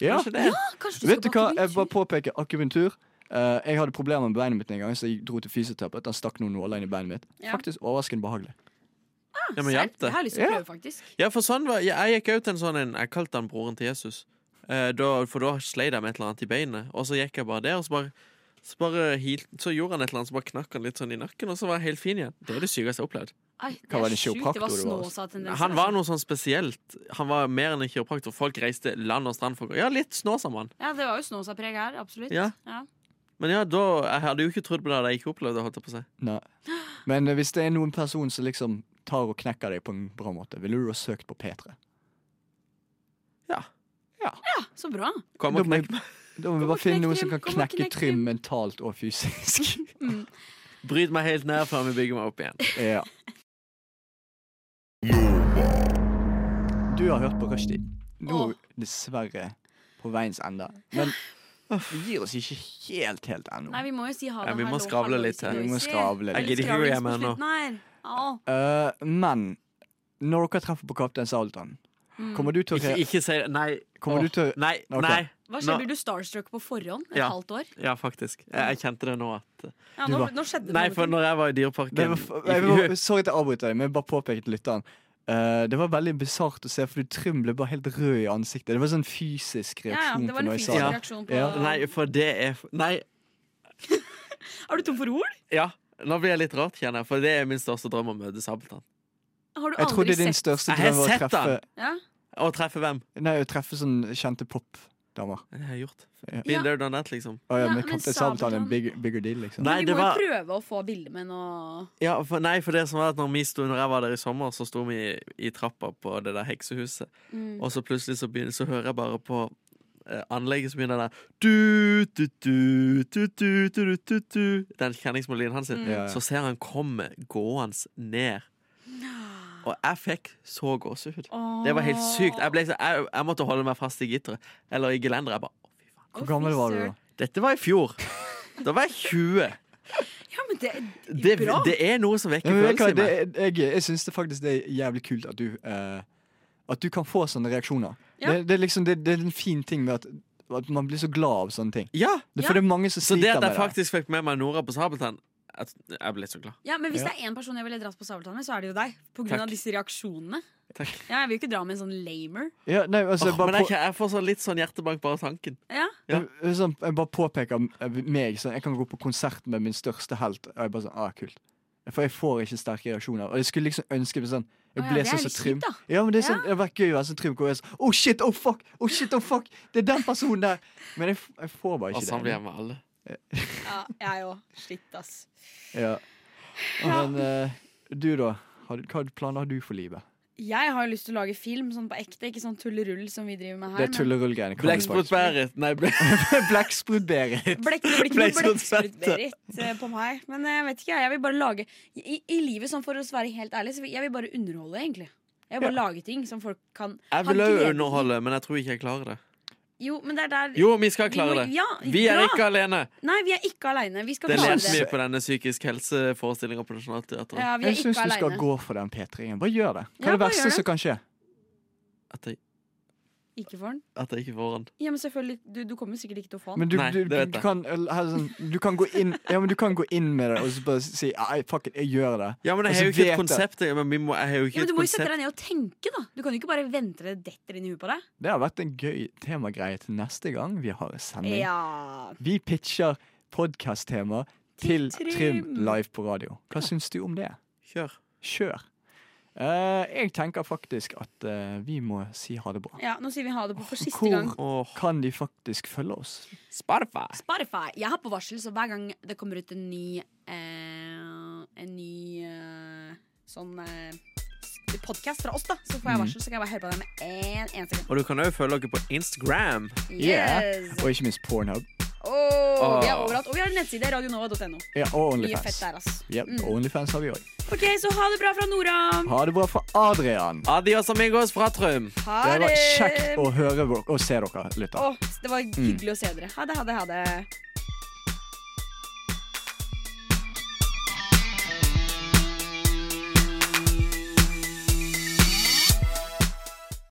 [SPEAKER 2] Ja.
[SPEAKER 3] Kanskje det?
[SPEAKER 4] det? Kanskje du
[SPEAKER 2] Vet du
[SPEAKER 4] skal
[SPEAKER 2] hva,
[SPEAKER 4] bake
[SPEAKER 2] jeg
[SPEAKER 4] litt?
[SPEAKER 2] bare påpeker akupunktur. Eh, jeg hadde problemer med beinet mitt en gang, så jeg dro til fysioterapeut. Han stakk noen nåler inn i beinet mitt.
[SPEAKER 4] Ja.
[SPEAKER 2] Faktisk overraskende behagelig.
[SPEAKER 3] Ja, men hjelp
[SPEAKER 4] Det
[SPEAKER 3] det.
[SPEAKER 4] har jeg lyst til å
[SPEAKER 2] Ja.
[SPEAKER 4] prøve, faktisk.
[SPEAKER 3] Ja, for sånn var, jeg, jeg gikk ut en sånn en Jeg kalte han broren til Jesus. Eh, da, for da sleit jeg med et eller annet i beinet, og så gikk jeg bare der. Og så bare så, bare heal, så gjorde han et eller annet, så bare knakk han litt sånn i nakken, og så var jeg helt fin igjen. Det er det sykeste jeg har opplevd.
[SPEAKER 4] Ai, det
[SPEAKER 2] Hva var
[SPEAKER 4] er
[SPEAKER 2] det,
[SPEAKER 4] sjukt. Det
[SPEAKER 2] kiropraktor
[SPEAKER 4] var
[SPEAKER 2] du var hos?
[SPEAKER 4] snåsa-tendenser.
[SPEAKER 3] Han var noe sånn spesielt. Han var mer enn en kiropraktor. Folk reiste land og strand for å gå. Ja, litt snå, sa man.
[SPEAKER 4] Ja, det var jo snåsa-preg her, absolutt.
[SPEAKER 3] Ja. Men ja, da, jeg hadde jo ikke trodd på det hadde jeg ikke opplevd det. holdt jeg på å si
[SPEAKER 2] Nei. Men eh, hvis det er noen person som liksom tar og knekker deg på en bra måte, ville du ha søkt på P3?
[SPEAKER 3] Ja.
[SPEAKER 4] Ja, Så bra.
[SPEAKER 3] Kom
[SPEAKER 2] Da
[SPEAKER 3] og
[SPEAKER 2] må,
[SPEAKER 3] knekk.
[SPEAKER 2] vi, da må vi bare
[SPEAKER 4] og
[SPEAKER 2] finne
[SPEAKER 4] knekk
[SPEAKER 2] noen som
[SPEAKER 4] Trym,
[SPEAKER 2] kan
[SPEAKER 4] kom og
[SPEAKER 2] knekke
[SPEAKER 4] knekk
[SPEAKER 2] Trym
[SPEAKER 4] Trym.
[SPEAKER 2] mentalt og fysisk.
[SPEAKER 3] Bryt meg helt ned før vi bygger meg opp igjen.
[SPEAKER 2] ja. Du har hørt på Rushtid. Nå
[SPEAKER 4] Åh.
[SPEAKER 2] dessverre på veiens ende. Men vi gir oss ikke helt, helt ennå.
[SPEAKER 4] Nei, vi må jo si ha det.
[SPEAKER 3] Ja, vi må
[SPEAKER 4] hallo,
[SPEAKER 3] skravle
[SPEAKER 4] hallo,
[SPEAKER 3] litt
[SPEAKER 4] sier
[SPEAKER 3] her.
[SPEAKER 2] Vi
[SPEAKER 4] vi
[SPEAKER 2] må
[SPEAKER 4] sier.
[SPEAKER 2] skravle
[SPEAKER 3] Jeg
[SPEAKER 2] litt.
[SPEAKER 3] gidder ikke gå hjem ennå.
[SPEAKER 4] Skravlings på slutten her. Au.
[SPEAKER 2] Eh, men når dere treffer på Kaptein Sabeltann,
[SPEAKER 4] Mm.
[SPEAKER 2] kommer du til å
[SPEAKER 3] Ikke,
[SPEAKER 2] re-
[SPEAKER 3] ikke si det. Nei.
[SPEAKER 2] Kommer
[SPEAKER 3] Åh.
[SPEAKER 2] du til å-
[SPEAKER 3] Nei.
[SPEAKER 2] Ok.
[SPEAKER 3] nei.
[SPEAKER 4] Hva skjer,
[SPEAKER 3] Nå-
[SPEAKER 4] Blir du starstruck på forhånd? Et
[SPEAKER 3] Ja.
[SPEAKER 4] halvt år?
[SPEAKER 3] Ja, faktisk. Jeg, jeg kjente det nå at
[SPEAKER 4] Ja,
[SPEAKER 2] Du
[SPEAKER 4] nå,
[SPEAKER 2] var-
[SPEAKER 4] nå skjedde det
[SPEAKER 3] Nei,
[SPEAKER 4] noe
[SPEAKER 3] for
[SPEAKER 4] med
[SPEAKER 3] når jeg var i
[SPEAKER 2] det
[SPEAKER 3] Dyreparken
[SPEAKER 2] var, jeg,
[SPEAKER 3] i-
[SPEAKER 2] var, Sorry at jeg avbryter deg, men jeg bare påpeker til lytteren. Eh, det var veldig bisart å se, for Trym ble bare helt rød i ansiktet. Det var sånn fysisk
[SPEAKER 4] Ja, ja,
[SPEAKER 2] reaksjon
[SPEAKER 4] det var
[SPEAKER 2] på
[SPEAKER 4] en
[SPEAKER 2] noe jeg sa.
[SPEAKER 4] fysisk
[SPEAKER 3] Ja.
[SPEAKER 4] reaksjon på
[SPEAKER 2] Ja.
[SPEAKER 3] Nei, for det er f- Nei,
[SPEAKER 4] Er du tom for ord?
[SPEAKER 3] ja. Nå blir jeg litt rart, kjenner jeg, for det er min største drøm å møte Sabeltann.
[SPEAKER 4] Har du
[SPEAKER 2] Jeg
[SPEAKER 4] aldri
[SPEAKER 2] trodde din
[SPEAKER 4] sett
[SPEAKER 2] største
[SPEAKER 3] Jeg har
[SPEAKER 2] drøm var å
[SPEAKER 3] sett
[SPEAKER 2] treffe,
[SPEAKER 3] den.
[SPEAKER 4] ja?
[SPEAKER 3] Å treffe hvem?
[SPEAKER 2] nei, å treffe sånn kjente popdamer.
[SPEAKER 3] Det har jeg gjort.
[SPEAKER 2] Ja.
[SPEAKER 3] Been there, done that, liksom.
[SPEAKER 2] Å ja,
[SPEAKER 4] Ja,
[SPEAKER 2] men
[SPEAKER 4] men
[SPEAKER 2] Kaptein Sabeltann er en
[SPEAKER 4] Sabeltann-
[SPEAKER 2] big, bigger deal, liksom.
[SPEAKER 3] Nei,
[SPEAKER 4] Men vi
[SPEAKER 3] det
[SPEAKER 4] må jo
[SPEAKER 3] var
[SPEAKER 4] prøve å få bilde med noe
[SPEAKER 3] ja, for, Nei, for det som var at når, vi sto, når jeg var der i sommer, så sto vi i, i trappa på det der heksehuset,
[SPEAKER 2] Mm.
[SPEAKER 3] og så plutselig så, begynner, så hører jeg bare på eh, anlegget som begynner der du, du, du, du, du, du, du, du, du. Den kjenningsmelodien hans sin.
[SPEAKER 2] Mm. Ja, ja.
[SPEAKER 3] Så ser han komme gående ned. Og jeg fikk så gåsehud. Det var helt sykt. Jeg, ble, så- jeg, jeg måtte holde meg fast i gitteret. Eller i gelenderet. Jeg bare «Å, fy faen».
[SPEAKER 2] Hvor gammel var du da?
[SPEAKER 3] Dette var i fjor. Da var jeg 20.
[SPEAKER 4] Ja, men det,
[SPEAKER 3] Det,
[SPEAKER 4] bra.
[SPEAKER 3] det er noe som
[SPEAKER 2] Ja,
[SPEAKER 3] vekker
[SPEAKER 2] men vet du hva,
[SPEAKER 3] følelser i
[SPEAKER 2] det,
[SPEAKER 3] meg.
[SPEAKER 2] jeg jeg syns det faktisk det er jævlig kult at du eh, At du kan få sånne reaksjoner.
[SPEAKER 4] Ja.
[SPEAKER 2] Det, det, er liksom, det, det er en fin ting med at, at man blir så glad av sånne ting.
[SPEAKER 3] Ja,
[SPEAKER 2] Det,
[SPEAKER 4] Ja.
[SPEAKER 2] for det er mange som
[SPEAKER 3] Så det
[SPEAKER 2] sliter
[SPEAKER 3] at
[SPEAKER 2] med
[SPEAKER 3] jeg
[SPEAKER 2] det.
[SPEAKER 3] faktisk fikk med meg Nora på Sabeltann Jeg, jeg ble så glad.
[SPEAKER 4] Ja, men Hvis det er én person jeg ville dratt på sabeltann med, så er det jo deg. På grunn
[SPEAKER 3] Takk.
[SPEAKER 4] av disse reaksjonene.
[SPEAKER 3] Takk.
[SPEAKER 4] Ja, jeg vil jo ikke dra med en sånn lamer.
[SPEAKER 2] Ja, nei, altså,
[SPEAKER 3] Åh,
[SPEAKER 2] bare
[SPEAKER 3] men jeg,
[SPEAKER 2] på-
[SPEAKER 3] jeg får sånn litt sånn hjertebank bare av tanken.
[SPEAKER 4] Ja.
[SPEAKER 2] Jeg, sånn, jeg bare påpeker meg. Sånn, jeg kan gå på konsert med min største helt. Og jeg bare sånn, ah, kult For jeg får ikke sterke reaksjoner. Og jeg skulle liksom ønske meg sånn
[SPEAKER 12] Å
[SPEAKER 2] Jeg
[SPEAKER 12] ja,
[SPEAKER 2] ble
[SPEAKER 12] det er
[SPEAKER 2] sånn så
[SPEAKER 12] litt
[SPEAKER 2] trim.
[SPEAKER 12] kjipt, da.
[SPEAKER 2] Ja, men det er sånn, det hadde vært gøy å være så trim. Hvor jeg er sånn, oh shit, oh fuck, oh shit, oh fuck Det er den personen der. Men jeg, f- jeg får bare ikke
[SPEAKER 3] Og sånn blir
[SPEAKER 2] det.
[SPEAKER 3] jeg med alle.
[SPEAKER 4] Ja, jeg òg. Shit, ass.
[SPEAKER 2] Ja. Men eh, du, da? Har, du- hva planer har du for livet?
[SPEAKER 4] Jeg har jo lyst til å lage film sånn på ekte, ikke sånn tullerull som vi driver med her.
[SPEAKER 2] Det er tullerullgreiene. kan du
[SPEAKER 3] Blekksprut
[SPEAKER 2] faktisk.
[SPEAKER 3] Berit. Nei, ble...
[SPEAKER 2] Blekksprut-Berit.
[SPEAKER 4] Blekk, det blir ikke noe
[SPEAKER 3] Blekksprut Berit.
[SPEAKER 4] blekksprut-Berit eh, på meg. Men jeg vet ikke, jeg. jeg vil bare lage I, i livet, sånn for å være helt ærlig, så vil jeg vil bare underholde, egentlig. Jeg vil bare lage ting som folk kan ha
[SPEAKER 3] Jeg vil òg
[SPEAKER 4] glede i.
[SPEAKER 3] underholde, men jeg tror ikke jeg klarer det.
[SPEAKER 4] Jo, men det er der
[SPEAKER 3] Jo, vi skal
[SPEAKER 4] må-
[SPEAKER 3] klare det.
[SPEAKER 4] Ja,
[SPEAKER 3] Vi er
[SPEAKER 4] bra.
[SPEAKER 3] ikke alene.
[SPEAKER 4] Nei, vi er ikke aleine. Vi skal
[SPEAKER 3] Det
[SPEAKER 4] klare
[SPEAKER 3] leste vi
[SPEAKER 4] det.
[SPEAKER 3] på denne psykisk helse-forestillinga på Nationaltheatret.
[SPEAKER 4] Ja, vi er
[SPEAKER 2] Jeg
[SPEAKER 4] ikke
[SPEAKER 2] syns du skal
[SPEAKER 4] alene.
[SPEAKER 2] gå for den P3-en. Bare gjør det. Hva
[SPEAKER 4] Ja,
[SPEAKER 2] er det
[SPEAKER 4] bare gjør
[SPEAKER 2] verste
[SPEAKER 4] det.
[SPEAKER 2] som kan skje?
[SPEAKER 3] At jeg,
[SPEAKER 4] Ikke for den.
[SPEAKER 3] at jeg ikke får den.
[SPEAKER 4] Ja, men selvfølgelig. Du, du kommer sikkert ikke til å få den.
[SPEAKER 2] Men du,
[SPEAKER 3] Nei,
[SPEAKER 2] du,
[SPEAKER 3] det
[SPEAKER 2] du,
[SPEAKER 3] vet jeg.
[SPEAKER 2] kan, eller, ha sånn- du kan gå inn Ja, men du kan gå inn med det og så bare si Nei, fuck it, jeg gjør det.
[SPEAKER 3] Ja, men
[SPEAKER 2] Og
[SPEAKER 3] jeg
[SPEAKER 2] så
[SPEAKER 3] har jo ikke
[SPEAKER 2] vet
[SPEAKER 3] et konsept. Jeg, men vi må, jeg har jo
[SPEAKER 4] ja,
[SPEAKER 3] ikke
[SPEAKER 4] men du
[SPEAKER 3] et
[SPEAKER 4] må jo sette deg
[SPEAKER 3] konsept.
[SPEAKER 4] ned og tenke, da. Du kan jo ikke bare vente til det detter inn i huet på deg.
[SPEAKER 2] jeg- Det har vært en gøy temagreie til neste gang vi har en sending.
[SPEAKER 4] Ja.
[SPEAKER 2] Vi pitcher podkast-tema til
[SPEAKER 4] Til Trym.
[SPEAKER 2] Trym live på radio. Hva syns du om det?
[SPEAKER 3] Kjør.
[SPEAKER 2] Kjør. Eh, jeg tenker faktisk at eh, vi må si ha det bra.
[SPEAKER 4] Ja, nå sier vi ha det på for siste gang.
[SPEAKER 2] Hvor kan de faktisk følge oss?
[SPEAKER 3] Spotify.
[SPEAKER 4] Spotify. Jeg har på varsel, så hver gang det kommer ut en ny eh, En ny eh, sånn eh, podkast fra oss, da, så får jeg
[SPEAKER 2] Mhm.
[SPEAKER 4] varsel. Så kan jeg bare høre på den med en eneste gang.
[SPEAKER 3] Og du kan òg følge dere på Instagram.
[SPEAKER 4] Yes.
[SPEAKER 2] Og ikke minst Pornhub.
[SPEAKER 4] Åh, Vi er
[SPEAKER 2] Åh.
[SPEAKER 4] overalt. Og vi har en nettside, radionova.no.
[SPEAKER 2] Ja, og
[SPEAKER 4] Mye
[SPEAKER 2] Onlyfans.
[SPEAKER 4] fett der, altså. Mm. ass.
[SPEAKER 2] Ja, Onlyfans har vi òg.
[SPEAKER 4] OK, så ha det bra fra Nora.
[SPEAKER 2] Ha det bra fra Adrian.
[SPEAKER 3] Adios amigos fra Trym.
[SPEAKER 4] Ha
[SPEAKER 2] Det var
[SPEAKER 4] det.
[SPEAKER 2] kjekt å høre og se dere, lytter.
[SPEAKER 4] Åh, det var
[SPEAKER 2] Mm.
[SPEAKER 4] hyggelig å se dere. Ha det, ha det, ha det.